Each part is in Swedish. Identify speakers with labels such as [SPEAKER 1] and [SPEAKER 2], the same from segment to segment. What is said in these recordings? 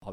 [SPEAKER 1] Har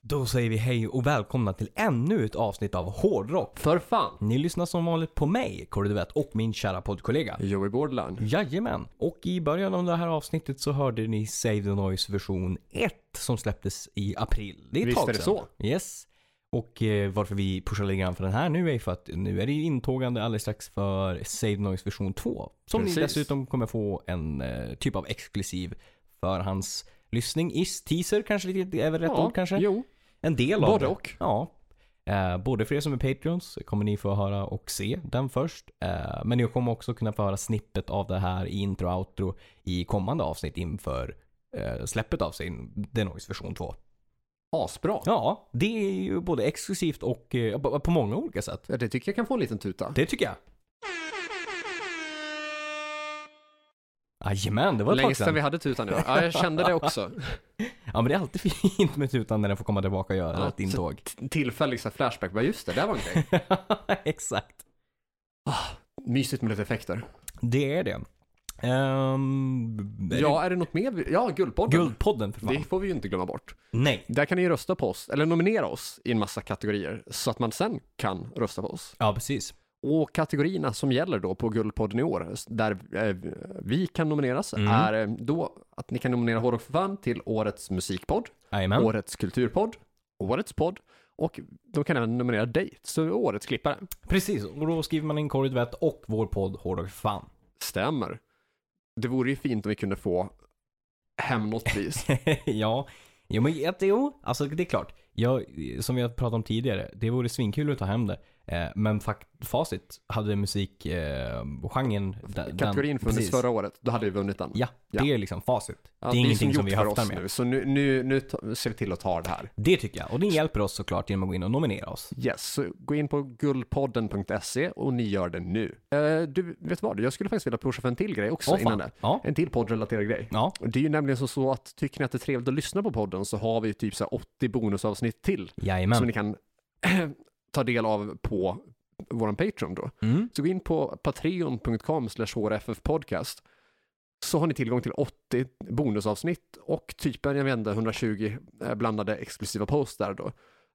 [SPEAKER 2] Då säger vi hej och välkomna till ännu ett avsnitt av Hårdrock.
[SPEAKER 1] För fan!
[SPEAKER 2] Ni lyssnar som vanligt på mig, Kåre Duvett, och min kära poddkollega.
[SPEAKER 1] Joey Bordland.
[SPEAKER 2] Jajamän! Och i början av det här avsnittet så hörde ni Save the Noise version 1 som släpptes i april. Det är ett
[SPEAKER 1] Visst
[SPEAKER 2] tag
[SPEAKER 1] är det
[SPEAKER 2] sedan.
[SPEAKER 1] så.
[SPEAKER 2] Yes. Och eh, varför vi pushar lite grann för den här nu är ju för att nu är det ju intågande alldeles strax för Save the Noise version 2. Som
[SPEAKER 1] Precis.
[SPEAKER 2] ni dessutom kommer få en eh, typ av exklusiv förhandslyssning. Is teaser kanske lite, är väl rätt ord kanske?
[SPEAKER 1] Jo.
[SPEAKER 2] En del av
[SPEAKER 1] Både
[SPEAKER 2] det.
[SPEAKER 1] och.
[SPEAKER 2] Ja. Eh, både för er som är Patreons kommer ni få höra och se den först. Eh, men ni kommer också kunna få höra snippet av det här i intro och outro i kommande avsnitt inför eh, släppet av sin The Noise version 2.
[SPEAKER 1] Asbra.
[SPEAKER 2] Ja, det är ju både exklusivt och eh, på, på många olika sätt.
[SPEAKER 1] Ja, det tycker jag kan få en liten tuta.
[SPEAKER 2] Det tycker jag. Jajamän, det var ett
[SPEAKER 1] Länge
[SPEAKER 2] tag
[SPEAKER 1] sedan
[SPEAKER 2] sedan.
[SPEAKER 1] vi hade tutan idag. Ja, jag kände det också.
[SPEAKER 2] Ja, men det är alltid fint med tutan när den får komma tillbaka och göra
[SPEAKER 1] Ja,
[SPEAKER 2] ett intåg.
[SPEAKER 1] T- Tillfällig så här flashback. Bara just det, där var en grej.
[SPEAKER 2] Exakt.
[SPEAKER 1] Mysigt med lite effekter.
[SPEAKER 2] Det är det. Ehm, är
[SPEAKER 1] Ja, är det något mer? vi- Ja,
[SPEAKER 2] det-
[SPEAKER 1] Guldpodden.
[SPEAKER 2] Guldpodden för fan.
[SPEAKER 1] Det får vi ju inte glömma bort.
[SPEAKER 2] Nej.
[SPEAKER 1] Där kan ni ju rösta på oss, eller nominera oss i en massa kategorier, så att man sen kan rösta på oss.
[SPEAKER 2] Ja, precis.
[SPEAKER 1] Och kategorierna som gäller då på Guldpodden i år, där eh, vi kan nomineras,
[SPEAKER 2] Mm.
[SPEAKER 1] är eh, då att ni kan nominera Hårdrock för fan till Årets musikpodd,
[SPEAKER 2] Jajamän.
[SPEAKER 1] Årets kulturpodd, Årets podd och de kan även nominera dig, så Årets klippare.
[SPEAKER 2] Precis. Och då skriver man in Corey Duvett och vår podd Hårdrock för fan.
[SPEAKER 1] Stämmer. Det vore ju fint om vi kunde få hem något pris.
[SPEAKER 2] ja. Jo, men att- jo, alltså det är klart. Jag, som vi har pratat om tidigare, det vore svinkul att ta hem det. Eh, men fakt, facit, hade musikgenren... Eh, genren, den-
[SPEAKER 1] Kategorin funnits
[SPEAKER 2] precis.
[SPEAKER 1] förra året, då hade vi vunnit den.
[SPEAKER 2] Ja,
[SPEAKER 1] Ja.
[SPEAKER 2] det är liksom facit.
[SPEAKER 1] Ja,
[SPEAKER 2] det är ingenting som
[SPEAKER 1] gjort
[SPEAKER 2] vi
[SPEAKER 1] för
[SPEAKER 2] höftar
[SPEAKER 1] oss
[SPEAKER 2] med.
[SPEAKER 1] Nu, så nu, nu, nu ta- ser vi till att ta det här.
[SPEAKER 2] Det tycker jag. Och det hjälper oss såklart genom att gå in och nominera oss.
[SPEAKER 1] Yes, så gå in på guldpodden.se och ni gör det nu. Eh, du, vet vad? Jag skulle faktiskt vilja pusha för en till grej också
[SPEAKER 2] Åh, fan.
[SPEAKER 1] innan det.
[SPEAKER 2] Ja.
[SPEAKER 1] En till poddrelaterad grej.
[SPEAKER 2] Ja,
[SPEAKER 1] Och Det är ju nämligen så, så att tycker ni att det är trevligt att lyssna på podden så har vi ju typ så här 80 bonusavsnitt till som
[SPEAKER 2] jajamän.
[SPEAKER 1] ni kan ta del av på vår Patreon då.
[SPEAKER 2] Mm.
[SPEAKER 1] Så gå in på patreon.com podcast så har ni tillgång till 80 bonusavsnitt och typ typen, jag vet inte, 120 eh, blandade exklusiva posts där då.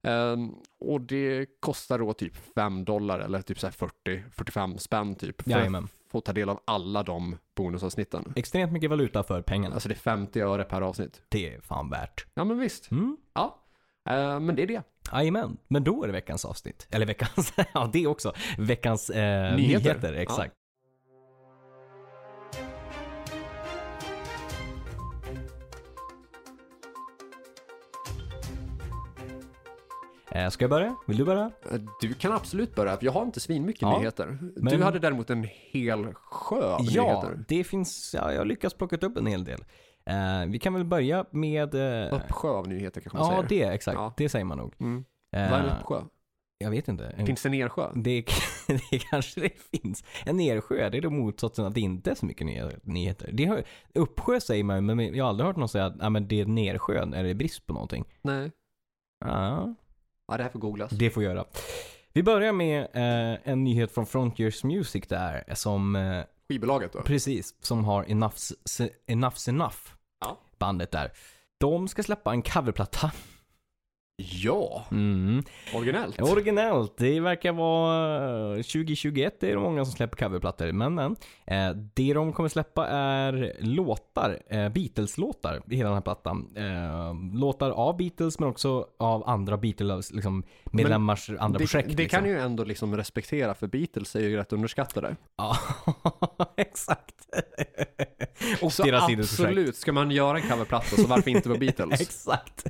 [SPEAKER 1] Ehm, och det kostar då typ 5 dollar eller typ så här 40-45 spänn typ för
[SPEAKER 2] Jajamän.
[SPEAKER 1] att få ta del av alla de bonusavsnitten.
[SPEAKER 2] Extremt mycket valuta för pengarna.
[SPEAKER 1] Alltså det är 50 öre per avsnitt.
[SPEAKER 2] Det är fan värt.
[SPEAKER 1] Ja men visst.
[SPEAKER 2] Mm.
[SPEAKER 1] Ja. Eh, men det är det.
[SPEAKER 2] Jajamän, men då är det veckans avsnitt. Eller veckans, ja det också. Veckans eh,
[SPEAKER 1] Nyheter.
[SPEAKER 2] nyheter. Exakt. Eh, ska jag börja? Vill du börja?
[SPEAKER 1] Eh, Du kan absolut börja, för jag har inte svinmycket
[SPEAKER 2] Ja,
[SPEAKER 1] nyheter.
[SPEAKER 2] men-
[SPEAKER 1] Du hade däremot en hel sjö av
[SPEAKER 2] Ja,
[SPEAKER 1] nyheter.
[SPEAKER 2] det finns, ja, jag har lyckats plocka upp en hel del. Eh, vi kan väl börja med... Eh,
[SPEAKER 1] Uppsjö av nyheter kanske man
[SPEAKER 2] ja,
[SPEAKER 1] säger.
[SPEAKER 2] det exakt.
[SPEAKER 1] Ja.
[SPEAKER 2] Det säger man nog.
[SPEAKER 1] Mm.
[SPEAKER 2] Eh, Mm.
[SPEAKER 1] Vad är en uppsjö?
[SPEAKER 2] jag vet inte. En
[SPEAKER 1] Finns det en ersjö?
[SPEAKER 2] Det, det kanske det finns. En nersjö, det är då motsatsen att det inte är så mycket nyhe- nyheter. Det har, uppsjö säger man ju, men jag har aldrig hört någon säga att "Ja, men det är nersjön, är det brist på någonting?
[SPEAKER 1] Nej.
[SPEAKER 2] Ja,
[SPEAKER 1] Ja, det här får googlas.
[SPEAKER 2] det får göra. Vi börjar med eh, en nyhet från Frontiers Music där, som eh,
[SPEAKER 1] Skivbolaget då?
[SPEAKER 2] Precis, som har Enough's, Se- Enough's Enough.
[SPEAKER 1] Ja.
[SPEAKER 2] Bandet där. De ska släppa en coverplatta.
[SPEAKER 1] Ja,
[SPEAKER 2] Mm.
[SPEAKER 1] originellt.
[SPEAKER 2] Originellt. Det verkar vara 2021. Det är det många som släpper coverplattor. Men, men. Eh, det de kommer släppa är låtar. Eh, Beatles-låtar i hela den här plattan. Eh, låtar av Beatles men också av andra Beatles, liksom medlemmars andra
[SPEAKER 1] det,
[SPEAKER 2] projekt.
[SPEAKER 1] det
[SPEAKER 2] liksom.
[SPEAKER 1] kan ju ändå liksom respektera för Beatles är ju rätt underskattade.
[SPEAKER 2] Ja, exakt.
[SPEAKER 1] Så
[SPEAKER 2] 84 sidors projekt.
[SPEAKER 1] absolut, ska man göra en coverplatta så varför inte på Beatles?
[SPEAKER 2] Exakt.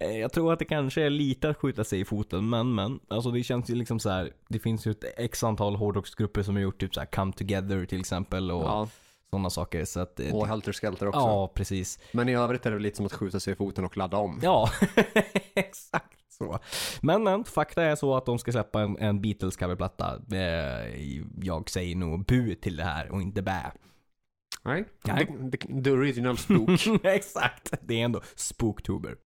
[SPEAKER 2] Eh, Jag tror att det kanske är lite att skjuta sig i foten, men men. Alltså det känns ju liksom så här. Det finns ju ett x antal hårdrocksgrupper som har gjort typ så här Come Together till exempel och
[SPEAKER 1] Ja,
[SPEAKER 2] sådana saker. Så att, eh,
[SPEAKER 1] och Helter Skelter också.
[SPEAKER 2] ja, precis.
[SPEAKER 1] Men i övrigt är det väl lite som att skjuta sig i foten och ladda om.
[SPEAKER 2] Ja, exakt så. Men men, fakta är så att de ska släppa en, en Beatles coverplatta. Eh, jag säger nog bu till det här och inte bä.
[SPEAKER 1] Nej,
[SPEAKER 2] Nej.
[SPEAKER 1] The, the, the original spook.
[SPEAKER 2] Exakt, det är ändå Spooktober.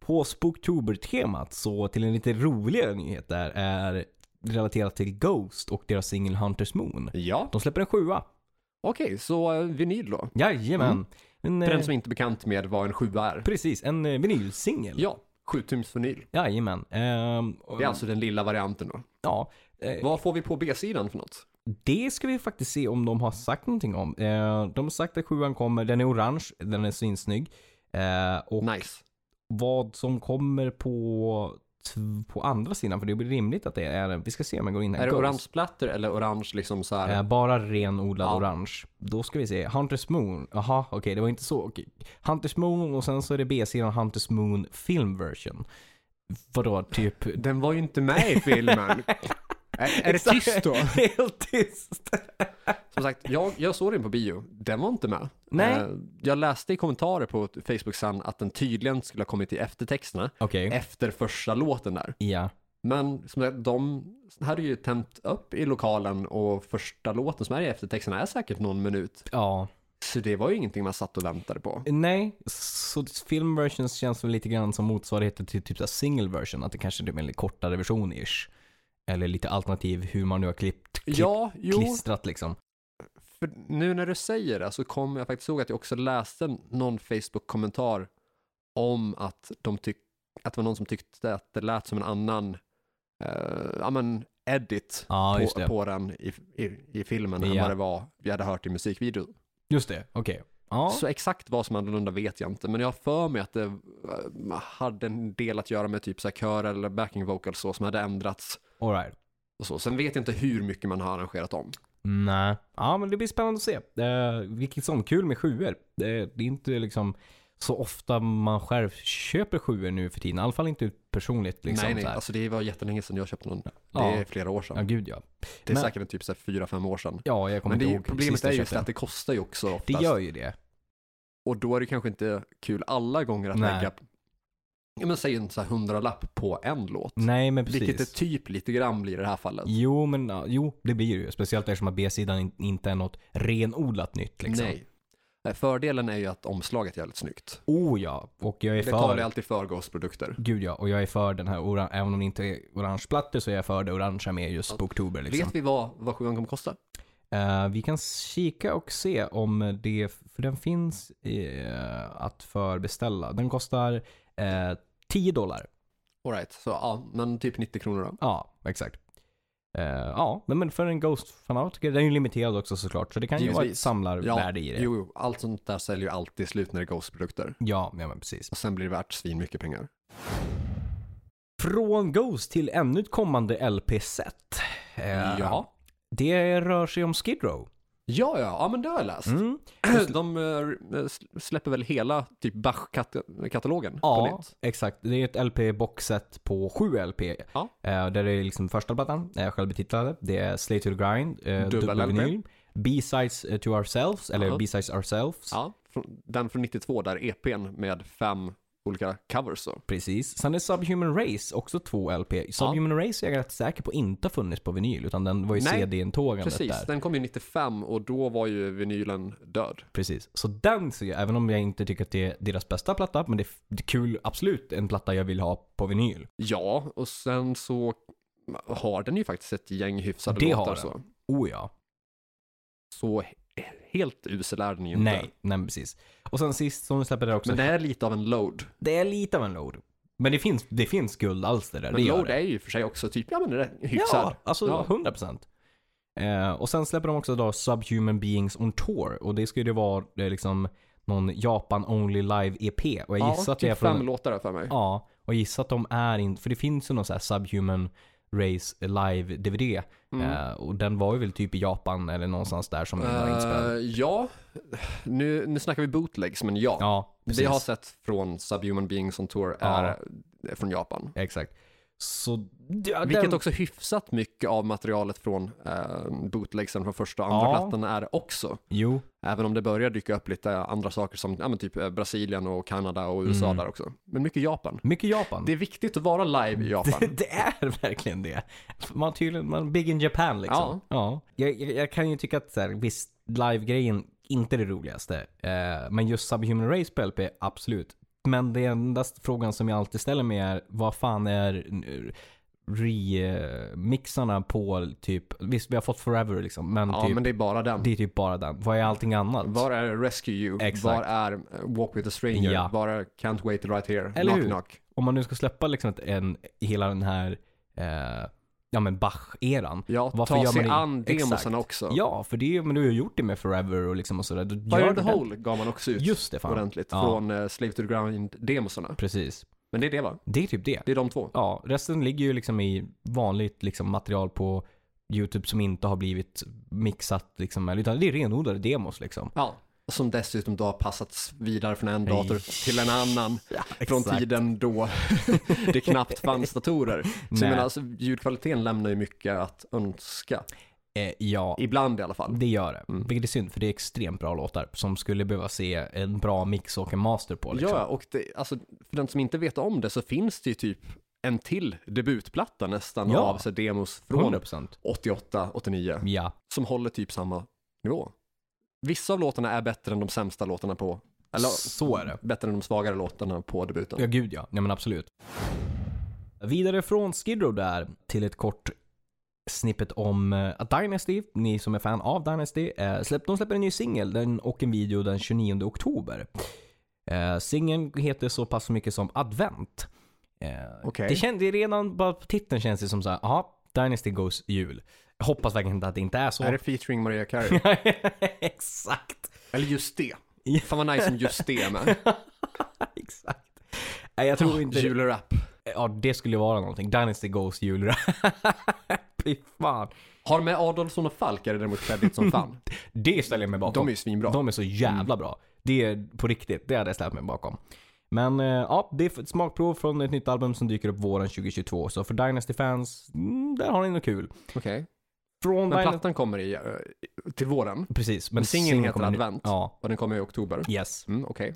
[SPEAKER 2] På Spooktober-temat så till en lite roligare nyhet där är relaterat till Ghost och deras singel Hunters Moon.
[SPEAKER 1] ja,
[SPEAKER 2] De släpper en sjua.
[SPEAKER 1] okej, så eh, vinyl då.
[SPEAKER 2] Jajamän. En,
[SPEAKER 1] Mm. För
[SPEAKER 2] eh,
[SPEAKER 1] den som inte är bekant med vad en sjua är.
[SPEAKER 2] precis, en eh, vinylsingel.
[SPEAKER 1] Ja, 7 tums vinyl.
[SPEAKER 2] Jajamän. Ehm, och-
[SPEAKER 1] Det är alltså den lilla varianten då.
[SPEAKER 2] Ja. eh,
[SPEAKER 1] Vad får vi på B-sidan för något?
[SPEAKER 2] Det ska vi faktiskt se om de har sagt någonting om. Eh, de har sagt att sjuan kommer, den är orange, den är svinsnygg. Eh, och
[SPEAKER 1] Nice.
[SPEAKER 2] vad som kommer på, t- på andra sidan, för det blir rimligt att det är, vi ska se om jag går in här.
[SPEAKER 1] Är det
[SPEAKER 2] Ghost.
[SPEAKER 1] orange platter eller orange liksom så här?
[SPEAKER 2] Eh, bara renodlad
[SPEAKER 1] Ja.
[SPEAKER 2] orange. Då ska vi se, Hunters Moon, aha okej det var inte så. okej. Hunters Moon och sen så är det B-sidan Hunters Moon Film Version. Vadå, typ?
[SPEAKER 1] Den var ju inte med i filmen. är, är det
[SPEAKER 2] Exakt.
[SPEAKER 1] tyst då?
[SPEAKER 2] Helt tyst!
[SPEAKER 1] Som sagt, jag, jag såg den på bio. Den var inte med.
[SPEAKER 2] Nej.
[SPEAKER 1] Eh, jag läste i kommentarer på Facebook sen att den tydligen skulle ha kommit i eftertexterna
[SPEAKER 2] Okej,
[SPEAKER 1] efter första låten där.
[SPEAKER 2] ja.
[SPEAKER 1] Men som sagt, de hade ju tänt upp i lokalen och första låten som är i eftertexterna är säkert någon minut.
[SPEAKER 2] Ja.
[SPEAKER 1] Så det var ju ingenting man satt och väntade på.
[SPEAKER 2] Nej, så film versions känns väl lite grann som motsvarigheter till typ så här single version. Att det kanske är en lite kortare version ish. Eller lite alternativ hur man nu har klippt, klipp,
[SPEAKER 1] Ja, jo,
[SPEAKER 2] klistrat liksom.
[SPEAKER 1] för nu när du säger det så kommer jag faktiskt ihåg att jag också läste någon Facebook-kommentar om att, de tyck- att det var någon som tyckte att det lät som en annan eh, ja, men edit
[SPEAKER 2] Ja, just
[SPEAKER 1] på,
[SPEAKER 2] det.
[SPEAKER 1] på den i, i, i filmen än
[SPEAKER 2] Ja.
[SPEAKER 1] vad det var vi hade hört i musikvideon.
[SPEAKER 2] Just det, okej. Ja,
[SPEAKER 1] Så exakt vad som är annorlunda vet jag inte, men jag har för mig att det eh, hade en del att göra med typ så här kör eller backing vocals så som hade ändrats.
[SPEAKER 2] alright.
[SPEAKER 1] Och så. Sen vet jag inte hur mycket man har arrangerat om.
[SPEAKER 2] Nej. Ja, men det blir spännande att se. Eh, vilket som kul med sjuor. Eh, det är inte liksom så ofta man själv köper sjuor nu för tiden. I alla fall inte personligt liksom.
[SPEAKER 1] nej, nej,
[SPEAKER 2] så här.
[SPEAKER 1] alltså det var jättelänge sedan jag köpte någon.
[SPEAKER 2] Ja.
[SPEAKER 1] Det är flera år sedan.
[SPEAKER 2] Ja, gud ja.
[SPEAKER 1] Det är
[SPEAKER 2] Men-
[SPEAKER 1] säkert typ så här fyra, fem år sedan.
[SPEAKER 2] Ja, jag kommer
[SPEAKER 1] Men det är
[SPEAKER 2] inte
[SPEAKER 1] ju,
[SPEAKER 2] ihåg.
[SPEAKER 1] problemet
[SPEAKER 2] sist
[SPEAKER 1] är
[SPEAKER 2] jag
[SPEAKER 1] ju
[SPEAKER 2] köpte
[SPEAKER 1] just att det kostar ju också
[SPEAKER 2] Det
[SPEAKER 1] oftast.
[SPEAKER 2] gör ju det.
[SPEAKER 1] Och då är det kanske inte kul alla gånger att
[SPEAKER 2] Nej.
[SPEAKER 1] lägga, ja, men säg en så här hundralapp på en låt.
[SPEAKER 2] Nej, men precis.
[SPEAKER 1] Vilket det typ lite grann blir i det här fallet.
[SPEAKER 2] Jo, men ja, jo, det blir ju. Speciellt eftersom att B-sidan in- inte är något renodlat nytt. Liksom.
[SPEAKER 1] Nej. Nej, Fördelen är ju att omslaget är jävligt snyggt.
[SPEAKER 2] Oh ja, och jag är
[SPEAKER 1] Det talar ju
[SPEAKER 2] för...
[SPEAKER 1] alltid för Ghost-produkter.
[SPEAKER 2] Gud ja, och jag är för den här oran... Även om det inte är orangeplattor så är jag för det orangea med just Spooktober. Liksom.
[SPEAKER 1] Vet vi vad, vad sjuan kommer kosta?
[SPEAKER 2] Eh, vi kan kika och se om det... För den finns eh, att förbeställa. Den kostar eh, 10 dollar.
[SPEAKER 1] Alright, så ja, men typ 90 kronor då.
[SPEAKER 2] Ja, exakt. Eh, ja, nej, men för en Ghost-fanatiker. Den är ju limiterad också såklart. Så det kan ju vara ett
[SPEAKER 1] Givetvis.
[SPEAKER 2] samlarvärde i det.
[SPEAKER 1] Jo, jo, allt sånt där säljer ju alltid slut när det är Ghost-produkter.
[SPEAKER 2] Ja, ja, men precis.
[SPEAKER 1] Och sen blir det värt svin mycket pengar.
[SPEAKER 2] Från Ghost till ännu ett kommande LP-set. Eh,
[SPEAKER 1] Ja.
[SPEAKER 2] Det rör sig om Skid Row.
[SPEAKER 1] Ja, ja, ja men det har jag läst.
[SPEAKER 2] Mm.
[SPEAKER 1] De eh, s- släpper väl hela typ Bach-katalogen på
[SPEAKER 2] Ja,
[SPEAKER 1] nytt?
[SPEAKER 2] exakt. Det är ett LP-boxset på sju LP.
[SPEAKER 1] Ja.
[SPEAKER 2] Eh, där det är liksom första plattan, eh, självbetitlade. Det är Slay to the Grind, eh,
[SPEAKER 1] Dubbel
[SPEAKER 2] dubbel
[SPEAKER 1] LP.
[SPEAKER 2] vinyl. B-sides eh, to ourselves, eller
[SPEAKER 1] Aha.
[SPEAKER 2] B-sides ourselves.
[SPEAKER 1] Ja, från- den från 92 där EPn med fem olika covers då.
[SPEAKER 2] Precis. Sen är Subhuman Race också två LP. Subhuman Race är jag rätt säker på inte har funnits på vinyl, utan den var ju
[SPEAKER 1] Nej,
[SPEAKER 2] CD-intågandet
[SPEAKER 1] Precis,
[SPEAKER 2] där.
[SPEAKER 1] den kom ju 95 och då var ju vinylen död.
[SPEAKER 2] Precis. Så den ser jag, även om jag inte tycker att det är deras bästa platta, men det är, det är kul, absolut en platta jag vill ha på vinyl.
[SPEAKER 1] Ja, och sen så har den ju faktiskt ett gäng hyfsade
[SPEAKER 2] Det har
[SPEAKER 1] låtar
[SPEAKER 2] den.
[SPEAKER 1] så.
[SPEAKER 2] Oh ja.
[SPEAKER 1] Så he- helt usel är den ju inte.
[SPEAKER 2] Nej, nej men precis. Och sen sist som du släpper där också,
[SPEAKER 1] Men
[SPEAKER 2] det,
[SPEAKER 1] det är lite av en load.
[SPEAKER 2] är lite av en load. Men det finns, det finns guldalster där,
[SPEAKER 1] Men
[SPEAKER 2] det gör
[SPEAKER 1] load
[SPEAKER 2] det.
[SPEAKER 1] är ju för sig också typ, ja men det är hyfsad.
[SPEAKER 2] Ja, alltså
[SPEAKER 1] Ja.
[SPEAKER 2] 100%. Eh, och sen släpper de också då Subhuman Beings on Tour och det ska ju det vara eh, liksom någon Japan Only Live EP och jag gissar att det
[SPEAKER 1] typ
[SPEAKER 2] är från
[SPEAKER 1] fem låtar där för mig.
[SPEAKER 2] Ja, och gissa att de är inte, för det finns ju någon så här subhuman Rays live-DVD.
[SPEAKER 1] Mm.
[SPEAKER 2] Eh, och den var ju väl typ i Japan eller någonstans där som den var inspelad.
[SPEAKER 1] Eh, ja, nu, nu snackar vi bootlegs, men ja.
[SPEAKER 2] Ja,
[SPEAKER 1] det
[SPEAKER 2] precis.
[SPEAKER 1] jag har sett från Subhuman Beings on Tour är är från Japan.
[SPEAKER 2] Exakt. Så, ja,
[SPEAKER 1] Vilket
[SPEAKER 2] den-
[SPEAKER 1] också hyfsat mycket av materialet från eh, bootlegsen från första och andra
[SPEAKER 2] Ja.
[SPEAKER 1] plattan är också.
[SPEAKER 2] Jo,
[SPEAKER 1] Även om det börjar dyka upp lite andra saker som ja, men typ eh, Brasilien och Kanada och USA
[SPEAKER 2] Mm.
[SPEAKER 1] där också. Men mycket Japan.
[SPEAKER 2] mycket Japan.
[SPEAKER 1] Det är viktigt att vara live i Japan.
[SPEAKER 2] Mm. Det, det är verkligen det. Man tydligen, man big in Japan liksom. Ja. Jag, jag, jag kan ju tycka att så här, visst, live-grejen inte är det roligaste. Eh, men just Subhuman Race på LP, absolut. Men den enda frågan som jag alltid ställer mig är, vad fan är eh, remixarna på typ, visst vi har fått Forever liksom, men,
[SPEAKER 1] ja,
[SPEAKER 2] typ,
[SPEAKER 1] men det är bara den.
[SPEAKER 2] det är typ bara den. Vad är allting annat?
[SPEAKER 1] Var är Rescue You?
[SPEAKER 2] Exakt.
[SPEAKER 1] Var är eh, Walk with a Stranger?
[SPEAKER 2] Ja.
[SPEAKER 1] Var är Can't Wait Right Here?
[SPEAKER 2] Eller
[SPEAKER 1] knock
[SPEAKER 2] hur?
[SPEAKER 1] knock.
[SPEAKER 2] Om man nu ska släppa liksom ett- en, hela den här, eh, ja men Bach-eran.
[SPEAKER 1] Ja,
[SPEAKER 2] Varför
[SPEAKER 1] ta
[SPEAKER 2] gör
[SPEAKER 1] sig
[SPEAKER 2] man det?
[SPEAKER 1] an
[SPEAKER 2] Exakt.
[SPEAKER 1] demosarna också.
[SPEAKER 2] Ja, för det är, men du har ju gjort det med Forever och liksom och sådär. Då
[SPEAKER 1] Fire
[SPEAKER 2] gör
[SPEAKER 1] in the
[SPEAKER 2] du det.
[SPEAKER 1] Hole gav man också ut
[SPEAKER 2] Just det, fan.
[SPEAKER 1] ordentligt
[SPEAKER 2] Ja.
[SPEAKER 1] från eh, Slave to the Ground-demosarna.
[SPEAKER 2] Precis.
[SPEAKER 1] Men det är det va?
[SPEAKER 2] Det är typ det.
[SPEAKER 1] Det är de två.
[SPEAKER 2] Ja, resten ligger ju liksom i vanligt liksom material på YouTube som inte har blivit mixat liksom. eller- Utan det är renodlade demos liksom.
[SPEAKER 1] Ja. Som dessutom då har passats vidare från en dator till en annan. Från
[SPEAKER 2] exakt.
[SPEAKER 1] tiden då det knappt fanns datorer. Så
[SPEAKER 2] Nej.
[SPEAKER 1] jag menar, alltså, ljudkvaliteten lämnar ju mycket att önska.
[SPEAKER 2] Eh, ja,
[SPEAKER 1] Ibland i Mm. alla fall.
[SPEAKER 2] det gör det. Vilket är synd för det är extremt bra låtar som skulle behöva se en bra mix och en master på liksom.
[SPEAKER 1] Ja, och det, alltså, för den som inte vet om det så finns det ju typ en till debutplatta nästan
[SPEAKER 2] Ja.
[SPEAKER 1] av så demos från
[SPEAKER 2] 100%.
[SPEAKER 1] 88, 89
[SPEAKER 2] Ja,
[SPEAKER 1] som håller typ samma nivå. Vissa av låtarna är bättre än de sämsta låtarna på, eller
[SPEAKER 2] så är det.
[SPEAKER 1] bättre än de svagare låtarna på debuten.
[SPEAKER 2] Ja, gud ja. Nej men absolut. Vidare från Skid Row där till ett kort snippet om eh, att Dynasty, ni som är fan av Dynasty, eh, släpp, de släpper en ny singel den- och en video den 29 oktober. Eh, Singeln heter så pass mycket som Advent. Eh,
[SPEAKER 1] Okej.
[SPEAKER 2] Det kändes redan, bara på titeln känns det som så här, aha, Dynasty goes jul. Jag hoppas verkligen inte att det inte är så.
[SPEAKER 1] Är det featuring Maria Carey?
[SPEAKER 2] Exakt.
[SPEAKER 1] eller just det.
[SPEAKER 2] Ja.
[SPEAKER 1] Fan vad nice om just det är med.
[SPEAKER 2] Exakt. Nej, jag tror
[SPEAKER 1] Ah,
[SPEAKER 2] inte
[SPEAKER 1] Julrap.
[SPEAKER 2] Ja, det skulle vara någonting. Dynasty Goes julrap. Fy fan.
[SPEAKER 1] Har med Adolfsson och Falk är det däremot credit som fan.
[SPEAKER 2] Det ställer jag mig bakom.
[SPEAKER 1] De är ju Mm. svinbra.
[SPEAKER 2] De är så jävla bra. Det är på riktigt. Det hade jag ställt mig bakom. Men eh, ja, det är ett smakprov från ett nytt album som dyker upp våren 2022. Så för Dynasty-fans, mm, där har ni något kul.
[SPEAKER 1] Okej.
[SPEAKER 2] Från
[SPEAKER 1] Men
[SPEAKER 2] Dynasty...
[SPEAKER 1] plattan kommer i, eh, till våren
[SPEAKER 2] Precis, men
[SPEAKER 1] singeln
[SPEAKER 2] singeln
[SPEAKER 1] heter
[SPEAKER 2] kommer nu-
[SPEAKER 1] Advent.
[SPEAKER 2] Ja,
[SPEAKER 1] och den kommer i oktober.
[SPEAKER 2] yes.
[SPEAKER 1] Mm, Okej.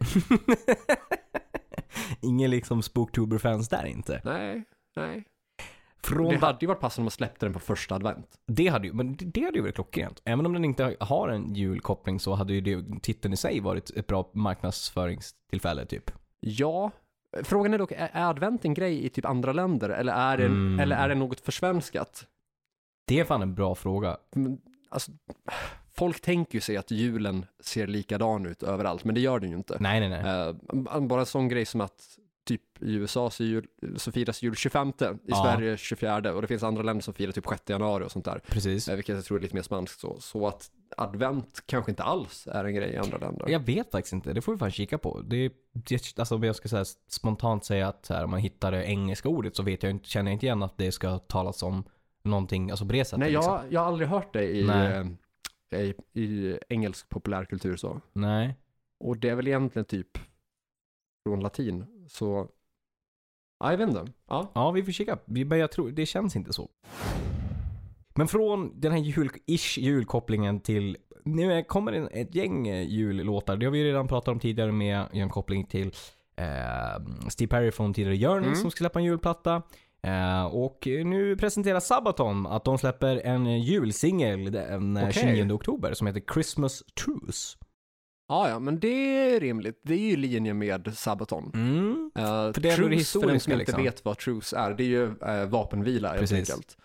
[SPEAKER 2] Ingen liksom Spooktober-fans där inte.
[SPEAKER 1] Nej, nej.
[SPEAKER 2] Från
[SPEAKER 1] Det hade ju varit passande om man släppte den på första advent.
[SPEAKER 2] Det hade ju, men det hade ju varit klockrent. Även om den inte har en julkoppling så hade ju det, titeln i sig varit ett bra marknadsföringstillfälle typ.
[SPEAKER 1] Ja. Frågan är dock, är är advent en grej i typ andra länder eller är det,
[SPEAKER 2] Mm.
[SPEAKER 1] eller är det något försvenskat?
[SPEAKER 2] Det är fan en bra fråga.
[SPEAKER 1] Men, Alltså, folk tänker ju sig att julen ser likadan ut överallt, men det gör den ju inte.
[SPEAKER 2] Nej, nej, nej.
[SPEAKER 1] Eh, bara en sån grej som att typ i USA så, är jul, så firas jul 25, i
[SPEAKER 2] Ja.
[SPEAKER 1] Sverige 24 och det finns andra länder som firar typ 6 januari och sånt där.
[SPEAKER 2] Precis.
[SPEAKER 1] Eh, Vilket jag tror är lite mer spanskt så. Så att advent kanske inte alls är en grej i andra länder.
[SPEAKER 2] Jag vet faktiskt inte. Det får vi fan kika på. Det, är- det, alltså, om jag ska säga, spontant säga att så här, om man hittar det engelska ordet så vet jag, inte- känner jag inte igen att det ska talas om någonting alltså på det sättet.
[SPEAKER 1] Nej,
[SPEAKER 2] liksom.
[SPEAKER 1] jag, jag har aldrig hört det i,
[SPEAKER 2] Nej.
[SPEAKER 1] eh, i, i engelsk populärkultur så.
[SPEAKER 2] Nej.
[SPEAKER 1] Och det är väl egentligen typ från latin. Så, ja, jag vet inte. Ja.
[SPEAKER 2] Ja, vi får kika. Vi- Men jag tror, det känns inte så. Men från den här jul, ish julkopplingen till... Nu kommer det ett gäng eh, jullåtar. Det har vi ju redan pratat om tidigare med en koppling till eh, Steve Perry från tidigare Journey
[SPEAKER 1] Mm.
[SPEAKER 2] som ska släppa en julplatta. Eh, och nu presenterar Sabaton att de släpper en julsingel den eh,
[SPEAKER 1] Okej.
[SPEAKER 2] 29 oktober som heter Christmas Truce.
[SPEAKER 1] ja, ja, men det är rimligt. Det är ju i linje med Sabaton.
[SPEAKER 2] Mm.
[SPEAKER 1] Uh,
[SPEAKER 2] För det är ändå det
[SPEAKER 1] för den
[SPEAKER 2] historiska,
[SPEAKER 1] som inte
[SPEAKER 2] liksom.
[SPEAKER 1] vet vad truce är, det är ju eh, vapenvila helt
[SPEAKER 2] Precis.
[SPEAKER 1] enkelt.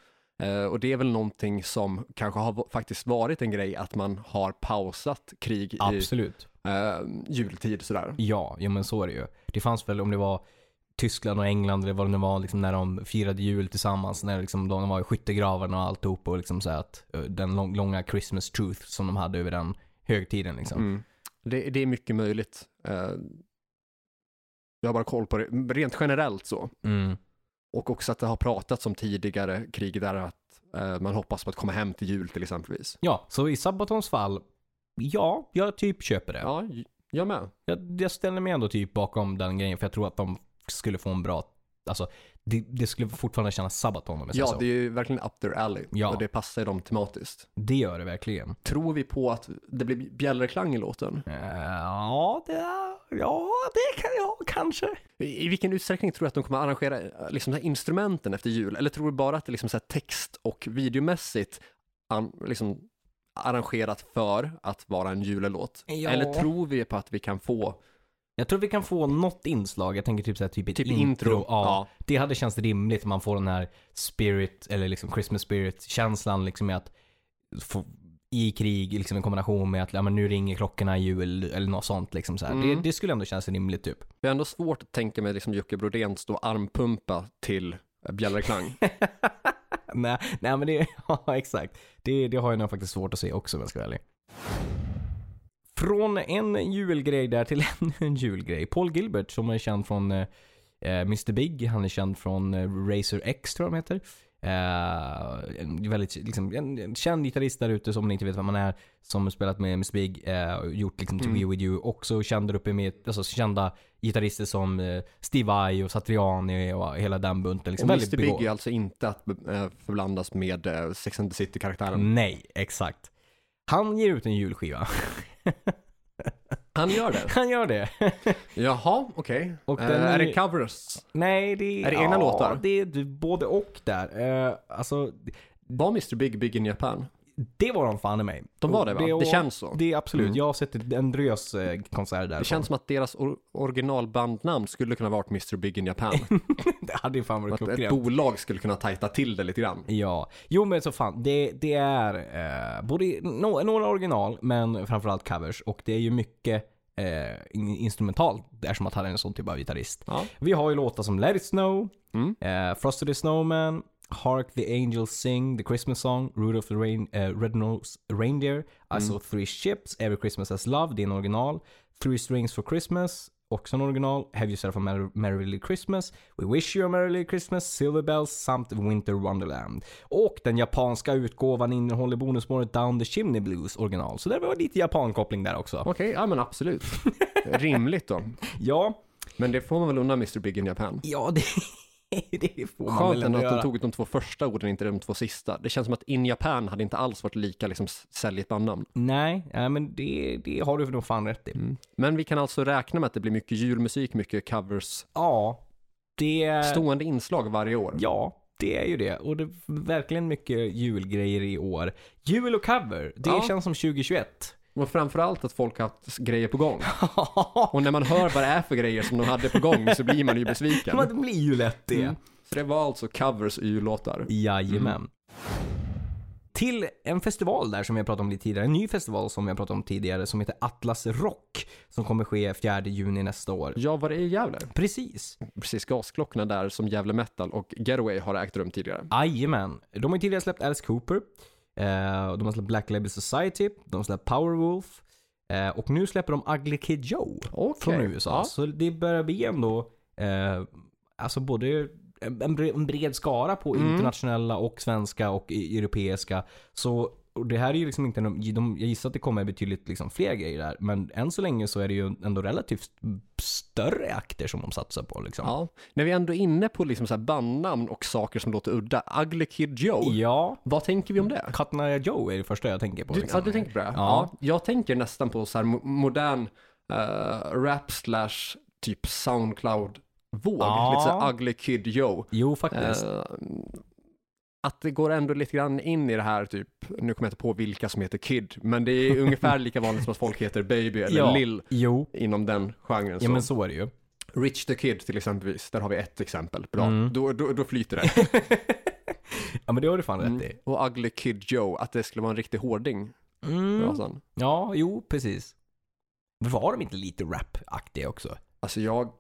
[SPEAKER 1] Eh, och det är väl någonting som kanske har va- faktiskt varit en grej, att man har pausat krig i
[SPEAKER 2] Absolut.
[SPEAKER 1] eh, jultid sådär.
[SPEAKER 2] Ja, ja men så är det ju. Det fanns väl om det var Tyskland och England eller vad det nu var, liksom, när de firade jul tillsammans, när liksom, de var i skyttegravarna och alltihop och liksom, så här att, eh, den lång, långa Christmas truth som de hade över den högtiden. Liksom.
[SPEAKER 1] Mm. Det, det är mycket möjligt. Eh, jag har bara koll på det, rent generellt så.
[SPEAKER 2] Mm.
[SPEAKER 1] Och också att det har pratats om tidigare krig där att eh, man hoppas på att komma hem till jul till exempelvis.
[SPEAKER 2] Ja, så i Sabatons fall, ja, jag typ köper det.
[SPEAKER 1] Ja, j- jag med.
[SPEAKER 2] Jag, jag ställer mig ändå typ bakom den grejen för jag tror att de skulle få en bra, alltså det, det skulle fortfarande kännas Sabaton om jag säger
[SPEAKER 1] Ja,
[SPEAKER 2] så.
[SPEAKER 1] det är ju verkligen up their alley
[SPEAKER 2] Ja.
[SPEAKER 1] och det passar ju dem tematiskt.
[SPEAKER 2] det gör det verkligen.
[SPEAKER 1] Tror vi på att det blir bjällreklang i låten?
[SPEAKER 2] Eh, Ja, det, ja, det kan jag kanske.
[SPEAKER 1] I, i vilken utsträckning tror du att de kommer arrangera eh, liksom, de här instrumenten efter jul? Eller tror du bara att det är liksom, så här, text och videomässigt an, liksom, arrangerat för att vara en julelåt?
[SPEAKER 2] Ja.
[SPEAKER 1] Eller tror vi på att vi kan få
[SPEAKER 2] Jag tror vi kan få något inslag. Jag tänker typ såhär typ ett
[SPEAKER 1] Typ
[SPEAKER 2] intro.
[SPEAKER 1] intro,
[SPEAKER 2] Ja,
[SPEAKER 1] ja.
[SPEAKER 2] Det hade känts rimligt om man får den här spirit, eller liksom Christmas spirit-känslan liksom med att få, i krig, liksom i kombination med att ja, men nu ringer klockorna i jul eller något sånt liksom så här.
[SPEAKER 1] Mm.
[SPEAKER 2] Det, det skulle ändå kännas rimligt typ.
[SPEAKER 1] Det är ändå svårt att tänka mig liksom Jocke Brodén stå och armpumpa till eh, bjällreklang.
[SPEAKER 2] nej, nej men det, ja exakt. Det, det har jag nog faktiskt svårt att se också om jag ska vara ärlig. Från en julgrej där till ännu en julgrej. Paul Gilbert som är känd från eh, Mr Big, han är känd från eh, Razor X tror jag de heter. Eh, en, väldigt, liksom, en, en känd gitarrist där ute som ni inte vet vem man är. Som spelat med Mr Big eh, och gjort liksom To
[SPEAKER 1] Mm.
[SPEAKER 2] Be With You. Också känd där uppe med alltså, kända gitarrister som eh, Steve Vai och Satriani och hela den bunten.
[SPEAKER 1] och
[SPEAKER 2] Liksom, väldigt
[SPEAKER 1] Mr Big
[SPEAKER 2] begå-
[SPEAKER 1] är alltså inte att eh, förblandas med eh, Sex and the City-karaktären.
[SPEAKER 2] Nej, exakt. Han ger ut en julskiva.
[SPEAKER 1] Han gör det?
[SPEAKER 2] Han gör det.
[SPEAKER 1] Jaha, okej.
[SPEAKER 2] Och
[SPEAKER 1] Eh,
[SPEAKER 2] den är
[SPEAKER 1] är
[SPEAKER 2] ju-
[SPEAKER 1] det covers?
[SPEAKER 2] Nej, det
[SPEAKER 1] Är det egna låtar?
[SPEAKER 2] Det är både och där. Eh, alltså,
[SPEAKER 1] Var Mr Big big in Japan?
[SPEAKER 2] det var de fan i mig.
[SPEAKER 1] De var det va? Det,
[SPEAKER 2] och-
[SPEAKER 1] känns så. Det,
[SPEAKER 2] Det är absolut.
[SPEAKER 1] Mm.
[SPEAKER 2] Jag har sett en drös eh, konserter där. Det,
[SPEAKER 1] känns som att deras or- originalbandnamn skulle kunna varit Mr Big in Japan.
[SPEAKER 2] det hade ju fan varit
[SPEAKER 1] att ett
[SPEAKER 2] klockrent.
[SPEAKER 1] bolag skulle kunna tajta till det lite grann.
[SPEAKER 2] Ja, jo men så fan. Det, det är eh, både no, några original men framförallt covers. Och det är ju mycket eh, in- instrumentalt. Det är som att han är en sån typ av gitarrist.
[SPEAKER 1] Ja.
[SPEAKER 2] Vi har ju låtar som Let It Snow,
[SPEAKER 1] Mm.
[SPEAKER 2] eh, Frosted the Snowman, Hark the Angels Sing, The Christmas Song, Rudolph the Rain, eh, Red Nose Reindeer, I
[SPEAKER 1] Mm.
[SPEAKER 2] Saw Three Ships, Every Christmas Has Love, det är en original, Three Strings for Christmas, också en original, Have Yourself a Merry, Merry Little Christmas, We Wish You a Merry Little Christmas, Silver Bells samt Winter Wonderland. Och den japanska utgåvan innehåller bonusspåret Down the Chimney Blues original, så det var lite japankoppling där också.
[SPEAKER 1] Okej, ja men absolut. Rimligt då.
[SPEAKER 2] Ja,
[SPEAKER 1] Men det får man väl unna Mr Big in Japan.
[SPEAKER 2] ja det, det får man
[SPEAKER 1] Skönt
[SPEAKER 2] väl
[SPEAKER 1] ändå
[SPEAKER 2] ändå
[SPEAKER 1] att de
[SPEAKER 2] göra.
[SPEAKER 1] tog de två första orden, inte de två sista. Det känns som att In Japan hade inte alls varit lika liksom, s- säljigt bandnamn.
[SPEAKER 2] Nej, nej men det, det har du nog fan rätt i.
[SPEAKER 1] Men vi kan alltså räkna med att det blir mycket julmusik, mycket covers,
[SPEAKER 2] Ja, det...
[SPEAKER 1] stående inslag varje år.
[SPEAKER 2] Äh. Ja, det är ju det. Och det är verkligen mycket julgrejer i år. Jul och cover, det
[SPEAKER 1] Ja.
[SPEAKER 2] känns som 2021.
[SPEAKER 1] Och framförallt att folk har haft s- grejer på gång. Och när man hör vad det är för grejer som de hade på gång så blir man ju besviken.
[SPEAKER 2] Men det blir ju lätt det.
[SPEAKER 1] Mm. Så det var alltså covers i jullåtar.
[SPEAKER 2] Jajamän. Mm. Till en festival där som jag pratade om lite tidigare. En ny festival som jag pratade om tidigare som heter Atlas Rock. Som kommer ske 4 juni nästa år.
[SPEAKER 1] Ja, var det i Gävle?
[SPEAKER 2] Precis.
[SPEAKER 1] Precis, gasklockorna där som Gävle Metal och Getaway har ägt rum tidigare.
[SPEAKER 2] Jajamän. De har ju tidigare släppt Alice Cooper. Eh, och de har släppt Black Label Society. De har släppt Powerwolf. Eh, och nu släpper de Ugly Kid Joe
[SPEAKER 1] Okej.
[SPEAKER 2] från USA.
[SPEAKER 1] Ja.
[SPEAKER 2] Så det börjar bli ändå eh, alltså både en en bre- en bred skara på
[SPEAKER 1] Mm.
[SPEAKER 2] internationella och svenska och i- europeiska. Så och det här är ju liksom inte en- de, Jag gissar att det kommer betydligt liksom fler grejer där. Men än så länge så är det ju ändå relativt större akter som de satsar på. Liksom.
[SPEAKER 1] Ja, när vi ändå är inne på liksom så här bandnamn och saker som låter udda, Ugly Kid Joe,
[SPEAKER 2] ja.
[SPEAKER 1] vad tänker vi om det?
[SPEAKER 2] Katna Joe är det första jag tänker på.
[SPEAKER 1] Du,
[SPEAKER 2] liksom.
[SPEAKER 1] ja, du tänker på det?
[SPEAKER 2] Ja.
[SPEAKER 1] Jag tänker nästan på så här mo- modern eh, rap slash typ Soundcloud-våg,
[SPEAKER 2] Ja.
[SPEAKER 1] lite så här Ugly Kid Joe.
[SPEAKER 2] Jo, faktiskt.
[SPEAKER 1] Eh, att det går ändå lite grann in i det här typ, nu kommer jag inte på vilka som heter Kid, men det är ungefär lika vanligt som att folk heter Baby eller
[SPEAKER 2] Ja.
[SPEAKER 1] Lil
[SPEAKER 2] jo,
[SPEAKER 1] inom den genren.
[SPEAKER 2] ja
[SPEAKER 1] så.
[SPEAKER 2] men så är det ju.
[SPEAKER 1] Rich the Kid till exempelvis, där har vi ett exempel. Bra,
[SPEAKER 2] Mm.
[SPEAKER 1] då, då, då flyter det.
[SPEAKER 2] Ja men det har du fan
[SPEAKER 1] Mm.
[SPEAKER 2] rätt i.
[SPEAKER 1] Och Ugly Kid Joe, att det skulle vara en riktig hårding.
[SPEAKER 2] Mm.
[SPEAKER 1] Mm.
[SPEAKER 2] Ja, jo, precis. Men Var de inte lite rap-aktiga också?
[SPEAKER 1] Alltså jag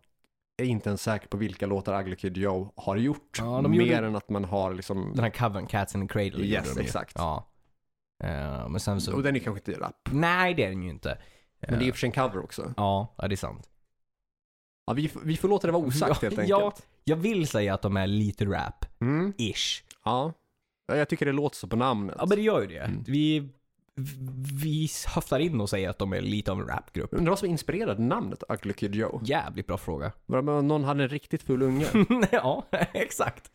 [SPEAKER 1] är inte ens säker på vilka låtar Ugly Kid Joe har gjort.
[SPEAKER 2] Ja, de
[SPEAKER 1] mer
[SPEAKER 2] gjorde-
[SPEAKER 1] än att man har liksom...
[SPEAKER 2] Den här covern, Cats in the Cradle. gjorde
[SPEAKER 1] Yes,
[SPEAKER 2] de ju.
[SPEAKER 1] exakt.
[SPEAKER 2] Ja. Eh, men sen så...
[SPEAKER 1] Och den är kanske inte rap.
[SPEAKER 2] Nej, det är den ju inte.
[SPEAKER 1] Men det är
[SPEAKER 2] Eh,
[SPEAKER 1] ju för sig en cover också.
[SPEAKER 2] Ja, ja, det är sant.
[SPEAKER 1] Ja, vi, f- vi får låta det vara osagt helt enkelt.
[SPEAKER 2] Ja, Jag vill säga att de är lite rap-ish.
[SPEAKER 1] Mm. Ja. Ja, Jag tycker det låter så på namnet.
[SPEAKER 2] Ja men det gör ju det.
[SPEAKER 1] Mm.
[SPEAKER 2] Vi, vi höftar in och säger att de är lite av en rapgrupp.
[SPEAKER 1] Undrar vad som inspirerade namnet Ugly Kid Joe?
[SPEAKER 2] Jävligt bra fråga.
[SPEAKER 1] Var det om någon hade en riktigt ful unge?
[SPEAKER 2] ja, exakt.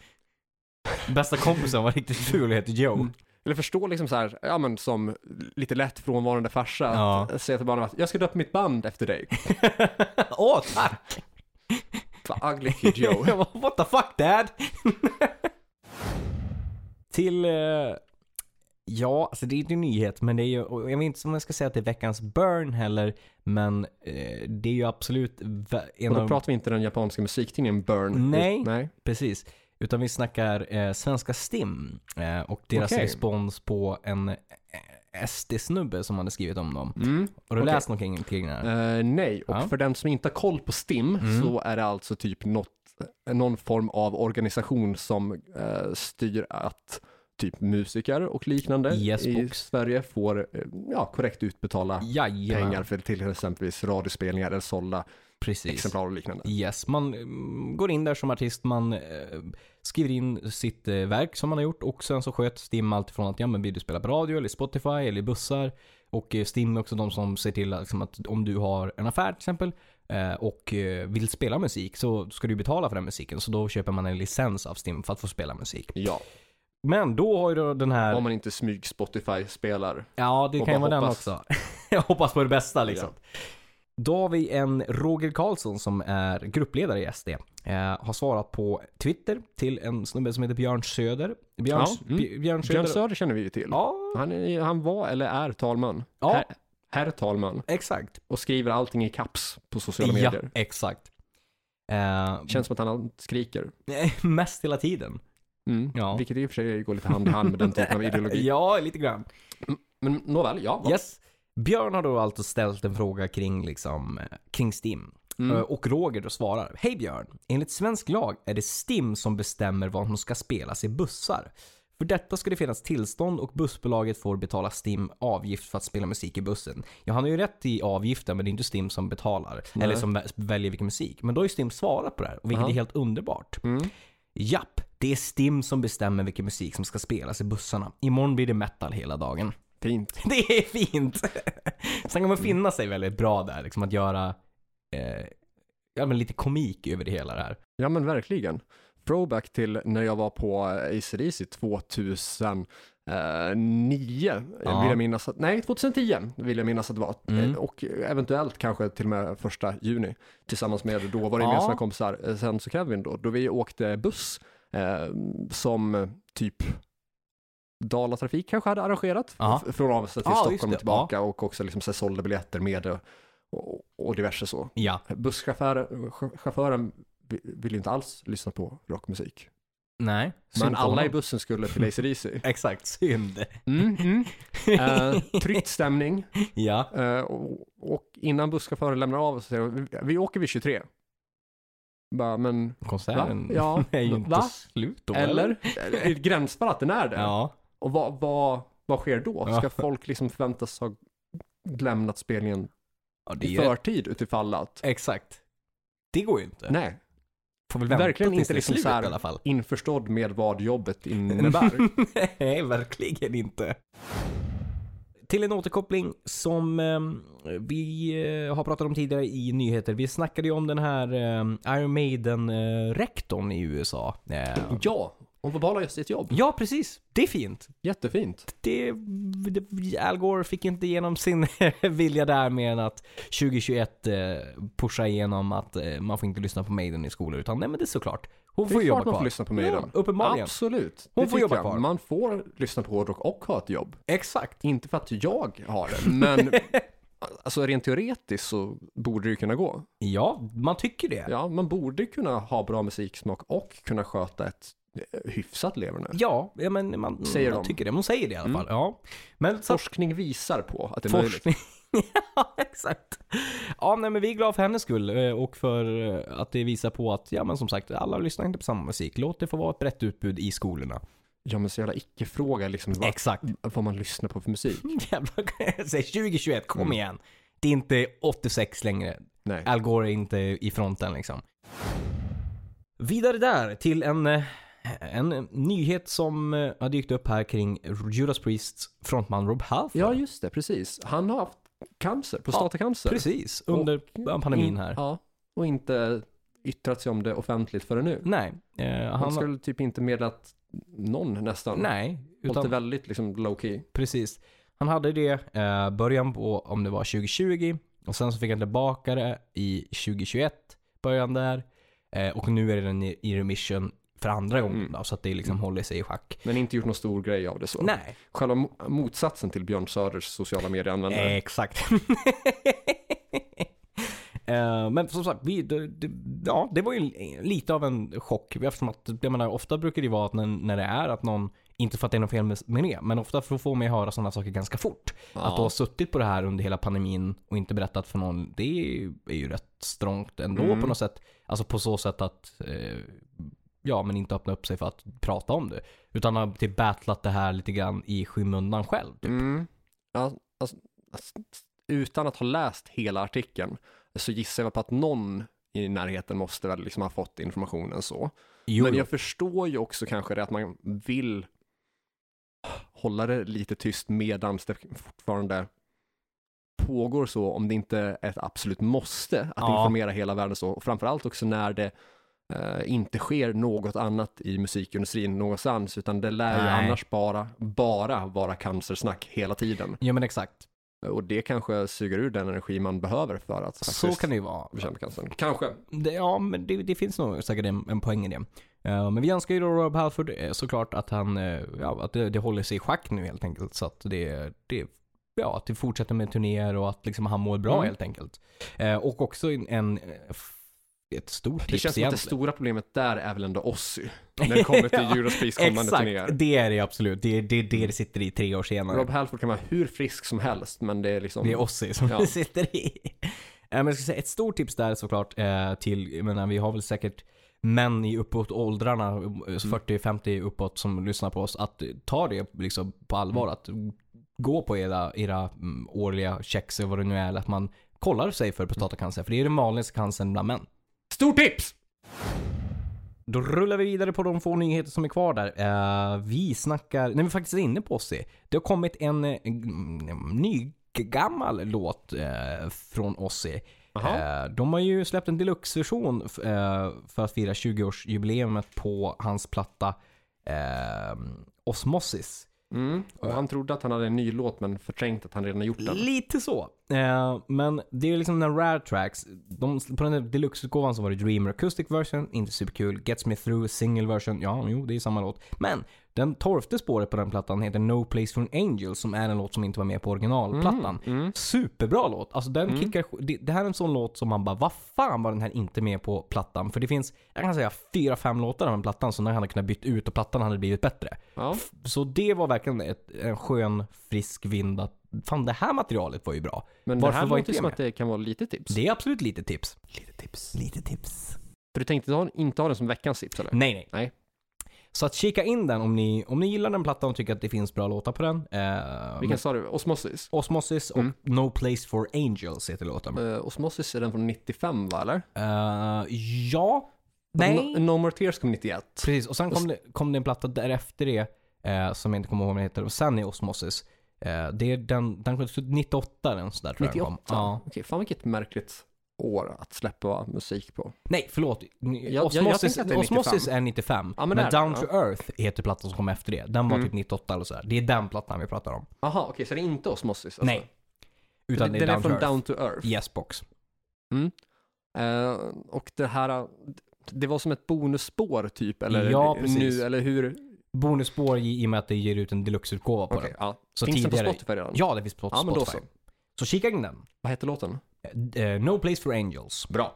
[SPEAKER 2] Bästa kompisen var riktigt ful och heter Joe.
[SPEAKER 1] Eller förstå liksom så här, ja men som lite lätt frånvarande farsa,
[SPEAKER 2] Ja.
[SPEAKER 1] att säga till barnen att jag ska döpa mitt band efter dig.
[SPEAKER 2] Åh, tack!
[SPEAKER 1] Fan, Ugly Kid Joe.
[SPEAKER 2] What the fuck dad? Till, eh, ja, alltså det är inte en nyhet, men det är ju, och jag vet inte om jag ska säga att det är veckans burn heller, men eh, det är ju absolut vä- en
[SPEAKER 1] Och då
[SPEAKER 2] av,
[SPEAKER 1] pratar vi inte den japanska musiktidningen Burn.
[SPEAKER 2] Nej.
[SPEAKER 1] Nej.
[SPEAKER 2] precis, utan vi snackar eh, svenska STIM eh, och deras
[SPEAKER 1] Okej.
[SPEAKER 2] respons på en eh, SD-snubbe som hade skrivit om dem.
[SPEAKER 1] Mm.
[SPEAKER 2] Har du
[SPEAKER 1] Okej.
[SPEAKER 2] läst någonting kring det här?
[SPEAKER 1] Eh, nej, och
[SPEAKER 2] Ja. Mm.
[SPEAKER 1] för den som inte har koll på STIM så är det alltså typ något, någon form av organisation som eh, styr att typ musiker och liknande
[SPEAKER 2] Yes,
[SPEAKER 1] i
[SPEAKER 2] box.
[SPEAKER 1] Sverige får eh, ja, korrekt utbetala
[SPEAKER 2] Jajamän,
[SPEAKER 1] pengar för till exempelvis radiospelningar eller sålla
[SPEAKER 2] precis.
[SPEAKER 1] exemplar och liknande.
[SPEAKER 2] Yes, man mm, går in där som artist, man eh, skriver in sitt eh, verk som man har gjort och sen så sköter STIM allt ifrån att ja, men vill du spela på radio eller Spotify eller i bussar. Och eh, STIM är också de som ser till att, liksom, att om du har en affär till exempel eh, och eh, vill spela musik så ska du betala för den musiken. Så då köper man en licens av STIM för att få spela musik.
[SPEAKER 1] Ja,
[SPEAKER 2] Men då har ju då den här...
[SPEAKER 1] om man inte smyg Spotify-spelar.
[SPEAKER 2] Ja, det
[SPEAKER 1] Och
[SPEAKER 2] kan ju
[SPEAKER 1] bara
[SPEAKER 2] vara den
[SPEAKER 1] hoppas.
[SPEAKER 2] också. Jag hoppas på det bästa liksom. Då har vi en Roger Karlsson som är gruppledare i SD. Eh, har svarat på Twitter till en snubbe som heter Björn Söder. Björn,
[SPEAKER 1] Ja, mm.
[SPEAKER 2] Bj- Björn Söder.
[SPEAKER 1] Björn Söder känner vi ju till.
[SPEAKER 2] Ja,
[SPEAKER 1] Han, är, han var eller är talman.
[SPEAKER 2] Ja.
[SPEAKER 1] Herr, herr talman.
[SPEAKER 2] exakt.
[SPEAKER 1] Och skriver allting i kaps på sociala medier.
[SPEAKER 2] Ja, exakt. Eh,
[SPEAKER 1] Känns som att han skriker.
[SPEAKER 2] mest hela tiden.
[SPEAKER 1] Mm.
[SPEAKER 2] Ja.
[SPEAKER 1] Vilket i och för sig går lite hand i hand med den typen av ideologi.
[SPEAKER 2] Ja, lite grann.
[SPEAKER 1] Men nåväl, ja.
[SPEAKER 2] Yes. Björn har då alltså ställt en fråga kring, liksom, eh, kring STIM. Eh, Och Roger då svarar. Hej Björn! Enligt svensk lag är det STIM som bestämmer vad som ska spelas i bussar. För detta ska det finnas tillstånd och bussbolaget får betala STIM avgift för att spela musik i bussen. Ja, han har ju rätt i avgiften men det är inte STIM som betalar. Eller som vä- väljer vilken musik. Men då har ju STIM svarat på det här, och vilket är helt underbart. Japp, det är STIM som bestämmer vilken musik som ska spelas i bussarna. Imorgon blir det metal hela dagen.
[SPEAKER 1] Fint.
[SPEAKER 2] Det är fint. Sen kan man finna sig väldigt bra där, liksom att göra eh, ja, men lite komik över det hela det här.
[SPEAKER 1] Ja men verkligen. Throwback till när jag var på eh, ACDC 2009, eh,
[SPEAKER 2] Ja. Mm.
[SPEAKER 1] vill jag minnas. Att, nej, 2010 vill jag minnas att det var. Eh, Och eventuellt kanske till och med första juni tillsammans med då var det
[SPEAKER 2] Ja.
[SPEAKER 1] gemensamma kompisar, eh, Sens och Kevin då, då vi åkte buss eh, som eh, typ Dalatrafik kanske hade arrangerat
[SPEAKER 2] Ja.
[SPEAKER 1] f- från Avesta till
[SPEAKER 2] Ja, just
[SPEAKER 1] Stockholm
[SPEAKER 2] det.
[SPEAKER 1] och tillbaka och också liksom så här sålde biljetter med eh, och, och diverse så.
[SPEAKER 2] Ja.
[SPEAKER 1] Busschauffören ch- chauffören vi- ville ju inte alls lyssna på rockmusik.
[SPEAKER 2] Nej.
[SPEAKER 1] Men
[SPEAKER 2] Synd på
[SPEAKER 1] alla i
[SPEAKER 2] honom.
[SPEAKER 1] bussen skulle till ACDC.
[SPEAKER 2] Exakt, synd.
[SPEAKER 1] Mm, mm. Eh, tryckt stämning.
[SPEAKER 2] ja.
[SPEAKER 1] Eh, och, och innan busschauffören lämnar av så säger de, vi, vi åker vid 23. Bara, men,
[SPEAKER 2] Konserten
[SPEAKER 1] Va? Ja.
[SPEAKER 2] är ju inte
[SPEAKER 1] Va?
[SPEAKER 2] slut då,
[SPEAKER 1] eller? Eh, Det är ett gränsfall att den är det.
[SPEAKER 2] Ja.
[SPEAKER 1] Och vad, vad, vad sker då?
[SPEAKER 2] Ja.
[SPEAKER 1] Ska folk liksom förväntas ha lämnat spelningen
[SPEAKER 2] ja det är
[SPEAKER 1] i
[SPEAKER 2] ju...
[SPEAKER 1] förtid utifall att?
[SPEAKER 2] Exakt. Det går ju inte.
[SPEAKER 1] Nej,
[SPEAKER 2] Får väl vänta
[SPEAKER 1] verkligen
[SPEAKER 2] tills
[SPEAKER 1] inte
[SPEAKER 2] det är
[SPEAKER 1] liksom
[SPEAKER 2] slut
[SPEAKER 1] så här-
[SPEAKER 2] i alla fall.
[SPEAKER 1] införstådd med vad jobbet innebär.
[SPEAKER 2] Nej, verkligen inte. Till en återkoppling som eh, vi eh, har pratat om tidigare i nyheter. Vi snackade ju om den här eh, Iron Maiden-rektorn i USA. Eh,
[SPEAKER 1] Ja, hon får behålla just sitt jobb.
[SPEAKER 2] ja, precis. Det är fint.
[SPEAKER 1] Jättefint.
[SPEAKER 2] Det, det, Al Gore fick inte igenom sin vilja där med att 2021 eh, pusha igenom att eh, man får inte lyssna på Maiden i skolor. Utan nej, men det är såklart. Hon
[SPEAKER 1] Det
[SPEAKER 2] får
[SPEAKER 1] är klart
[SPEAKER 2] jobba
[SPEAKER 1] man
[SPEAKER 2] kvar.
[SPEAKER 1] får lyssna på mig
[SPEAKER 2] Ja, uppenbarligen.
[SPEAKER 1] Absolut.
[SPEAKER 2] Hon
[SPEAKER 1] Det
[SPEAKER 2] får
[SPEAKER 1] tycker
[SPEAKER 2] jobba
[SPEAKER 1] jag.
[SPEAKER 2] kvar.
[SPEAKER 1] Man får lyssna på hårdrock och ha ett jobb.
[SPEAKER 2] Exakt.
[SPEAKER 1] Inte för att jag har det, men alltså rent teoretiskt så borde det ju kunna gå.
[SPEAKER 2] Ja, man tycker det.
[SPEAKER 1] Ja, man borde kunna ha bra musiksmak och kunna sköta ett eh, hyfsat leverne.
[SPEAKER 2] Ja, ja men man,
[SPEAKER 1] Säger
[SPEAKER 2] man
[SPEAKER 1] de. Mm.
[SPEAKER 2] tycker det. Man säger det i alla fall. Ja. Men så att,
[SPEAKER 1] Forskning visar på att det är möjligt.
[SPEAKER 2] forskning. ja, exakt. Ja, nej, men vi är glada för hennes skull eh, och för eh, att det visar på att, ja men som sagt, alla lyssnar inte på samma musik. Låt det få vara ett brett utbud i skolorna.
[SPEAKER 1] Ja, men så jävla icke-fråga liksom vad,
[SPEAKER 2] Exakt.
[SPEAKER 1] vad man lyssnar på för musik.
[SPEAKER 2] Mm, Jävlar, säg 2021, kom igen. Det är inte 86 längre.
[SPEAKER 1] Nej.
[SPEAKER 2] Al Gore är inte i fronten liksom. Vidare där till en, eh, en nyhet som eh, har dykt upp här kring Judas Priests frontman Rob Halford.
[SPEAKER 1] Ja, just det, precis. Han har haft cancer, prostatacancer.
[SPEAKER 2] Precis, under
[SPEAKER 1] Och-
[SPEAKER 2] pandemin
[SPEAKER 1] in-
[SPEAKER 2] här.
[SPEAKER 1] Ja, och inte yttrat sig om det offentligt förrän nu.
[SPEAKER 2] Nej, eh,
[SPEAKER 1] Han
[SPEAKER 2] han,
[SPEAKER 1] skulle typ inte meddelat någon nästan.
[SPEAKER 2] nej
[SPEAKER 1] Hållit det
[SPEAKER 2] utan,
[SPEAKER 1] väldigt liksom low key.
[SPEAKER 2] precis. Han hade det eh, början på, om det var 2020, och sen så fick han tillbaka det i 2021, början där. Eh, och nu är den i, i remission för andra gången
[SPEAKER 1] Mm.
[SPEAKER 2] då, så att det liksom håller sig i schack.
[SPEAKER 1] Men inte gjort någon stor grej av det så.
[SPEAKER 2] Nej,
[SPEAKER 1] Själva mo- motsatsen till Björn Söders sociala medieanvändare.
[SPEAKER 2] exakt. Eh, Men som sagt, vi, det, det, ja, det var ju lite av en chock. Eftersom att, jag menar, ofta brukar det vara att när, när det är att någon, inte för att det är något fel med, med det, men ofta får får man ju höra sådana saker ganska fort.
[SPEAKER 1] Ja.
[SPEAKER 2] Att ha suttit på det här under hela pandemin och inte berättat för någon, det är ju- är ju rätt strångt ändå
[SPEAKER 1] Mm.
[SPEAKER 2] på något sätt. Alltså på så sätt att, eh, ja men inte öppna upp sig för att prata om det. Utan har typ battlat det här lite grann i skymundan själv. Typ.
[SPEAKER 1] Mm. Ja, alltså, alltså, utan att ha läst hela artikeln så gissar jag på att någon i närheten måste väl liksom ha fått informationen så.
[SPEAKER 2] Jo,
[SPEAKER 1] Men
[SPEAKER 2] jo.
[SPEAKER 1] jag förstår ju också kanske det att man vill hålla det lite tyst medan det fortfarande pågår så, om det inte är ett absolut måste att
[SPEAKER 2] Ja.
[SPEAKER 1] informera hela världen så. Och framförallt också när det eh, inte sker något annat i musikindustrin någonstans, utan det lär ju
[SPEAKER 2] Nej.
[SPEAKER 1] annars bara, bara vara cancersnack hela tiden.
[SPEAKER 2] Ja men exakt.
[SPEAKER 1] Och det kanske suger ur den energi man behöver för att faktiskt
[SPEAKER 2] Så kan det ju vara.
[SPEAKER 1] bekämpa cancern. Kanske.
[SPEAKER 2] Det, ja, men det, det finns nog säkert en, en poäng i det. Eh, men vi önskar ju då Rob Halford eh, såklart att han, eh, ja, att det, det håller sig i schack nu helt enkelt. Så att det, det ja, att det fortsätter med turnéer och att liksom han mår bra
[SPEAKER 1] Mm.
[SPEAKER 2] helt enkelt. Eh, och också en, en eh, f- ett stort
[SPEAKER 1] Det känns
[SPEAKER 2] tips
[SPEAKER 1] som att det
[SPEAKER 2] egentligen.
[SPEAKER 1] stora problemet där är väl ändå Ozzy. när det kommer till
[SPEAKER 2] Ja,
[SPEAKER 1] Judas Priest kommande turnéer.
[SPEAKER 2] Exakt, det är det absolut. Det är det, är det det sitter i tre år senare.
[SPEAKER 1] Rob Halford kan vara hur frisk som helst, men det är liksom...
[SPEAKER 2] Det är Ossi som
[SPEAKER 1] Ja.
[SPEAKER 2] det sitter i. Eh, Men jag ska säga, ett stort tips där såklart eh, till, jag menar, vi har väl säkert män i uppåt åldrarna, eh, 40-50 uppåt som lyssnar på oss, att eh, ta det liksom på allvar. Att gå på era, era mm, årliga checks eller vad det nu är, eller att man kollar sig för prostatacancer. För det är den vanligaste cancern bland män.
[SPEAKER 1] Stort tips!
[SPEAKER 2] Då rullar vi vidare på de få nyheter som är kvar där. Eh, vi snackar, när vi faktiskt är inne på Ozzy. Det har kommit en eh, mm, ny gammal låt eh, från Ozzy.
[SPEAKER 1] Jaha.
[SPEAKER 2] Eh, de har ju släppt en deluxe-version f- eh, för att fira 20-årsjubileumet på hans platta eh, Osmosis.
[SPEAKER 1] Mm. Och han trodde att han hade en ny låt, men förträngt att han redan har gjort den.
[SPEAKER 2] Lite så. Eh, men det är liksom den rare tracks. De, på den här deluxe-utgåvan så var det Dreamer Acoustic version, inte superkul. Gets Me Through single version, ja, jo, det är samma låt. Men den tolfte spåret på den plattan heter No Place for an Angel som är en låt som inte var med på originalplattan. Superbra låt. Alltså den kickar, det, det här är en sån låt som man bara, vad fan var den här inte med på plattan? För det finns, jag kan säga fyra, fem låtar av den plattan som den hade kunnat byta ut och plattan hade blivit bättre.
[SPEAKER 1] Ja.
[SPEAKER 2] Så det var verkligen ett, en skön, frisk vind att fan det här materialet var ju bra.
[SPEAKER 1] Men
[SPEAKER 2] Varför
[SPEAKER 1] det här
[SPEAKER 2] var
[SPEAKER 1] låter
[SPEAKER 2] inte
[SPEAKER 1] ju som
[SPEAKER 2] jag
[SPEAKER 1] att det kan vara lite tips.
[SPEAKER 2] Det är absolut lite tips.
[SPEAKER 1] Lite tips.
[SPEAKER 2] Lite tips.
[SPEAKER 1] För du tänkte ha, inte ha den som veckans tips, eller?
[SPEAKER 2] Nej, nej.
[SPEAKER 1] Nej.
[SPEAKER 2] Så att kika in den om ni, om ni gillar den plattan och tycker att det finns bra låtar på den. Eh,
[SPEAKER 1] Vilken
[SPEAKER 2] men-
[SPEAKER 1] sa du? Osmosis?
[SPEAKER 2] Osmosis och
[SPEAKER 1] Mm.
[SPEAKER 2] No Place for Angels heter låten.
[SPEAKER 1] Eh, Osmosis är den från 95, va, eller?
[SPEAKER 2] Eh, ja.
[SPEAKER 1] No, no More Tears kom 91.
[SPEAKER 2] Precis, och sen kom det, kom det en platta därefter det eh, som jag inte kommer ihåg vad den heter. Och sen är Osmosis. Eh, det är den, den kom ut 98 den sådär tror jag den
[SPEAKER 1] 98?
[SPEAKER 2] kom. Ja.
[SPEAKER 1] Okej, fan vilket märkligt år att släppa musik på.
[SPEAKER 2] Nej, förlåt.
[SPEAKER 1] jag
[SPEAKER 2] Osmosis,
[SPEAKER 1] tänkte att det är 95.
[SPEAKER 2] Osmosis är 95.
[SPEAKER 1] Ja, men
[SPEAKER 2] men
[SPEAKER 1] där,
[SPEAKER 2] Down
[SPEAKER 1] ja.
[SPEAKER 2] to Earth heter plattan som kom efter det. Den var
[SPEAKER 1] Mm.
[SPEAKER 2] typ 98 eller sådär. Det är den plattan vi pratar om.
[SPEAKER 1] Aha, okej, så det är inte Osmosis? Alltså.
[SPEAKER 2] Nej. Utan det,
[SPEAKER 1] den
[SPEAKER 2] är Down
[SPEAKER 1] är
[SPEAKER 2] to
[SPEAKER 1] från
[SPEAKER 2] Earth.
[SPEAKER 1] Down to Earth.
[SPEAKER 2] Yes box.
[SPEAKER 1] Eh, och det här, det var som ett bonusspår typ, eller
[SPEAKER 2] Ja, precis.
[SPEAKER 1] nu, eller hur?
[SPEAKER 2] Bonusspår i i och med att det ger ut en deluxe-utgåva på
[SPEAKER 1] Okej,
[SPEAKER 2] den.
[SPEAKER 1] ja.
[SPEAKER 2] Så
[SPEAKER 1] Finns den
[SPEAKER 2] tidigare-
[SPEAKER 1] på Spotify redan?
[SPEAKER 2] Ja, det finns på
[SPEAKER 1] Ja, men då
[SPEAKER 2] Spotify. så. kika in den.
[SPEAKER 1] Vad hette låten?
[SPEAKER 2] Eh, eh, no Place for Angels.
[SPEAKER 1] Bra.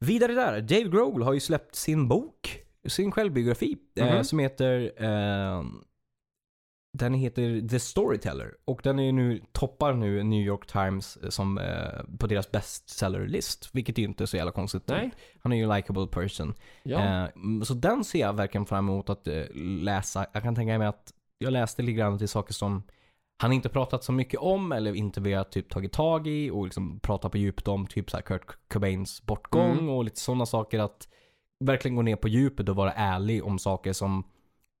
[SPEAKER 2] Vidare där, Dave Grohl har ju släppt sin bok, sin självbiografi, eh,
[SPEAKER 1] Mhm.
[SPEAKER 2] som heter eh, den heter The Storyteller och den är nu, toppar nu New York Times eh, som, eh, på deras bestsellerlist. Vilket är ju inte så jävla konstigt.
[SPEAKER 1] Nej.
[SPEAKER 2] Han är ju en likable person.
[SPEAKER 1] Ja.
[SPEAKER 2] Eh, mm, så den ser jag verkligen fram emot att eh, läsa. Jag kan tänka mig att jag läste lite grann till saker som han inte pratat så mycket om eller inte velat typ tagit tag i och liksom prata på djupet om typ så här Kurt Cobains bortgång
[SPEAKER 1] Mm.
[SPEAKER 2] och lite sådana saker att verkligen gå ner på djupet och vara ärlig om saker som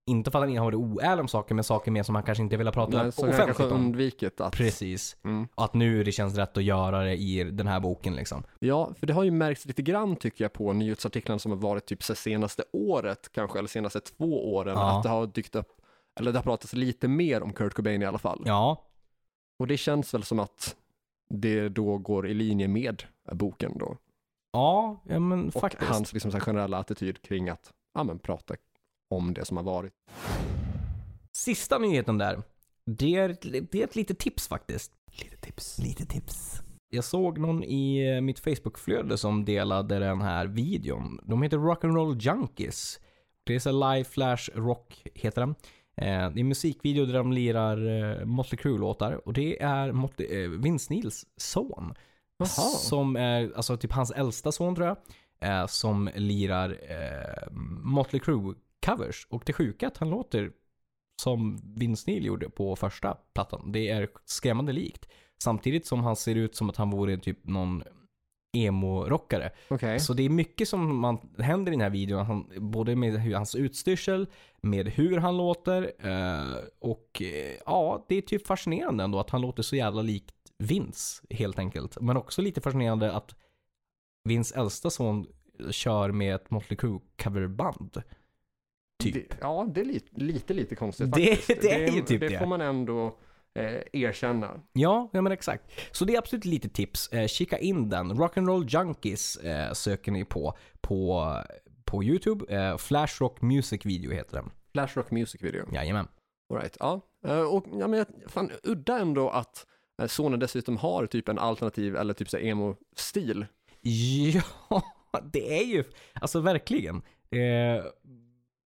[SPEAKER 2] inte för att han inte har varit oärlig om saker, men saker mer som han kanske inte velat prata
[SPEAKER 1] Nej, så jag kanske
[SPEAKER 2] offentligt om.
[SPEAKER 1] undvikit att...
[SPEAKER 2] Precis.
[SPEAKER 1] Mm.
[SPEAKER 2] Och att nu det känns rätt att göra det i den här boken liksom.
[SPEAKER 1] Ja, för det har ju märkts lite grann tycker jag på nyhetsartiklarna som har varit typ så senaste året kanske, eller senaste två åren,
[SPEAKER 2] Ja.
[SPEAKER 1] att det har dykt upp, eller det har pratats lite mer om Kurt Cobain i alla fall.
[SPEAKER 2] Ja,
[SPEAKER 1] Och det känns väl som att det då går i linje med boken då.
[SPEAKER 2] ja, ja men
[SPEAKER 1] Och
[SPEAKER 2] faktiskt.
[SPEAKER 1] hans liksom så här generella attityd kring att ja, men, prata om det som har varit.
[SPEAKER 2] Sista nyheten där. Det är, ett- det är ett litet tips faktiskt. Lite tips. Lite tips. Jag såg någon i eh, mitt Facebookflöde som delade den här videon. De heter Rock'n'Roll Junkies. Det är så här live flash rock heter den. Eh, Det är en musikvideo där de lirar eh, Motley Crue-låtar och det är Motley, eh, Vince Neils son. Som är, alltså typ hans äldsta son tror jag. Eh, som lirar eh, Motley Crue-covers. Och det sjuka är att han låter som Vince Neil gjorde på första plattan. Det är skrämmande likt. Samtidigt som han ser ut som att han vore typ någon emo-rockare.
[SPEAKER 1] Okej.
[SPEAKER 2] Så det är mycket som man, händer i den här videon. Han, både med hur, hans utstyrsel, med hur han låter eh, och eh, ja, det är typ fascinerande ändå att han låter så jävla likt Vince helt enkelt. Men också lite fascinerande att Vince äldsta son kör med ett Motley Crue coverband. Typ.
[SPEAKER 1] Det, ja, det är lite, lite, lite konstigt
[SPEAKER 2] Det-
[SPEAKER 1] faktiskt.
[SPEAKER 2] det är ju typ
[SPEAKER 1] det.
[SPEAKER 2] det.
[SPEAKER 1] får man ändå eh, erkänna.
[SPEAKER 2] Ja, ja men exakt. Så det är absolut lite tips. Eh, kika in den. Rock'n'Roll Junkies eh, söker ni på på, på YouTube. Eh, Flash Rock Music Video heter den.
[SPEAKER 1] Flash Rock Music Video.
[SPEAKER 2] Jajamän.
[SPEAKER 1] All right, ja. Eh, Och ja, men jag- fan udda ändå att eh, sonen dessutom har typ en alternativ eller typ så här emo-stil.
[SPEAKER 2] Ja, det är ju, alltså verkligen. Eh,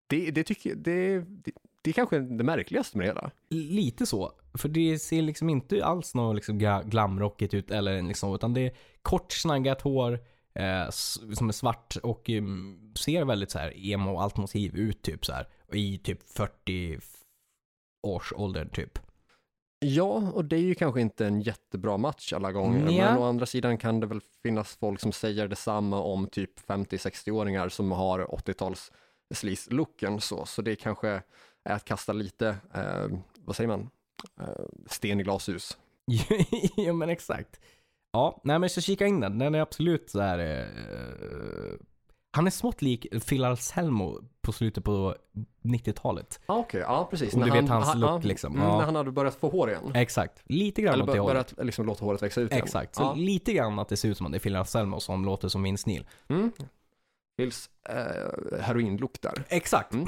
[SPEAKER 1] Det, det tycker det, det, det är kanske det märkligaste med det hela.
[SPEAKER 2] lite så. För det ser liksom inte alls något liksom ga- glamrockigt ut eller liksom, utan det är kort snaggat hår eh, s- som är svart och mm, ser väldigt så här emo alternativ ut typ så här. Och I typ 40 års ålder typ.
[SPEAKER 1] Ja, och det är ju kanske inte en jättebra match alla gånger,
[SPEAKER 2] Nja.
[SPEAKER 1] men å andra sidan kan det väl finnas folk som säger detsamma om typ 50-60-åringar som har 80-tals sleaze-looken så, så det kanske är att kasta lite, eh, vad säger man, eh, sten i glashus.
[SPEAKER 2] ja men exakt. Ja, nej men så kika in den. Den är absolut så här. Eh, han är smått lik Phil Anselmo på slutet på 90-talet.
[SPEAKER 1] Ja, okej, ja precis.
[SPEAKER 2] Om du vet hans
[SPEAKER 1] han-
[SPEAKER 2] look,
[SPEAKER 1] ja,
[SPEAKER 2] liksom.
[SPEAKER 1] mm,
[SPEAKER 2] Ja.
[SPEAKER 1] När han hade börjat få hår igen.
[SPEAKER 2] Exakt. Lite grann
[SPEAKER 1] Eller
[SPEAKER 2] åt det
[SPEAKER 1] bara,
[SPEAKER 2] hållet.
[SPEAKER 1] bara att liksom låta håret växa ut igen.
[SPEAKER 2] Exakt. Mm. Så
[SPEAKER 1] Ja.
[SPEAKER 2] lite grann att det ser ut som att det är Phil Anselmo som låter som Vince Neil.
[SPEAKER 1] Mm. Wills eh, heroinlook där.
[SPEAKER 2] Exakt. Mm.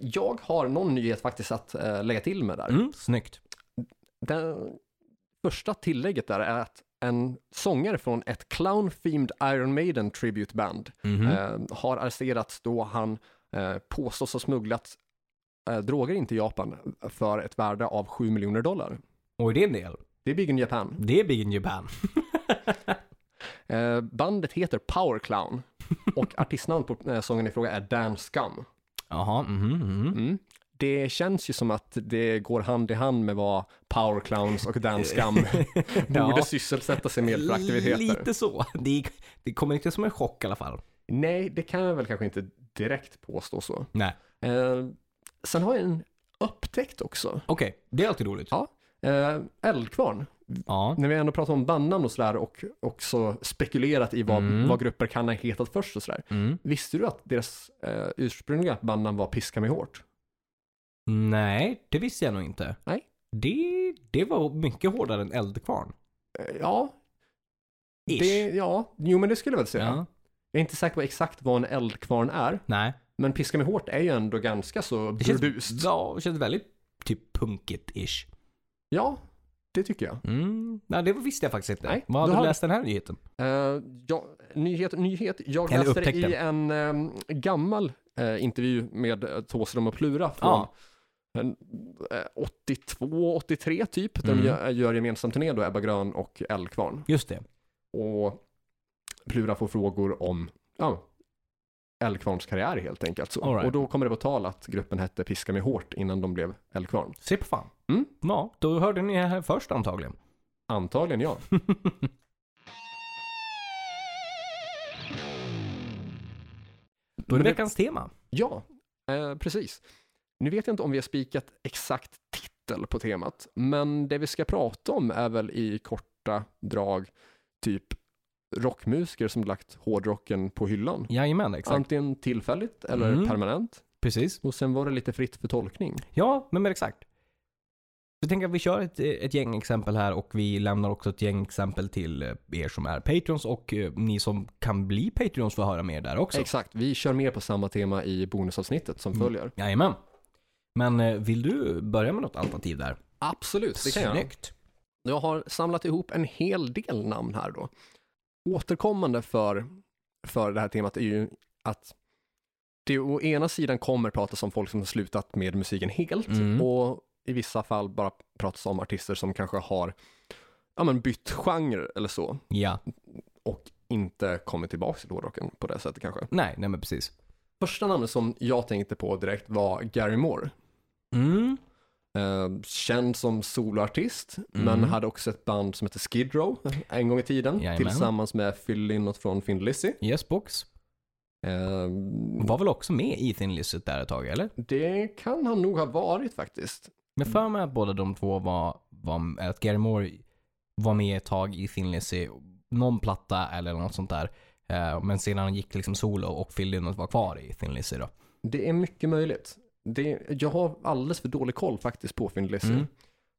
[SPEAKER 1] Jag har någon nyhet faktiskt att eh, lägga till med där.
[SPEAKER 2] Mm, Snyggt.
[SPEAKER 1] Den första tillägget där är att en sångare från ett clown-themed Iron Maiden tribute band
[SPEAKER 2] Mhm.
[SPEAKER 1] eh, har arresterats då han eh, påstås ha smugglat eh, droger in till Japan för ett värde av 7 miljoner dollar.
[SPEAKER 2] Oj, det är en del.
[SPEAKER 1] Det är Big in Japan.
[SPEAKER 2] Det är Big in Japan.
[SPEAKER 1] Eh, bandet heter Power Clown och artistnamn på eh, sången i fråga är Dan Scum.
[SPEAKER 2] Jaha, mhm, mhm.
[SPEAKER 1] Mm. Det känns ju som att det går hand i hand med vad Power Clowns och Dan Scum borde
[SPEAKER 2] Ja.
[SPEAKER 1] sysselsätta sig med för aktiviteter.
[SPEAKER 2] Lite så. Det, det kommer inte som en chock i alla fall.
[SPEAKER 1] Nej, det kan jag väl kanske inte direkt påstå så.
[SPEAKER 2] Nej.
[SPEAKER 1] Eh, sen har jag en upptäckt också.
[SPEAKER 2] Okej, det är alltid roligt.
[SPEAKER 1] Ja. Eh, Eldkvarn.
[SPEAKER 2] Ja.
[SPEAKER 1] När vi ändå pratar om bandnamn och sådär och också spekulerat i vad,
[SPEAKER 2] Mm.
[SPEAKER 1] vad grupper kan ha hetat först och sådär.
[SPEAKER 2] Mm.
[SPEAKER 1] Visste du att deras eh, ursprungliga bandnamn var Piska mig hårt?
[SPEAKER 2] Nej, det visste jag nog inte.
[SPEAKER 1] Nej.
[SPEAKER 2] Det, det var mycket hårdare än Eldkvarn.
[SPEAKER 1] Eh, Ja.
[SPEAKER 2] Ish.
[SPEAKER 1] Det, ja, jo men det skulle jag väl säga.
[SPEAKER 2] Ja.
[SPEAKER 1] Jag är inte säker på exakt vad en eldkvarn är,
[SPEAKER 2] Nej.
[SPEAKER 1] men Piska mig hårt är ju ändå ganska så
[SPEAKER 2] Det känns,
[SPEAKER 1] burdust.
[SPEAKER 2] ja, det känns väldigt typ punkigt-ish.
[SPEAKER 1] Ja, det tycker jag.
[SPEAKER 2] Mm. Nej, det visste jag faktiskt inte.
[SPEAKER 1] Nej,
[SPEAKER 2] Vad
[SPEAKER 1] då
[SPEAKER 2] hade du
[SPEAKER 1] har-
[SPEAKER 2] läst den här nyheten?
[SPEAKER 1] Eh, ja, nyhet, nyhet. Jag
[SPEAKER 2] Eller
[SPEAKER 1] läste det i
[SPEAKER 2] upptäckte.
[SPEAKER 1] en eh, gammal eh, intervju med eh, Thåström och Plura från
[SPEAKER 2] Ja.
[SPEAKER 1] en, eh, 82, 83 typ, där
[SPEAKER 2] Mm.
[SPEAKER 1] de gör, gör gemensam turné då, Ebba Grön och Eldkvarn.
[SPEAKER 2] Just det.
[SPEAKER 1] Och Plura får frågor om ja, Eldkvarns karriär helt enkelt. Så.
[SPEAKER 2] All right.
[SPEAKER 1] Och då kommer det på tal att gruppen hette Piska mig hårt innan de blev Eldkvarn.
[SPEAKER 2] Se på fan.
[SPEAKER 1] Mm.
[SPEAKER 2] Ja, då hörde ni det här först antagligen.
[SPEAKER 1] Antagligen ja. Då är det väl-
[SPEAKER 2] Veckans tema.
[SPEAKER 1] Ja, eh, precis. Nu vet jag inte om vi har spikat exakt titel på temat, men det vi ska prata om är väl i korta drag typ rockmusiker som lagt hårdrocken på hyllan.
[SPEAKER 2] Jajamän, exakt.
[SPEAKER 1] Antingen tillfälligt eller
[SPEAKER 2] Mm.
[SPEAKER 1] permanent.
[SPEAKER 2] Precis.
[SPEAKER 1] Och sen var det lite fritt för tolkning.
[SPEAKER 2] Ja, men men exakt. Så tänker jag att vi kör ett, ett gäng exempel här och vi lämnar också ett gäng exempel till eh, er som är Patreons och eh, ni som kan bli Patreons får höra mer där också.
[SPEAKER 1] Exakt, vi kör mer på samma tema i bonusavsnittet som
[SPEAKER 2] Mm.
[SPEAKER 1] följer.
[SPEAKER 2] Jajamän. Men eh, vill du börja med något alternativ där?
[SPEAKER 1] Absolut, det kan jag.
[SPEAKER 2] Snyggt.
[SPEAKER 1] Jag har samlat ihop en hel del namn här då. Återkommande för, för det här temat är ju att det å ena sidan kommer pratas om folk som har slutat med musiken helt
[SPEAKER 2] Mm.
[SPEAKER 1] och i vissa fall bara pratas om artister som kanske har ja, men bytt genre eller så
[SPEAKER 2] Ja.
[SPEAKER 1] och inte kommit tillbaka till hårdrocken på det sättet kanske.
[SPEAKER 2] Nej, nej men precis.
[SPEAKER 1] Första namnet som jag tänkte på direkt var Gary Moore.
[SPEAKER 2] Mm.
[SPEAKER 1] Eh, känd som soloartist,
[SPEAKER 2] Mm.
[SPEAKER 1] men hade också ett band som hette Skid Row eh, en gång i tiden.
[SPEAKER 2] Jajamän.
[SPEAKER 1] Tillsammans med Phil Lynott från Thin Lizzy.
[SPEAKER 2] Yes box.
[SPEAKER 1] Eh,
[SPEAKER 2] Var väl också med i Thin Lizzy där ett tag eller?
[SPEAKER 1] det kan han nog ha varit faktiskt.
[SPEAKER 2] Men för
[SPEAKER 1] Mm.
[SPEAKER 2] mig att båda de två var, var att Gary Moore var med ett tag i Thin Lizzy, någon platta eller något sånt där. Eh, Men sedan gick liksom solo och Phil Lynott var kvar i Thin Lizzy då.
[SPEAKER 1] Det är mycket möjligt. Det, jag har alldeles för dålig koll faktiskt på Thin Lizzy.
[SPEAKER 2] Mm.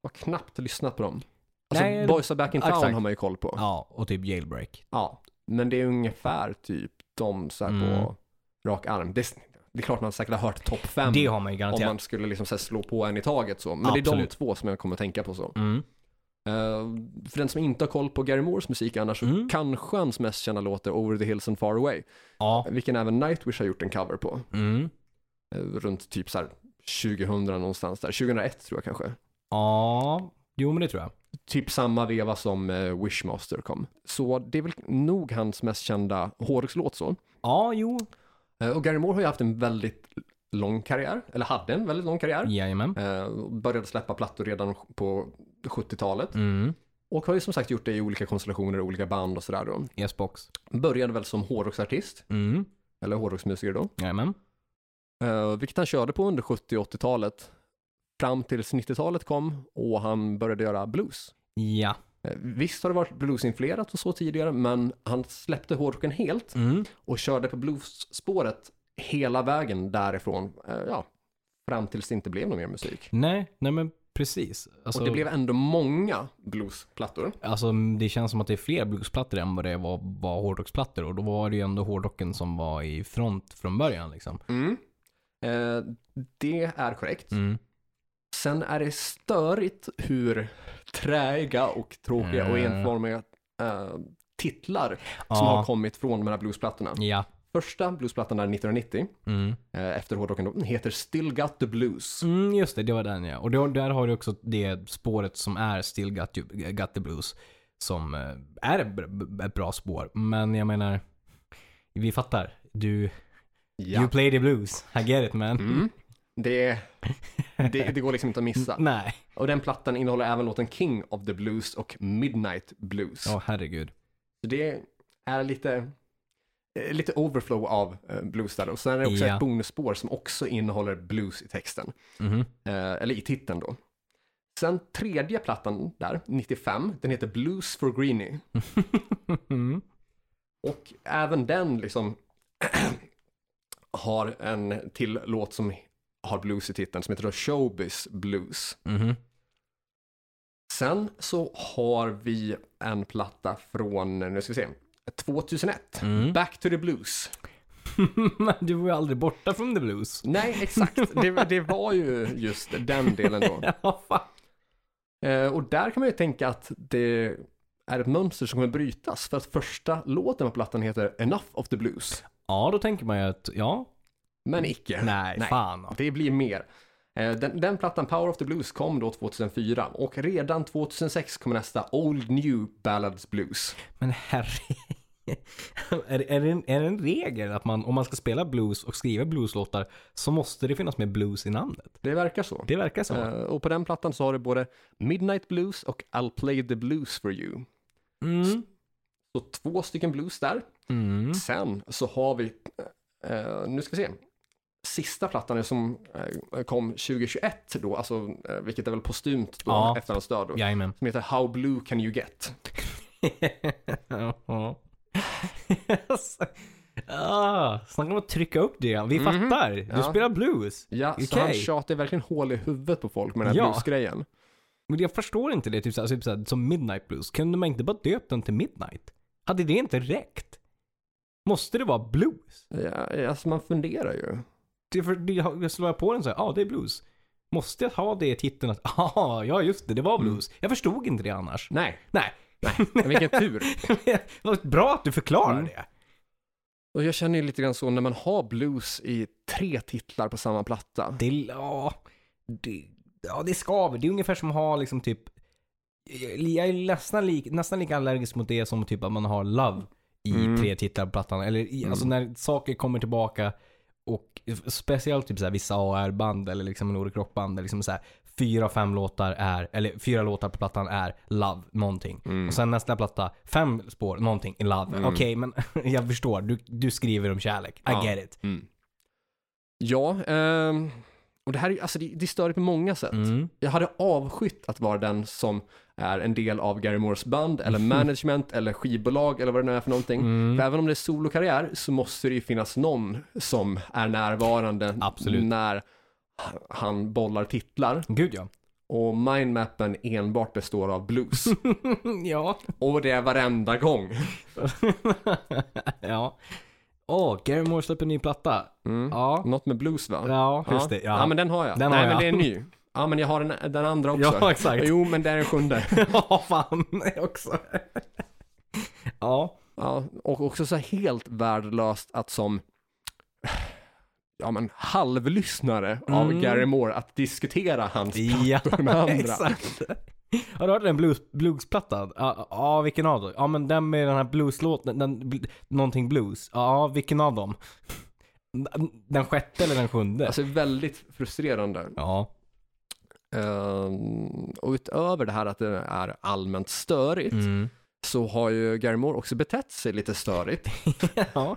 [SPEAKER 1] Jag har knappt lyssnat på dem. Alltså,
[SPEAKER 2] Nej,
[SPEAKER 1] Boys Are Back In Town
[SPEAKER 2] exakt.
[SPEAKER 1] har man ju koll på.
[SPEAKER 2] Ja, och typ Jailbreak.
[SPEAKER 1] Ja, men det är ungefär typ de så här
[SPEAKER 2] Mm.
[SPEAKER 1] på rak arm. Det, det är klart man säkert har hört topp fem.
[SPEAKER 2] Det har man ju
[SPEAKER 1] Om
[SPEAKER 2] garanterat.
[SPEAKER 1] man skulle liksom så här slå på en i taget så. Men det är de
[SPEAKER 2] Absolut.
[SPEAKER 1] två som jag kommer att tänka på så.
[SPEAKER 2] Mm.
[SPEAKER 1] Eh, för den som inte har koll på Gary Moores musik annars så
[SPEAKER 2] Mm.
[SPEAKER 1] kanske hans mest kända låt är Over the Hills and Far Away.
[SPEAKER 2] Ja.
[SPEAKER 1] Vilken även Nightwish har gjort en cover på.
[SPEAKER 2] Mm.
[SPEAKER 1] eh, runt typ så här 2000 någonstans där. 2001 tror jag kanske.
[SPEAKER 2] Ja. Jo men det tror jag.
[SPEAKER 1] Typ samma veva som eh, Wishmaster kom. Så det är väl nog hans mest kända hårdrockslåt så.
[SPEAKER 2] Ja, jo.
[SPEAKER 1] Eh, och Gary Moore har ju haft en väldigt lång karriär. Eller hade en väldigt lång karriär.
[SPEAKER 2] Jajamän.
[SPEAKER 1] Eh, började släppa plattor redan på 70-talet.
[SPEAKER 2] Mm.
[SPEAKER 1] Och har ju som sagt gjort det i olika konstellationer, olika band och sådär då.
[SPEAKER 2] Yes box.
[SPEAKER 1] Började väl som hårdrocksartist,
[SPEAKER 2] Mm.
[SPEAKER 1] eller hårdrocksmusiker då.
[SPEAKER 2] Jajamän.
[SPEAKER 1] Eh, vilket han körde på under 70 och 80-talet. Fram tills 90-talet kom och han började göra blues.
[SPEAKER 2] Ja.
[SPEAKER 1] Eh, visst har det varit bluesinfluerat och så tidigare, men han släppte hårdrocken helt
[SPEAKER 2] Mm.
[SPEAKER 1] och körde på bluesspåret hela vägen därifrån. eh, ja, fram tills det inte blev någon mer musik.
[SPEAKER 2] Nej, nej men precis. Alltså,
[SPEAKER 1] Och det blev ändå många bluesplattor.
[SPEAKER 2] alltså, det känns som att det är fler bluesplattor än vad det var, var hårdrocksplattor. Och då var det ju ändå hårdrocken som var i front från början liksom.
[SPEAKER 1] Mm. Eh, det är korrekt.
[SPEAKER 2] Mm.
[SPEAKER 1] Sen är det störigt hur träiga och tråkiga och
[SPEAKER 2] Mm.
[SPEAKER 1] enformiga eh, titlar som har
[SPEAKER 2] Ja.
[SPEAKER 1] kommit från de här bluesplattorna.
[SPEAKER 2] ja.
[SPEAKER 1] Första bluesplattan är 1990,
[SPEAKER 2] Mm.
[SPEAKER 1] eh, efter hårdrocken, då, den heter Still Got The Blues.
[SPEAKER 2] Mm, just det, det var den ja. Och då, där har du också det spåret som är Still Got, you, got the Blues. Som eh, är ett br- ett bra spår. Men jag menar, vi fattar. Du, you
[SPEAKER 1] Ja.
[SPEAKER 2] play the blues. I get it man.
[SPEAKER 1] Mm. Det, det, det går liksom inte att missa.
[SPEAKER 2] Nej.
[SPEAKER 1] Och den plattan innehåller även låten King of the Blues och Midnight Blues.
[SPEAKER 2] Åh herregud.
[SPEAKER 1] Så det är lite, eh, lite overflow av eh, blues där. Och sen är det också
[SPEAKER 2] Ja.
[SPEAKER 1] ett bonusspår som också innehåller blues i texten.
[SPEAKER 2] Mhm.
[SPEAKER 1] Eh, eller i titeln då. Sen tredje plattan där, 95, den heter Blues for Greenie.
[SPEAKER 2] Mm.
[SPEAKER 1] Och även den liksom har en till låt som har blues i titeln som heter då Showbiz Blues.
[SPEAKER 2] Mhm.
[SPEAKER 1] Sen så har vi en platta från, nu ska vi se, 2001.
[SPEAKER 2] Mm.
[SPEAKER 1] Back to the Blues.
[SPEAKER 2] Men Mm-hmm. du var ju aldrig borta från the blues.
[SPEAKER 1] Nej, exakt. Det, det var ju just den delen då.
[SPEAKER 2] Ja, fan.
[SPEAKER 1] Eh, och där kan man ju tänka att det är ett mönster som kommer brytas för att första låten på plattan heter Enough of the Blues.
[SPEAKER 2] Ja, då tänker man ju att, ja.
[SPEAKER 1] Men icke.
[SPEAKER 2] Nej,
[SPEAKER 1] Nej.
[SPEAKER 2] fan.
[SPEAKER 1] Det blir mer. Eh, Den, den plattan Power of the Blues kom då 2004 och redan 2006 kom nästa Old New Ballads Blues.
[SPEAKER 2] Men herre... är, är, det en, är det en regel att man, om man ska spela blues och skriva blueslåtar så måste det finnas med blues i namnet?
[SPEAKER 1] Det verkar så.
[SPEAKER 2] Det verkar så.
[SPEAKER 1] Eh, Och på den plattan så har du både Midnight Blues och I'll Play the Blues for You.
[SPEAKER 2] Mm.
[SPEAKER 1] Så två stycken blues där.
[SPEAKER 2] Mm.
[SPEAKER 1] Sen så har vi Eh, nu ska vi se. Sista plattan är som eh, kom 2021 då, alltså, eh, vilket är väl postumt då,
[SPEAKER 2] Ja.
[SPEAKER 1] efter hans död. Då,
[SPEAKER 2] Jajamän.
[SPEAKER 1] Som heter How Blue Can You Get.
[SPEAKER 2] Ja. ah, snacka om att trycka upp det. Vi
[SPEAKER 1] Mhm.
[SPEAKER 2] fattar. Du
[SPEAKER 1] Ja.
[SPEAKER 2] spelar blues.
[SPEAKER 1] Ja, så
[SPEAKER 2] Okej.
[SPEAKER 1] han tjatar verkligen hål i huvudet på folk med den här
[SPEAKER 2] Ja.
[SPEAKER 1] bluesgrejen.
[SPEAKER 2] Men jag förstår inte det. Typ såhär, typ såhär, som Midnight Blues. Kunde man inte bara döpt den till Midnight? Hade det inte räckt? Måste det vara blues?
[SPEAKER 1] Ja, alltså man funderar ju.
[SPEAKER 2] Det, för, det, jag slår jag på den så här, ja ah, det är blues. Måste jag ha det i titeln att, ah, ja just det, det var blues. Jag förstod inte det annars.
[SPEAKER 1] Nej,
[SPEAKER 2] Nej.
[SPEAKER 1] men vilken tur.
[SPEAKER 2] Vad bra att du förklarar
[SPEAKER 1] Mm.
[SPEAKER 2] det.
[SPEAKER 1] Och jag känner ju lite grann så när man har blues i tre titlar på samma platta.
[SPEAKER 2] Det, ja, det, ja, det skaver. Det är ungefär som att ha liksom typ... Jag är nästan, lik, nästan lika allergisk mot det som typ att man har Love i
[SPEAKER 1] Mm.
[SPEAKER 2] tre titlar på plattan. Eller i, alltså när saker kommer tillbaka och speciellt typ så här vissa AR-band eller liksom Nordic Rock-band. där Liksom så här, fyra av fem låtar är, eller fyra låtar på plattan är Love någonting.
[SPEAKER 1] Mm.
[SPEAKER 2] Och sen nästa platta, fem spår någonting i Love. Okej, men jag förstår. Du, du skriver om kärlek. I
[SPEAKER 1] Ja.
[SPEAKER 2] get it.
[SPEAKER 1] Ja, ehm, och det här är ju, alltså det, det är störigt på många sätt.
[SPEAKER 2] Mm.
[SPEAKER 1] Jag hade avskytt att vara den som är en del av Gary Moores band eller
[SPEAKER 2] Mm.
[SPEAKER 1] management eller skivbolag eller vad det nu är för någonting. För även om det är solokarriär så måste det ju finnas någon som är närvarande
[SPEAKER 2] Absolut.
[SPEAKER 1] när han bollar titlar.
[SPEAKER 2] Gud ja.
[SPEAKER 1] Och mindmappen enbart består av blues.
[SPEAKER 2] Mm, ja.
[SPEAKER 1] och det är varenda gång.
[SPEAKER 2] ja. Åh, Gary Moore släpper en ny platta. Ja.
[SPEAKER 1] Något med blues va?
[SPEAKER 2] Ja, Mm. just det.
[SPEAKER 1] Ja.
[SPEAKER 2] Ja.
[SPEAKER 1] men den har jag.
[SPEAKER 2] Den
[SPEAKER 1] Nej,
[SPEAKER 2] har
[SPEAKER 1] men
[SPEAKER 2] jag.
[SPEAKER 1] det är ny. Ja, men jag har den, den andra också.
[SPEAKER 2] Ja, exakt.
[SPEAKER 1] Jo, men det är den sjunde.
[SPEAKER 2] Ja, fan också. ja.
[SPEAKER 1] Ja, och också så här helt värdelöst att som ja, men, halvlyssnare av Gary Moore att diskutera hans
[SPEAKER 2] Mm. Ja,
[SPEAKER 1] plattor med andra.
[SPEAKER 2] exakt. Har du hört den blues, bluesplattan? Ja, ja, vilken av dem? Ja, men den med den här blueslåten, den, bl- någonting blues. Ja, vilken av dem? Den sjätte eller den sjunde?
[SPEAKER 1] Alltså väldigt frustrerande.
[SPEAKER 2] ja.
[SPEAKER 1] Ehm, och utöver det här att det är allmänt störigt
[SPEAKER 2] Mm.
[SPEAKER 1] så har ju Gary Moore också betett sig lite störigt.
[SPEAKER 2] ja.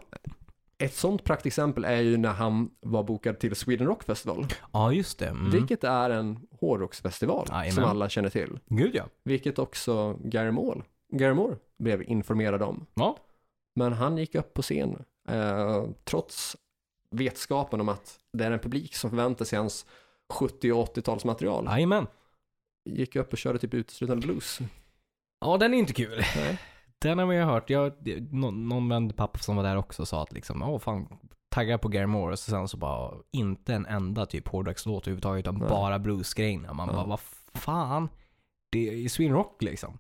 [SPEAKER 1] Ett sånt praktexempel är ju när han var bokad till Sweden Rock Festival,
[SPEAKER 2] Ja, just det. Mm.
[SPEAKER 1] vilket är en hårdrocksfestival
[SPEAKER 2] Jajamän.
[SPEAKER 1] som alla känner till,
[SPEAKER 2] Gud ja.
[SPEAKER 1] vilket också Gary Moore, Gary Moore blev informerad om.
[SPEAKER 2] Ja.
[SPEAKER 1] Men han gick upp på scen eh, trots vetskapen om att det är en publik som förväntar sig hans 70 och 80-talsmaterial.
[SPEAKER 2] Jajamän.
[SPEAKER 1] Gick upp och körde typ uteslutande blues.
[SPEAKER 2] Ja, den är inte kul.
[SPEAKER 1] Nej.
[SPEAKER 2] Den har man ju hört. Jag, någon, någon vän till pappa som var där också sa att liksom, åh fan, taggar på Gary Moore. Och så sen så bara, inte en enda typ hårdrockslåt överhuvudtaget, utan
[SPEAKER 1] Nej.
[SPEAKER 2] bara bluesgrejerna. Man
[SPEAKER 1] Ja.
[SPEAKER 2] bara, vad fan? Det är ju Sweden Rock liksom.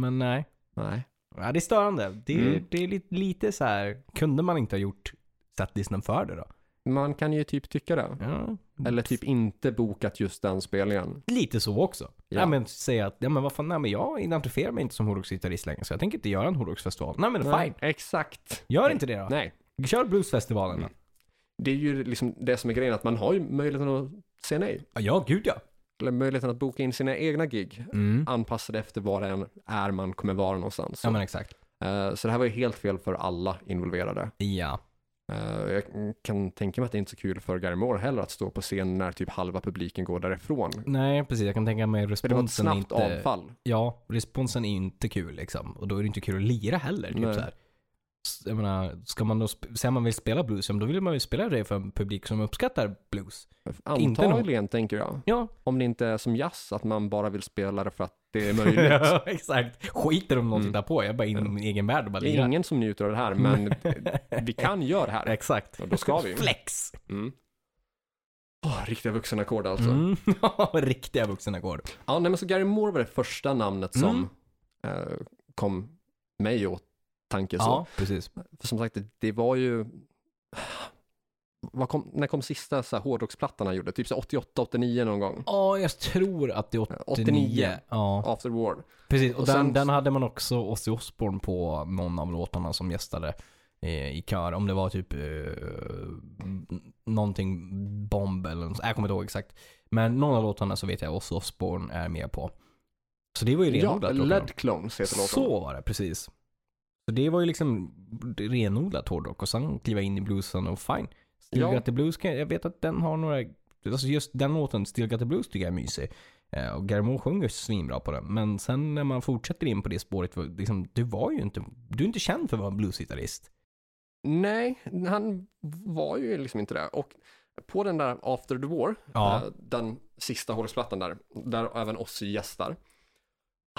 [SPEAKER 2] Men nej.
[SPEAKER 1] Nej.
[SPEAKER 2] Ja, det är störande. Det, är-
[SPEAKER 1] Mm.
[SPEAKER 2] det är lite, lite så här, kunde man inte ha gjort setlisten för det då?
[SPEAKER 1] Man kan ju typ tycka det.
[SPEAKER 2] Ja.
[SPEAKER 1] Eller typ inte bokat just den spelningen.
[SPEAKER 2] Lite så också.
[SPEAKER 1] Ja.
[SPEAKER 2] Ja. men säga att, ja men vad fan, nej men jag identifierar mig inte som hårdrocksgitarrist längre så jag tänker inte göra en hårdrocksfestival. Nej men fine,
[SPEAKER 1] Exakt.
[SPEAKER 2] gör inte det då.
[SPEAKER 1] Nej.
[SPEAKER 2] Kör bluesfestivalen då.
[SPEAKER 1] Det är ju liksom det som är grejen, att man har ju möjligheten att säga nej.
[SPEAKER 2] Ja, Ja, gud ja.
[SPEAKER 1] Eller möjligheten att boka in sina egna gig.
[SPEAKER 2] Mm.
[SPEAKER 1] Anpassade efter var det än är man kommer vara någonstans.
[SPEAKER 2] Ja men exakt.
[SPEAKER 1] Eh, så det här var ju helt fel för alla involverade.
[SPEAKER 2] Ja.
[SPEAKER 1] Eh, Jag kan tänka mig att det är inte är så kul för Gary Moore heller att stå på scen när typ halva publiken går därifrån.
[SPEAKER 2] Nej precis, jag kan tänka mig
[SPEAKER 1] För det var ett
[SPEAKER 2] responsen
[SPEAKER 1] snabbt
[SPEAKER 2] inte...
[SPEAKER 1] avfall.
[SPEAKER 2] Ja, responsen är inte kul liksom. Och då är det inte kul att lira heller.
[SPEAKER 1] Nej.
[SPEAKER 2] Typ så här. S- Jag menar, ska man då sp- säga man vill spela blues, ja, men då vill man ju spela det för en publik som uppskattar blues. Inte någon-
[SPEAKER 1] Antagligen tänker jag.
[SPEAKER 2] Ja,
[SPEAKER 1] Om det inte är som jazz, att man bara vill spela det för att det är möjligt.
[SPEAKER 2] ja exakt. Skiter om någon
[SPEAKER 1] Mm.
[SPEAKER 2] tittar på, jag är bara in i min egen värld och bara
[SPEAKER 1] Det
[SPEAKER 2] lirar.
[SPEAKER 1] är ingen som njuter av det här, men vi kan göra det här.
[SPEAKER 2] Exakt.
[SPEAKER 1] Och då ska vi ju.
[SPEAKER 2] Flex!
[SPEAKER 1] Mm. Åh, riktiga vuxenackord alltså.
[SPEAKER 2] Mm. Riktiga vuxenackord.
[SPEAKER 1] Ja, nej, men så Gary Moore var det första namnet
[SPEAKER 2] Mm.
[SPEAKER 1] som eh, kom mig åt tanke. så.
[SPEAKER 2] Ja, precis.
[SPEAKER 1] För som sagt, det- det var ju... Vad kom, när kom sista så här hårdrocksplattan han gjorde? Typ så här 88, 89 någon gång?
[SPEAKER 2] Ja, jag tror att det är 89.
[SPEAKER 1] 89.
[SPEAKER 2] Ja.
[SPEAKER 1] After War.
[SPEAKER 2] Precis, och,
[SPEAKER 1] Och
[SPEAKER 2] den,
[SPEAKER 1] sen-
[SPEAKER 2] den hade man också Ozzy Osbourne på någon av låtarna som gästade eh, i kör. Om det var typ eh, n- någonting bomb eller något, jag kommer inte ihåg exakt. Men någon av låtarna så vet jag Ozzy Osbourne är med på. Så det var ju
[SPEAKER 1] Ja,
[SPEAKER 2] renodlat. låtarna.
[SPEAKER 1] Lead Clones heter låten.
[SPEAKER 2] så var det, precis. Så det var ju liksom renodlat hårdrock och sen kliva in i bluesen och fine. Still
[SPEAKER 1] Ja.
[SPEAKER 2] Got the Blues, kan- jag vet att den har några, alltså just den låten Still Got the Blues tycker jag är mysig. Eh, Och Garmo sjunger svinbra på den. Men sen när man fortsätter in på det spåret, var- liksom, du var ju inte, du är inte känd för att vara en bluesgitarrist.
[SPEAKER 1] Nej, han var ju liksom inte det. Och på den där After the War,
[SPEAKER 2] Ja.
[SPEAKER 1] eh, den sista hårdrocksplattan där, där även Ozzy gästar.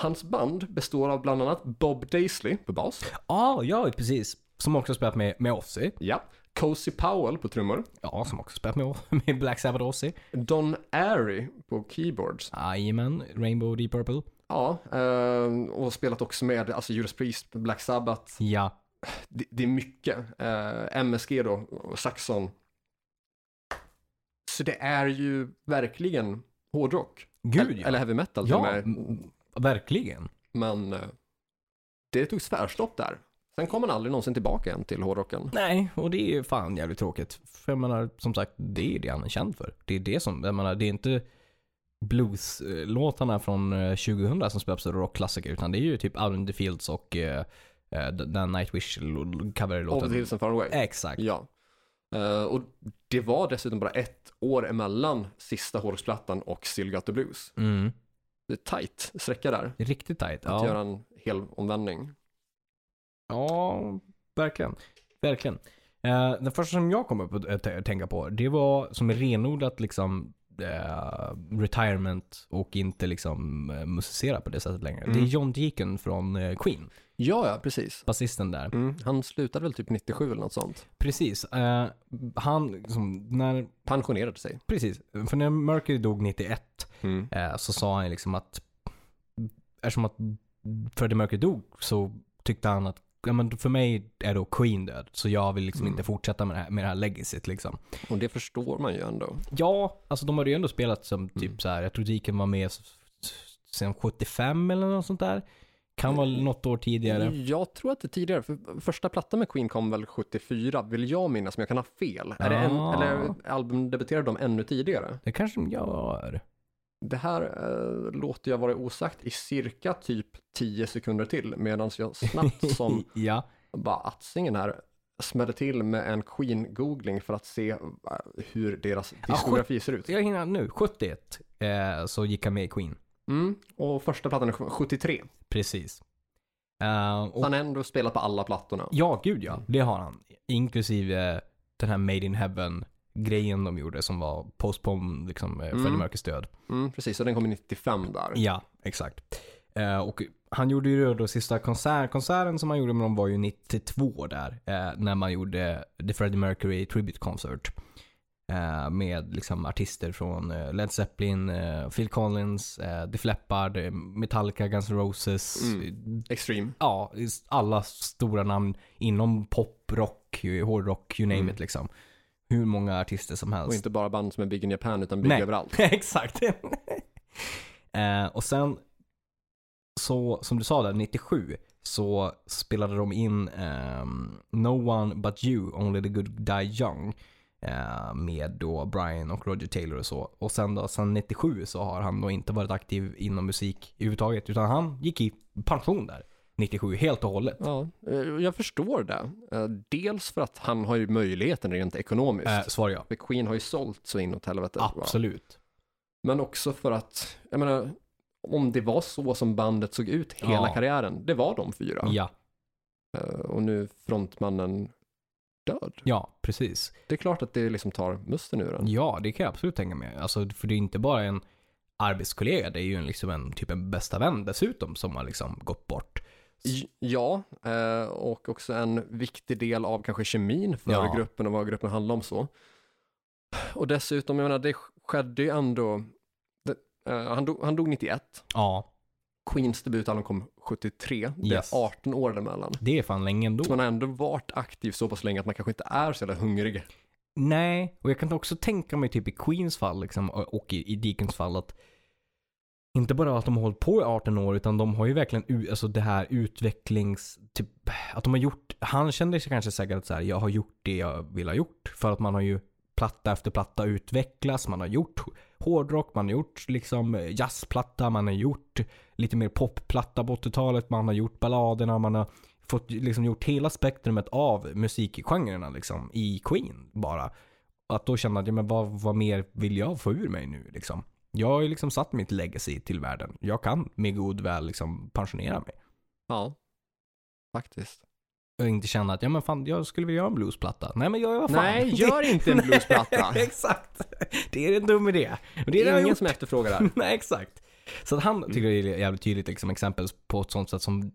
[SPEAKER 1] Hans band består av bland annat Bob Daisley på bas,
[SPEAKER 2] Ah, ja, precis. Som också spelat med, med Ozzy.
[SPEAKER 1] ja, Cozy Powell på trummor,
[SPEAKER 2] Ja, som också spelat med, med Black Sabbath och Ozzy.
[SPEAKER 1] Don Airy på keyboards,
[SPEAKER 2] Jajamän, Rainbow Deep Purple.
[SPEAKER 1] ja, eh, och spelat också med alltså Judas Priest, Black Sabbath,
[SPEAKER 2] Ja.
[SPEAKER 1] det, det är mycket. Eh, MSG då, och Saxon. Så det är ju verkligen hårdrock.
[SPEAKER 2] Gud
[SPEAKER 1] eller,
[SPEAKER 2] ja.
[SPEAKER 1] eller heavy metal till och
[SPEAKER 2] ja, mm.
[SPEAKER 1] med.
[SPEAKER 2] m- verkligen.
[SPEAKER 1] Men eh, det tog tvärstopp där. Sen kom han aldrig någonsin tillbaka igen till hårdrocken.
[SPEAKER 2] Nej, och det är ju fan jävligt tråkigt. För jag menar, som sagt, det är det han är känd för. Det är det som, jag menar, det är inte blueslåtarna från eh, 2000 som spelas som rockklassiker, utan det är ju typ Out in the Fields och eh, eh, den
[SPEAKER 1] Of the
[SPEAKER 2] Nightwish-coverlåten.
[SPEAKER 1] Hills and Far Away.
[SPEAKER 2] Exakt.
[SPEAKER 1] Ja. Eh, och det var dessutom bara ett år emellan sista hårdrocksplattan och Still Got The Blues.
[SPEAKER 2] Mm.
[SPEAKER 1] Det är tight sträcka där.
[SPEAKER 2] Riktigt tight.
[SPEAKER 1] Att göra
[SPEAKER 2] Ja.
[SPEAKER 1] en hel omvändning.
[SPEAKER 2] ja, verkligen. Verkligen. Eh, den första som jag kom upp att eh, t- tänka på, det var som renodlat liksom eh, retirement och inte liksom eh, musicera på det sättet längre.
[SPEAKER 1] Mm.
[SPEAKER 2] Det är John Deacon från eh, Queen,
[SPEAKER 1] Ja, ja, precis.
[SPEAKER 2] basisten där.
[SPEAKER 1] Mm. Han slutade väl typ 97 eller något sånt.
[SPEAKER 2] Precis. eh, han, liksom, när,
[SPEAKER 1] Pensionerade sig.
[SPEAKER 2] precis, för när Mercury dog 91
[SPEAKER 1] Mm.
[SPEAKER 2] eh, så sa han liksom att eftersom att Freddie Mercury dog så tyckte han att ja, men för mig är då Queen död så jag vill liksom
[SPEAKER 1] Mm.
[SPEAKER 2] inte fortsätta med det här, med det här legacyt liksom.
[SPEAKER 1] Och det förstår man ju ändå.
[SPEAKER 2] Ja, alltså de hade ju ändå spelat som typ
[SPEAKER 1] Mm.
[SPEAKER 2] så här, jag tror Deacon var med s- s- sen 75 eller något sånt där. Kan vara något år tidigare.
[SPEAKER 1] Jag tror att det är tidigare, för första plattan med Queen kom väl 74, vill jag minnas, men jag kan ha fel. Är det en,
[SPEAKER 2] Ah.
[SPEAKER 1] eller albumdebuterade de ännu tidigare?
[SPEAKER 2] Det kanske de gör.
[SPEAKER 1] Det här eh, låter jag vara osagt i cirka typ 10 sekunder till, medan jag snabbt som
[SPEAKER 2] ja.
[SPEAKER 1] bara attsingen här smällde till med en Queen-googling för att se eh, hur deras diskografi ser ut.
[SPEAKER 2] Jag hinner nu. 71 eh, så gick han med i Queen.
[SPEAKER 1] Mm. Och första plattan är 73.
[SPEAKER 2] Precis. Eh, och,
[SPEAKER 1] Han har ändå spelat på alla plattorna.
[SPEAKER 2] ja, gud ja. Det har han. Inklusive eh, den här Made in Heaven-grejen de gjorde som var postpone, liksom, eh, Freddie
[SPEAKER 1] Mm.
[SPEAKER 2] Mercurys död.
[SPEAKER 1] Mm, precis, och den kom i 95 där.
[SPEAKER 2] Ja, exakt. Eh, och han gjorde ju då sista konsert, konserten som han gjorde med dem var ju 92 där. Eh, när man gjorde The Freddie Mercury Tribute Concert. Eh, med liksom artister från eh, Led Zeppelin, eh, Phil Collins, eh, Def Leppard, eh, Metallica, Guns N' Roses.
[SPEAKER 1] Mm. Extreme.
[SPEAKER 2] Ja, just alla stora namn inom pop, rock, hårdrock, you name
[SPEAKER 1] Mm.
[SPEAKER 2] it liksom. Hur många artister som helst.
[SPEAKER 1] Och inte bara band som är big in Japan utan big
[SPEAKER 2] Nej.
[SPEAKER 1] överallt.
[SPEAKER 2] Exakt. eh, och sen, så som du sa där, 97 så spelade de in ehm, No One But You, Only the Good Die Young. eh, Med då Brian och Roger Taylor och så. Och sen då, sen 97 så har han då inte varit aktiv inom musik överhuvudtaget. Utan han gick i pension där. 97 helt och hållet.
[SPEAKER 1] Ja, eh, jag förstår det. Eh, Dels för att han har ju möjligheten rent ekonomiskt.
[SPEAKER 2] Eh, svar ja.
[SPEAKER 1] För Queen har ju sålt så inåt helvete.
[SPEAKER 2] Absolut.
[SPEAKER 1] Men också för att, jag menar, om det var så som bandet såg ut hela
[SPEAKER 2] Ja.
[SPEAKER 1] karriären, det var de fyra.
[SPEAKER 2] Ja,
[SPEAKER 1] Eh, Och nu frontmannen död.
[SPEAKER 2] ja precis.
[SPEAKER 1] Det är klart att det liksom tar musten ur en.
[SPEAKER 2] Ja, det kan jag absolut tänka mig. Alltså, för det är inte bara en arbetskollega, det är ju en, liksom en, typ en bästa vän dessutom som har liksom gått bort.
[SPEAKER 1] J- Ja, eh, och också en viktig del av kanske kemin för
[SPEAKER 2] Ja.
[SPEAKER 1] gruppen och vad gruppen handlar om så. Och dessutom, jag menar, det skedde ju ändå, det, eh, han, dog, han dog 91,
[SPEAKER 2] Ja,
[SPEAKER 1] Queens debutalbum kom 73, det
[SPEAKER 2] Yes. Oh.
[SPEAKER 1] är 18 år däremellan.
[SPEAKER 2] det är fan länge ändå.
[SPEAKER 1] Så man har ändå varit aktiv så pass länge att man kanske inte är så jävla hungrig.
[SPEAKER 2] Nej, och jag kan också tänka mig typ i Queens fall liksom, och och i, i Deacons fall att inte bara att de har hållit på i 18 år utan de har ju verkligen u- alltså det här utvecklings... Typ, att de har gjort... Han kände sig kanske säkert att så här, jag har gjort det jag vill ha gjort. För att man har ju platta efter platta utvecklats. Man har gjort hårdrock, man har gjort liksom jazzplatta, man har gjort lite mer popplatta på 80-talet. Man har gjort balladerna, man har fått liksom gjort hela spektrumet av musikgenrerna liksom i Queen bara. Att då känna att, ja, men vad, vad mer vill jag få ur mig nu liksom? Jag har ju liksom satt mitt legacy till världen. Jag kan med god väl liksom pensionera mig.
[SPEAKER 1] Ja, faktiskt.
[SPEAKER 2] Och inte känna att, ja men fan, jag skulle vilja göra en bluesplatta. Nej men jag vad fan.
[SPEAKER 1] Nej, gör inte en
[SPEAKER 2] Nej,
[SPEAKER 1] bluesplatta.
[SPEAKER 2] Exakt. Det är en dum idé. Och det är det jag
[SPEAKER 1] ingen
[SPEAKER 2] gjort.
[SPEAKER 1] som efterfrågar det här.
[SPEAKER 2] Nej, exakt. Så att han tycker det är jävligt tydligt liksom, exempel på ett sånt sätt som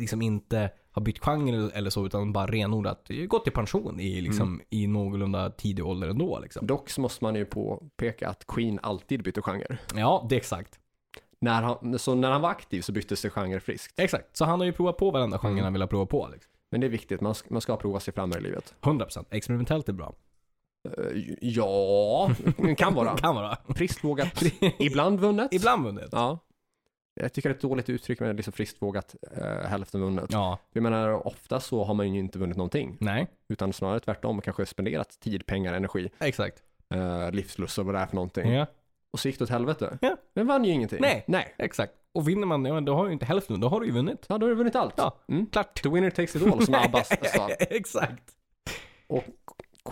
[SPEAKER 2] liksom inte har bytt genre eller så, utan bara renodlat gått i pension i, liksom, i någorlunda tidig ålder ändå. Liksom.
[SPEAKER 1] Dock så måste man ju påpeka att Queen alltid bytte genre.
[SPEAKER 2] Ja, det är exakt.
[SPEAKER 1] När han, så när han var aktiv så byttes det genre friskt.
[SPEAKER 2] Exakt. Så han har ju provat på varenda genre han vill ha provat på. Liksom.
[SPEAKER 1] Men det är viktigt, man ska, man ska prova sig fram här i livet.
[SPEAKER 2] 100%. Experimentellt är bra.
[SPEAKER 1] Eh, Ja, kan vara.
[SPEAKER 2] Kan vara.
[SPEAKER 1] Friskt vågat, ibland vunnet.
[SPEAKER 2] Ibland vunnet.
[SPEAKER 1] Ja. Jag tycker det är ett dåligt uttryck med liksom friskt vågat, eh, hälften vunnet.
[SPEAKER 2] Ja.
[SPEAKER 1] Jag menar, ofta så har man ju inte vunnit någonting,
[SPEAKER 2] Nej.
[SPEAKER 1] utan snarare tvärtom, kanske spenderat tid, pengar, energi,
[SPEAKER 2] Exakt.
[SPEAKER 1] eh, livslust och vad det är för någonting.
[SPEAKER 2] Ja.
[SPEAKER 1] Och så gick det åt helvete.
[SPEAKER 2] Ja.
[SPEAKER 1] Men vann ju ingenting.
[SPEAKER 2] Nej.
[SPEAKER 1] Nej.
[SPEAKER 2] Exakt. Och vinner man, ja, men då har du ju inte hälften, då har du ju vunnit.
[SPEAKER 1] Ja, då har du vunnit allt.
[SPEAKER 2] Ja.
[SPEAKER 1] Mm.
[SPEAKER 2] Klart. alltså.
[SPEAKER 1] The winner takes it all, som Abba sa.
[SPEAKER 2] exakt.
[SPEAKER 1] Och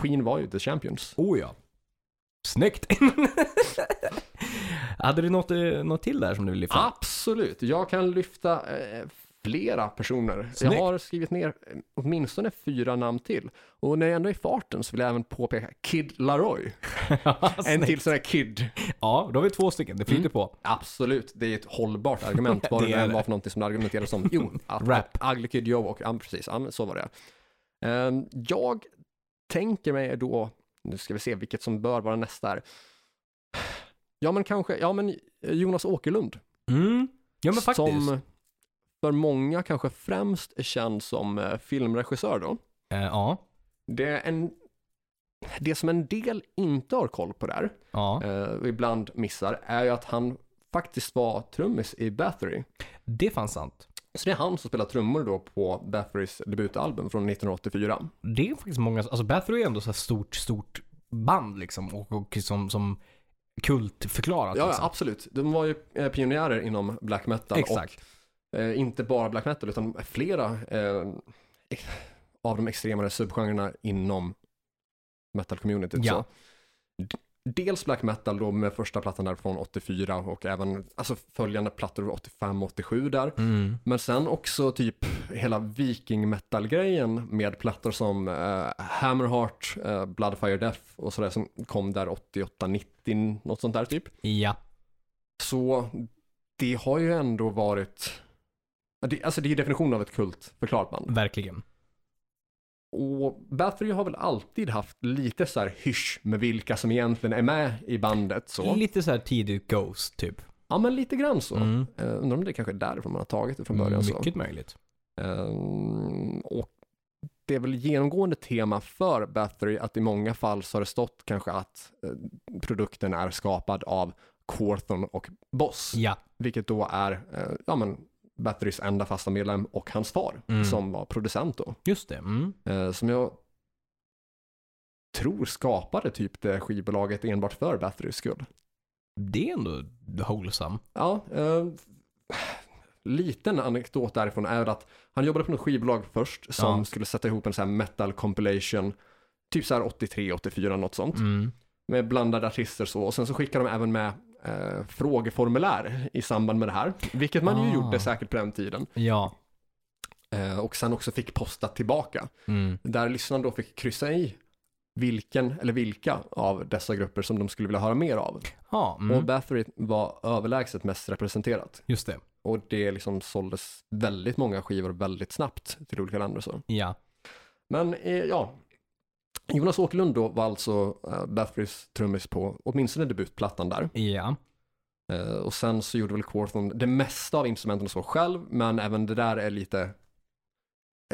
[SPEAKER 1] Queen var ju the champions.
[SPEAKER 2] Oh ja. Snyggt! Hade du något, eh, något till där som du ville lyfta?
[SPEAKER 1] Absolut. Jag kan lyfta eh, flera personer.
[SPEAKER 2] Snyggt.
[SPEAKER 1] Jag har skrivit ner eh, åtminstone fyra namn till. Och när jag ändå är i farten så vill jag även påpeka Kid Laroi.
[SPEAKER 2] Ja,
[SPEAKER 1] En
[SPEAKER 2] snyggt. Mm.
[SPEAKER 1] till sån här Kid.
[SPEAKER 2] Ja, då har vi två stycken. Det flyter på.
[SPEAKER 1] Absolut, det är ett hållbart argument. Vad det
[SPEAKER 2] Det
[SPEAKER 1] nu
[SPEAKER 2] är
[SPEAKER 1] än
[SPEAKER 2] det.
[SPEAKER 1] var för någonting som det argumenterades om. Jo, att,
[SPEAKER 2] Rap.
[SPEAKER 1] att Ugly Kid Joe och, ja, precis, ja, men så var det. Ehm, jag tänker mig då, nu ska vi se vilket som bör vara nästa här. Ja, men kanske, ja men Jonas Åkerlund.
[SPEAKER 2] Mm. Ja, men faktiskt.
[SPEAKER 1] Som för många kanske främst är känd som eh, filmregissör då.
[SPEAKER 2] Eh, ja.
[SPEAKER 1] Det, är en, det som en del inte har koll på där,
[SPEAKER 2] ja.
[SPEAKER 1] eh, och ibland missar, är ju att han faktiskt var trummis i Bathory.
[SPEAKER 2] Det fanns sant.
[SPEAKER 1] Så det är han som spelar trummor då på Batherys debutalbum från 1984.
[SPEAKER 2] Det är faktiskt många, alltså Bathory är ändå så här stort, stort band liksom och, och som, som kultförklarat.
[SPEAKER 1] Ja, ja,
[SPEAKER 2] liksom.
[SPEAKER 1] absolut. De var ju eh, pionjärer inom black metal
[SPEAKER 2] Exakt.
[SPEAKER 1] och eh, inte bara black metal utan flera eh, ex- av de extremare subgenrerna inom metal-communityt.
[SPEAKER 2] Ja.
[SPEAKER 1] Så, d- dels black metal då med första plattan där från 84 och även alltså följande plattor 85 och 87 där.
[SPEAKER 2] Mm.
[SPEAKER 1] Men sen också typ hela viking metal-grejen med plattor som eh, Hammerheart, eh, Bloodfire Death och sådär som kom där 88-90, något sånt där typ.
[SPEAKER 2] Ja.
[SPEAKER 1] Så det har ju ändå varit, Ja, det- alltså det är ju definitionen av ett kult förklarat band.
[SPEAKER 2] Verkligen.
[SPEAKER 1] Och Bathory har väl alltid haft lite så här hysch med vilka som egentligen är med i bandet så.
[SPEAKER 2] Lite så här tidigt Ghost typ.
[SPEAKER 1] Ja men lite grann så. Mm.
[SPEAKER 2] Mm.
[SPEAKER 1] undrar om det kanske är därifrån man har tagit det från början så.
[SPEAKER 2] Mycket möjligt.
[SPEAKER 1] Ehm, och det är väl genomgående tema för Bathory att i många fall så har det stått kanske att eh, produkten är skapad av Corthon och Boss,
[SPEAKER 2] Ja.
[SPEAKER 1] vilket då är eh, ja, men Batherys enda fasta medlem och hans far
[SPEAKER 2] Mm.
[SPEAKER 1] som var producent då.
[SPEAKER 2] Just det. Mm.
[SPEAKER 1] Eh, som jag tror skapade typ det skivbolaget enbart för Batherys skull.
[SPEAKER 2] Det är ändå wholesome.
[SPEAKER 1] Ja, eh, liten anekdot därifrån är att han jobbade på något skivbolag först som
[SPEAKER 2] Ja.
[SPEAKER 1] skulle sätta ihop en sån här metal compilation, typ så här 83, 84, något sånt,
[SPEAKER 2] Mm.
[SPEAKER 1] med blandade artister så. Och sen så skickade de även med eh, frågeformulär i samband med det här, vilket man ju
[SPEAKER 2] Ah.
[SPEAKER 1] gjorde säkert på den tiden.
[SPEAKER 2] Ja.
[SPEAKER 1] Eh, och sen också fick posta tillbaka,
[SPEAKER 2] Mm.
[SPEAKER 1] där lyssnaren då fick kryssa i vilken eller vilka av dessa grupper som de skulle vilja höra mer av.
[SPEAKER 2] Ja, mm.
[SPEAKER 1] Och Bathory var överlägset mest representerat.
[SPEAKER 2] just det.
[SPEAKER 1] Och det liksom såldes väldigt många skivor väldigt snabbt till olika länder. och Så.
[SPEAKER 2] Ja.
[SPEAKER 1] Men eh, ja, Jonas Åkerlund då var alltså eh, Batherys trummis på åtminstone debutplattan där.
[SPEAKER 2] Ja.
[SPEAKER 1] Eh, och sen så gjorde väl Corthon det mesta av instrumenten och så själv, men även det där är lite,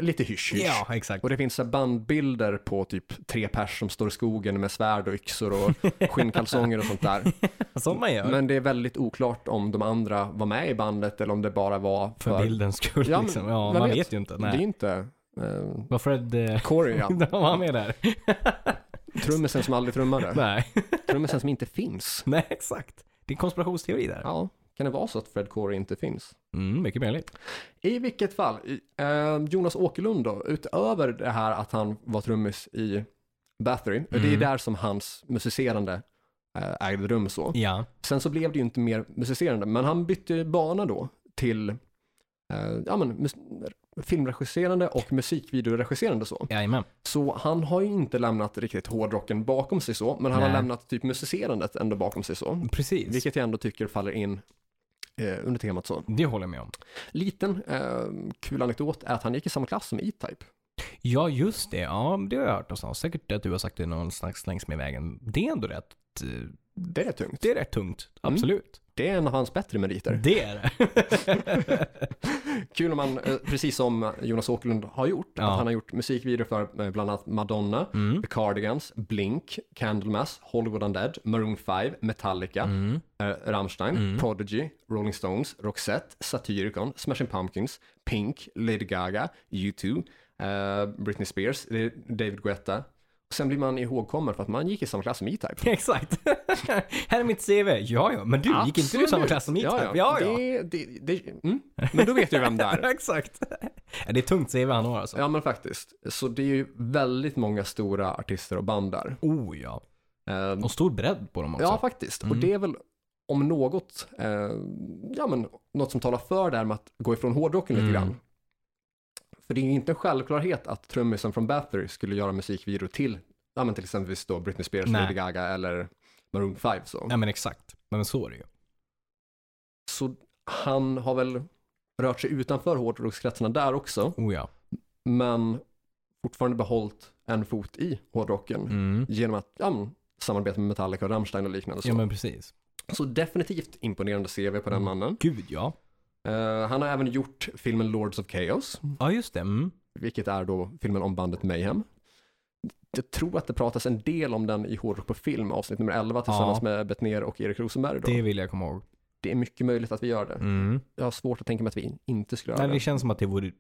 [SPEAKER 1] lite hysch hysch.
[SPEAKER 2] Ja, exakt.
[SPEAKER 1] Och det finns så här bandbilder på typ tre pers som står i skogen med svärd och yxor och skinnkalsonger och sånt där.
[SPEAKER 2] Som man gör.
[SPEAKER 1] Men det är väldigt oklart om de andra var med i bandet eller om det bara var
[SPEAKER 2] för, bildens skull
[SPEAKER 1] Ja, men
[SPEAKER 2] liksom. Ja,
[SPEAKER 1] vem
[SPEAKER 2] man
[SPEAKER 1] vet?
[SPEAKER 2] vet, ju inte.
[SPEAKER 1] Det är
[SPEAKER 2] Nej.
[SPEAKER 1] ju inte eh,
[SPEAKER 2] Var Fred... Eh,
[SPEAKER 1] Corey, ja.
[SPEAKER 2] var han med där?
[SPEAKER 1] Trummisen som aldrig trummade.
[SPEAKER 2] Nej.
[SPEAKER 1] Trummisen som inte finns.
[SPEAKER 2] Nej, exakt. Det är en konspirationsteori där.
[SPEAKER 1] Ja, Kan det vara så att Fred Corey inte finns?
[SPEAKER 2] Mm, mycket möjligt.
[SPEAKER 1] I vilket fall, i- eh, Jonas Åkerlund då, utöver det här att han var trummis i Bathory, det är
[SPEAKER 2] Mm.
[SPEAKER 1] där som hans musicerande eh, ägde rum så.
[SPEAKER 2] Ja.
[SPEAKER 1] Sen så blev det ju inte mer musicerande, men han bytte ju bana då till eh, ja, men, mus- filmregisserande och musikvideoregisserande så.
[SPEAKER 2] Jajamän.
[SPEAKER 1] Så han har ju inte lämnat riktigt hårdrocken bakom sig så, men han har
[SPEAKER 2] Nej.
[SPEAKER 1] lämnat typ musicerandet ändå bakom sig så.
[SPEAKER 2] Precis.
[SPEAKER 1] Vilket jag ändå tycker faller in eh, under temat så.
[SPEAKER 2] Det håller jag med om.
[SPEAKER 1] Liten eh, kul anekdot är att han gick i samma klass som E-Type.
[SPEAKER 2] Ja, just det. Ja, det har jag hört någonstans. Säkert att du har sagt det någonstans längs med vägen. Det är ändå rätt. eh,
[SPEAKER 1] Det är tungt.
[SPEAKER 2] Det är rätt tungt.
[SPEAKER 1] Mm.
[SPEAKER 2] Absolut.
[SPEAKER 1] Det är en av hans bättre meriter.
[SPEAKER 2] Det är det.
[SPEAKER 1] Kul om man, eh, precis som Jonas Åkerlund har gjort,
[SPEAKER 2] Ja.
[SPEAKER 1] att han har gjort musikvideor för eh, bland annat Madonna,
[SPEAKER 2] Mm.
[SPEAKER 1] The Cardigans, Blink, Candlemass, Hollywood Undead, Maroon 5, Metallica,
[SPEAKER 2] Mm.
[SPEAKER 1] eh, Rammstein,
[SPEAKER 2] Mm.
[SPEAKER 1] Prodigy, Rolling Stones, Roxette, Satyricon, Smashing Pumpkins, Pink, Lady Gaga, U2, eh, Britney Spears, eh, David Guetta. Sen blir man ihågkommen för att man gick i samma klass som E-Type.
[SPEAKER 2] Exakt. Här är mitt CV. Ja, ja. Men du, gick inte du i samma
[SPEAKER 1] Absolut.
[SPEAKER 2] klass som mitt?
[SPEAKER 1] Ja, ja. Det, det, det, mm. Men då vet du vem det är.
[SPEAKER 2] Exakt. Ja, Det är tungt CV han har alltså.
[SPEAKER 1] Ja men faktiskt. Så det är ju väldigt många stora artister och band där.
[SPEAKER 2] Oh ja.
[SPEAKER 1] Eh,
[SPEAKER 2] Och stor bredd på dem också. Mm.
[SPEAKER 1] ja faktiskt. Och det är väl om något, eh, ja men något som talar för det här med att gå ifrån hårdrocken lite
[SPEAKER 2] Mm.
[SPEAKER 1] grann. För det är ju inte en självklarhet att trummisen från Bathory skulle göra musikvideo till, ja men till exempelvis då Britney Spears,
[SPEAKER 2] Nej.
[SPEAKER 1] Lady Gaga eller Maroon 5 så.
[SPEAKER 2] Nej men exakt. Men så är det ju.
[SPEAKER 1] Så han har väl rört sig utanför hårdrockskretsarna där också.
[SPEAKER 2] Oh ja.
[SPEAKER 1] men fortfarande behållit en fot i hårdrocken
[SPEAKER 2] Mm.
[SPEAKER 1] genom att ja, men, samarbeta med Metallica och Rammstein och liknande. Så.
[SPEAKER 2] Ja men precis.
[SPEAKER 1] så definitivt imponerande CV på den
[SPEAKER 2] Mm.
[SPEAKER 1] mannen.
[SPEAKER 2] Gud ja.
[SPEAKER 1] Eh, han har även gjort filmen Lords of Chaos,
[SPEAKER 2] Ja just det. Mm.
[SPEAKER 1] vilket är då filmen om bandet Mayhem. Jag tror att det pratas en del om den i Hårdrock på film, avsnitt nummer 11, tillsammans med Bettner och Erik Rosenberg. Då.
[SPEAKER 2] Det
[SPEAKER 1] Det...
[SPEAKER 2] vill jag komma ihåg.
[SPEAKER 1] är mycket möjligt att vi gör det.
[SPEAKER 2] Mm.
[SPEAKER 1] Jag har svårt att tänka mig att vi inte skulle göra
[SPEAKER 2] Nej, det
[SPEAKER 1] det.
[SPEAKER 2] känns som att det, vore,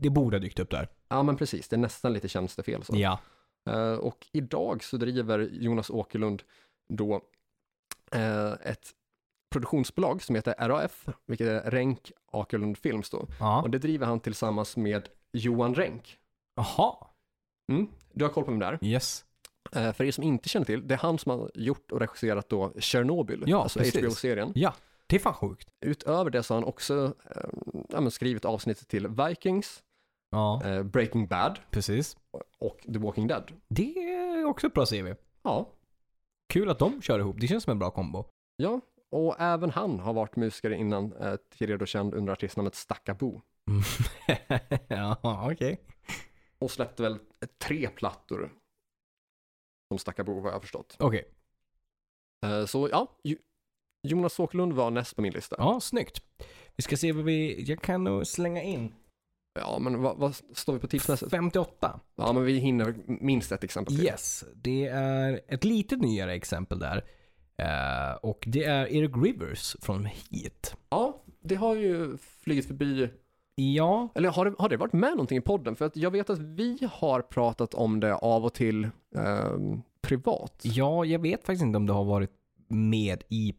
[SPEAKER 2] det borde ha dykt upp där.
[SPEAKER 1] Ja, men precis. Det är nästan lite tjänstefel. Så.
[SPEAKER 2] Ja.
[SPEAKER 1] Eh, Och idag så driver Jonas Åkerlund då eh, ett produktionsbolag som heter RAF, vilket är Renk Åkerlund Films då.
[SPEAKER 2] ja.
[SPEAKER 1] Och det driver han tillsammans med Johan Renk.
[SPEAKER 2] Jaha.
[SPEAKER 1] Mm, du har koll på vem det är.
[SPEAKER 2] Yes.
[SPEAKER 1] Eh, För er som inte känner till, det är han som har gjort och regisserat då Chernobyl,
[SPEAKER 2] Ja,
[SPEAKER 1] alltså
[SPEAKER 2] precis.
[SPEAKER 1] HBO-serien.
[SPEAKER 2] Ja. Det är fan sjukt.
[SPEAKER 1] Utöver det så har han också eh, ja, men skrivit avsnitt till Vikings,
[SPEAKER 2] Ja.
[SPEAKER 1] eh, Breaking Bad
[SPEAKER 2] Precis.
[SPEAKER 1] och The Walking Dead.
[SPEAKER 2] Det är också ett bra CV.
[SPEAKER 1] Ja,
[SPEAKER 2] Kul att de kör ihop. Det känns som en bra kombo.
[SPEAKER 1] Ja, och även han har varit musiker innan, eh, tidigare då känd under artistnamnet Stackabo.
[SPEAKER 2] ja, okej.
[SPEAKER 1] Och släppte väl eh, tre plattor som Stackabo vad jag har förstått.
[SPEAKER 2] Okej.
[SPEAKER 1] Eh, så ja, Jo- Jonas Åkerlund var näst på min lista.
[SPEAKER 2] Ja, snyggt. Vi ska se vad vi... Jag kan nog slänga in
[SPEAKER 1] Ja, men vad, vad står vi på tidsmässigt?
[SPEAKER 2] 58.
[SPEAKER 1] Ja, men vi hinner minst ett exempel till.
[SPEAKER 2] Yes, det är ett lite nyare exempel där. Eh, och det är Eric Rivers från Heat.
[SPEAKER 1] Ja, det har ju flugit förbi.
[SPEAKER 2] Ja,
[SPEAKER 1] Eller har det, har det varit med någonting i podden? För att jag vet att vi har pratat om det av och till ehm, privat.
[SPEAKER 2] ja, jag vet faktiskt inte om det har varit med i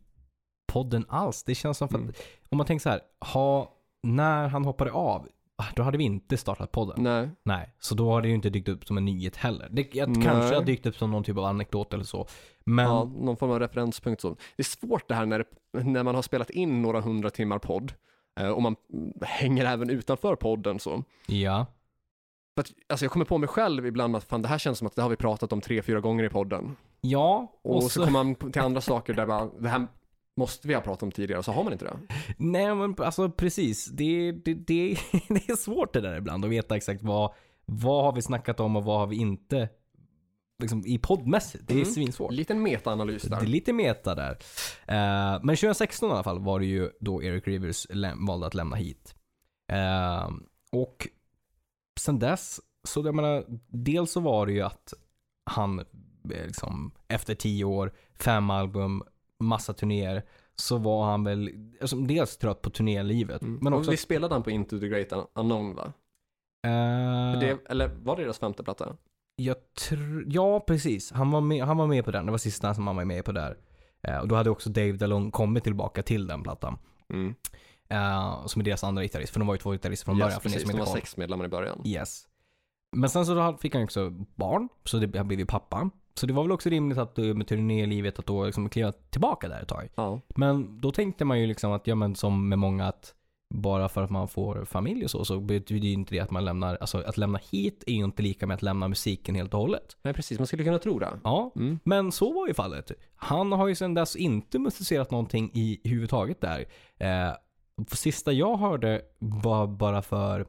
[SPEAKER 2] podden alls. Det känns som att,
[SPEAKER 1] Mm.
[SPEAKER 2] om man tänker så här, ha, när han hoppade av, ah, då hade vi inte startat podden.
[SPEAKER 1] Nej.
[SPEAKER 2] Nej, så då har det ju inte dykt upp som en nyhet heller. Det jag,
[SPEAKER 1] Nej.
[SPEAKER 2] kanske har dykt upp som någon typ av anekdot eller så. Men
[SPEAKER 1] Ja, någon form av referenspunkt. Så. Det är svårt det här när, det, när man har spelat in några hundra timmar podd eh, och man mm, hänger även utanför podden. Så.
[SPEAKER 2] ja.
[SPEAKER 1] För att, alltså, jag kommer på mig själv ibland att fan, det här känns som att det har vi pratat om tre, fyra gånger i podden.
[SPEAKER 2] Ja,
[SPEAKER 1] Och, så, kommer man på- till andra saker där bara, det här måste vi ha pratat om tidigare, så har man inte det.
[SPEAKER 2] Nej men alltså precis. Det, det, det, det är svårt det där ibland att veta exakt vad, vad har vi snackat om och vad har vi inte liksom, i poddmässigt. Det är
[SPEAKER 1] Mm.
[SPEAKER 2] svinsvårt.
[SPEAKER 1] Liten metaanalys
[SPEAKER 2] Det är
[SPEAKER 1] där.
[SPEAKER 2] lite meta där. Eh, men 2016 i alla fall var det ju då Eric Rivers läm- valde att lämna hit. Eh, och sen dess, så jag menar, dels så var det ju att han eh, liksom, efter tio år, fem album, massa turnéer, så var han väl alltså, dels trött på turnélivet,
[SPEAKER 1] Mm.
[SPEAKER 2] men också...
[SPEAKER 1] och vi spelade den på Into the Great Unknown va?
[SPEAKER 2] eh,
[SPEAKER 1] Det, eller var det deras femte platta?
[SPEAKER 2] Jag tr- ja, precis. Han var, med, han var med på den. Det var sista som han var med på där. Eh, och då hade också Dave DeLong kommit tillbaka till den plattan.
[SPEAKER 1] Mm.
[SPEAKER 2] eh, som är deras andra gitarrist, för de var ju två gitarrister från
[SPEAKER 1] Yes,
[SPEAKER 2] början. För ni
[SPEAKER 1] precis, de
[SPEAKER 2] som inte
[SPEAKER 1] var
[SPEAKER 2] koll.
[SPEAKER 1] sex medlemmar i början.
[SPEAKER 2] Yes. Men sen så fick han ju också barn, så det, han blev ju pappa. Så det var väl också rimligt att eh, med turnélivet att då liksom kliva tillbaka där ett tag.
[SPEAKER 1] Ja.
[SPEAKER 2] Men då tänkte man ju liksom att, ja men som med många att bara för att man får familj och så, så betyder ju inte det att man lämnar, alltså att lämna hit är ju inte lika med att lämna musiken helt och hållet.
[SPEAKER 1] Nej, precis. Man skulle kunna tro det.
[SPEAKER 2] Ja,
[SPEAKER 1] Mm.
[SPEAKER 2] men så var ju fallet. Han har ju sedan dess inte musicerat någonting i huvudtaget där. Eh, sista jag hörde var bara för,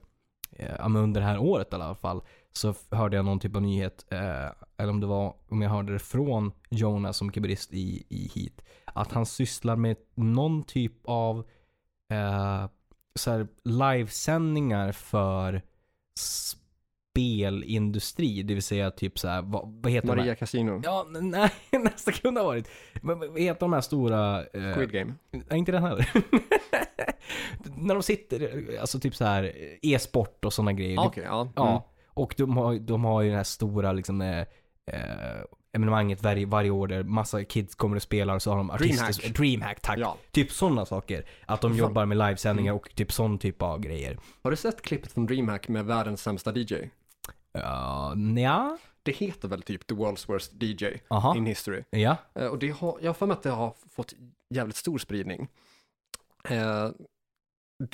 [SPEAKER 2] eh, ja, men under det här året i alla fall, så f- hörde jag någon typ av nyhet, eh, eller om det var, om jag hörde det från Jonas som keyboardist i, i Heat, att han sysslar med någon typ av eh, så här livesändningar för spelindustri, det vill säga typ så här, vad, vad heter de här-
[SPEAKER 1] Maria Casino.
[SPEAKER 2] Ja, nej, nästa kunde ha varit. Men vad heter de här stora... Eh,
[SPEAKER 1] Squid Game.
[SPEAKER 2] nej, inte den heller. När de sitter, alltså typ så här e-sport och sådana grejer.
[SPEAKER 1] Ah, Okej, ja.
[SPEAKER 2] Ja,
[SPEAKER 1] Mm.
[SPEAKER 2] och de har, de har ju det här stora liksom eh, eh, evenemanget varje, varje år där massa kids kommer och spelar och så har de artister.
[SPEAKER 1] Dreamhack.
[SPEAKER 2] Dreamhack tack.
[SPEAKER 1] ja.
[SPEAKER 2] Typ sådana saker. Att de
[SPEAKER 1] Fan. Mm.
[SPEAKER 2] jobbar med livesändningar och typ sån typ av grejer.
[SPEAKER 1] Har du sett klippet från DreamHack med världens sämsta DJ?
[SPEAKER 2] Uh, nja,
[SPEAKER 1] Det heter väl typ The World's Worst DJ
[SPEAKER 2] aha,
[SPEAKER 1] in History.
[SPEAKER 2] ja.
[SPEAKER 1] Eh, Och det har, jag har för mig att det har fått jävligt stor spridning. Eh,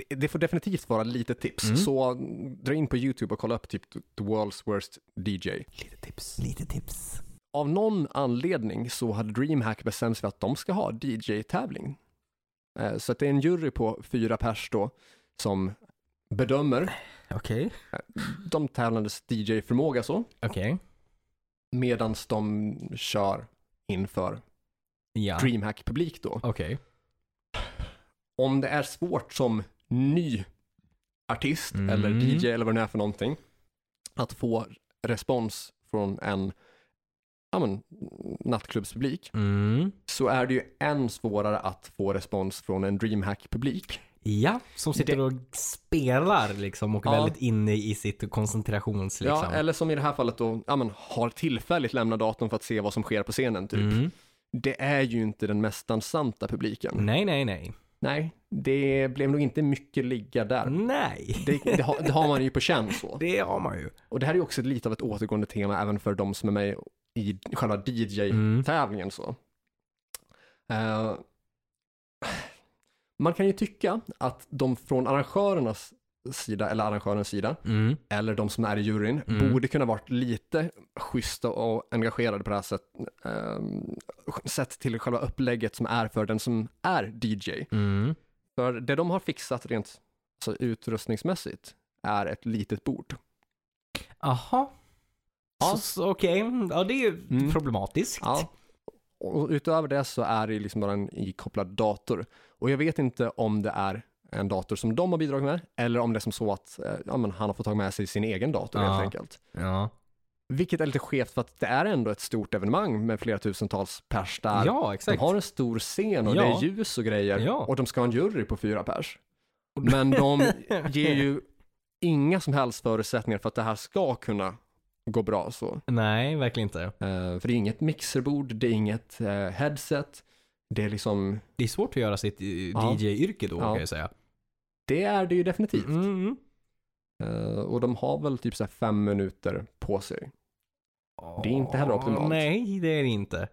[SPEAKER 1] det, det får definitivt vara lite tips,
[SPEAKER 2] Mm.
[SPEAKER 1] så dra in på YouTube och kolla upp typ The World's Worst DJ.
[SPEAKER 2] Lite tips. Lite tips.
[SPEAKER 1] Av någon anledning så hade DreamHack bestämt sig för att de ska ha DJ-tävling. Eh, Så att det är en jury på fyra pers då som bedömer
[SPEAKER 2] Okej.
[SPEAKER 1] de tävlandes DJ-förmåga så,
[SPEAKER 2] Okej.
[SPEAKER 1] medan de kör inför
[SPEAKER 2] Ja.
[SPEAKER 1] DreamHack-publik då.
[SPEAKER 2] Okej.
[SPEAKER 1] om det är svårt som ny artist
[SPEAKER 2] Mm.
[SPEAKER 1] eller DJ eller vad det nu är för någonting att få respons från en ja, men, nattklubbspublik
[SPEAKER 2] Mm.
[SPEAKER 1] så är det ju än svårare att få respons från en DreamHack-publik.
[SPEAKER 2] Ja, som sitter
[SPEAKER 1] Det-
[SPEAKER 2] och spelar liksom och är
[SPEAKER 1] Ja.
[SPEAKER 2] väldigt inne i sitt koncentrations liksom.
[SPEAKER 1] Ja, eller som i det här fallet då, ja, men, har tillfälligt lämnat datorn för att se vad som sker på scenen. Typ.
[SPEAKER 2] Mm.
[SPEAKER 1] Det är ju inte den mest dansanta publiken.
[SPEAKER 2] Nej, nej, nej.
[SPEAKER 1] Nej, det blev nog inte mycket ligga där.
[SPEAKER 2] Nej.
[SPEAKER 1] Det, det, har, det har man ju på känn så.
[SPEAKER 2] Mm. Det har man ju.
[SPEAKER 1] Och det här är ju också lite av ett återgående tema även för de som är med i själva
[SPEAKER 2] Mm.
[SPEAKER 1] DJ-tävlingen. Så. Eh, man kan ju tycka att de från arrangörernas sida, eller arrangörens sida,
[SPEAKER 2] Mm.
[SPEAKER 1] eller de som är i juryn,
[SPEAKER 2] Mm.
[SPEAKER 1] borde kunna varit lite schyssta och engagerade på det här sättet. eh, sett till själva upplägget som är för den som är DJ.
[SPEAKER 2] Mm.
[SPEAKER 1] För det de har fixat rent alltså, utrustningsmässigt är ett litet bord.
[SPEAKER 2] Aha.
[SPEAKER 1] Ja.
[SPEAKER 2] Så- så Okej, ja det är ju
[SPEAKER 1] Mm.
[SPEAKER 2] problematiskt.
[SPEAKER 1] Ja. Och utöver det så är det liksom bara en ikopplad dator. Och jag vet inte om det är en dator som de har bidragit med eller om det är som så att eh, ja, men han har fått ta med sig sin egen dator
[SPEAKER 2] Ja.
[SPEAKER 1] helt enkelt.
[SPEAKER 2] Ja.
[SPEAKER 1] Vilket är lite skevt för att det är ändå ett stort evenemang med flera tusentals pers där.
[SPEAKER 2] ja,
[SPEAKER 1] de
[SPEAKER 2] exakt.
[SPEAKER 1] har en stor scen och
[SPEAKER 2] Ja.
[SPEAKER 1] det är ljus och grejer
[SPEAKER 2] Ja.
[SPEAKER 1] och de ska ha en jury på fyra pers. Men de ger ju inga som helst förutsättningar för att det här ska kunna gå bra så.
[SPEAKER 2] Nej, verkligen inte.
[SPEAKER 1] Eh, för det är inget mixerbord, det är inget eh, headset. Det är liksom,
[SPEAKER 2] Det är svårt att göra sitt eh,
[SPEAKER 1] Ja.
[SPEAKER 2] DJ-yrke då
[SPEAKER 1] Ja.
[SPEAKER 2] kan jag säga.
[SPEAKER 1] det är det ju definitivt.
[SPEAKER 2] Mm, Mm.
[SPEAKER 1] Eh, och de har väl typ så här fem minuter på sig. Det är inte heller
[SPEAKER 2] Åh,
[SPEAKER 1] optimalt.
[SPEAKER 2] Nej, det är det inte.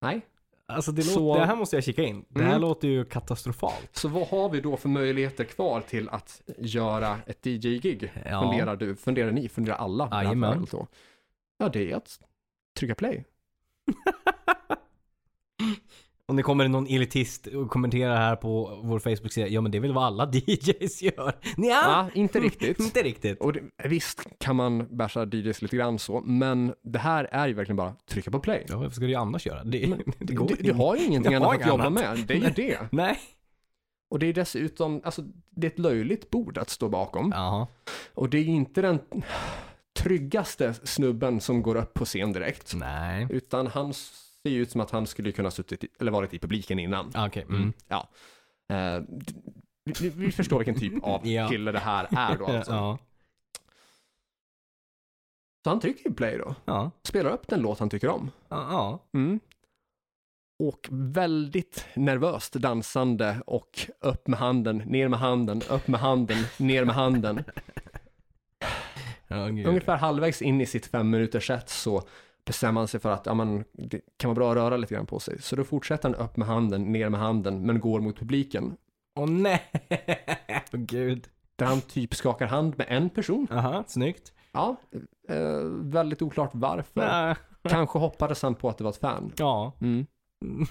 [SPEAKER 1] Nej.
[SPEAKER 2] Alltså det,
[SPEAKER 1] Så-
[SPEAKER 2] låter, det här måste jag kika in. Det här
[SPEAKER 1] Mm.
[SPEAKER 2] låter ju katastrofalt.
[SPEAKER 1] Så vad har vi då för möjligheter kvar till att göra ett DJ-gig?
[SPEAKER 2] Ja.
[SPEAKER 1] Funderar du, funderar ni, funderar alla? på det här
[SPEAKER 2] Jajamän.
[SPEAKER 1] fallet då? Ja, det är att trycka play.
[SPEAKER 2] Om det kommer någon elitist och kommenterar här på vår Facebook-sida, ja men det är väl vad alla DJs gör? Nja,
[SPEAKER 1] Ja, Ah, inte riktigt.
[SPEAKER 2] Ah, inte riktigt.
[SPEAKER 1] Och det, visst kan man basha DJs lite grann så, men det här är ju verkligen bara trycka på play.
[SPEAKER 2] Ja, varför ska du ju annars göra? Det, det går
[SPEAKER 1] Du,
[SPEAKER 2] inte.
[SPEAKER 1] du har ju ingenting
[SPEAKER 2] Jag
[SPEAKER 1] annat
[SPEAKER 2] har
[SPEAKER 1] att
[SPEAKER 2] inget
[SPEAKER 1] jobba
[SPEAKER 2] annat.
[SPEAKER 1] med, det är ju det.
[SPEAKER 2] Nej.
[SPEAKER 1] Och det är dessutom, alltså det är ett löjligt bord att stå bakom.
[SPEAKER 2] Jaha.
[SPEAKER 1] Och det är inte den tryggaste snubben som går upp på scen
[SPEAKER 2] Mm.
[SPEAKER 1] direkt.
[SPEAKER 2] Nej.
[SPEAKER 1] Utan han ser ju ut som att han skulle kunna ha suttit, i- eller varit i publiken innan.
[SPEAKER 2] Ah, Okej. Mm.
[SPEAKER 1] Ja. Eh, d- vi, vi förstår vilken typ av
[SPEAKER 2] Ja.
[SPEAKER 1] kille det här är då alltså.
[SPEAKER 2] Ah, Ja.
[SPEAKER 1] Så han trycker ju play då.
[SPEAKER 2] Ja.
[SPEAKER 1] Spelar upp den låt han tycker om.
[SPEAKER 2] Ja. ja.
[SPEAKER 1] Mm. och väldigt nervöst dansande och upp med handen, ner med handen, upp med handen, ner med handen.
[SPEAKER 2] Ja, gud.
[SPEAKER 1] Ungefär halvvägs in i sitt fem minuters set så bestämmer han sig för att ja, men, det kan vara bra att röra lite grann på sig. Så då fortsätter han upp med handen, ner med handen, men går mot publiken.
[SPEAKER 2] Åh nej! Åh gud.
[SPEAKER 1] Där han typ skakar hand med en person.
[SPEAKER 2] Aha, snyggt.
[SPEAKER 1] Ja, eh, väldigt oklart varför.
[SPEAKER 2] Ja.
[SPEAKER 1] Kanske hoppades han på att det var ett fan.
[SPEAKER 2] Ja.
[SPEAKER 1] Mm.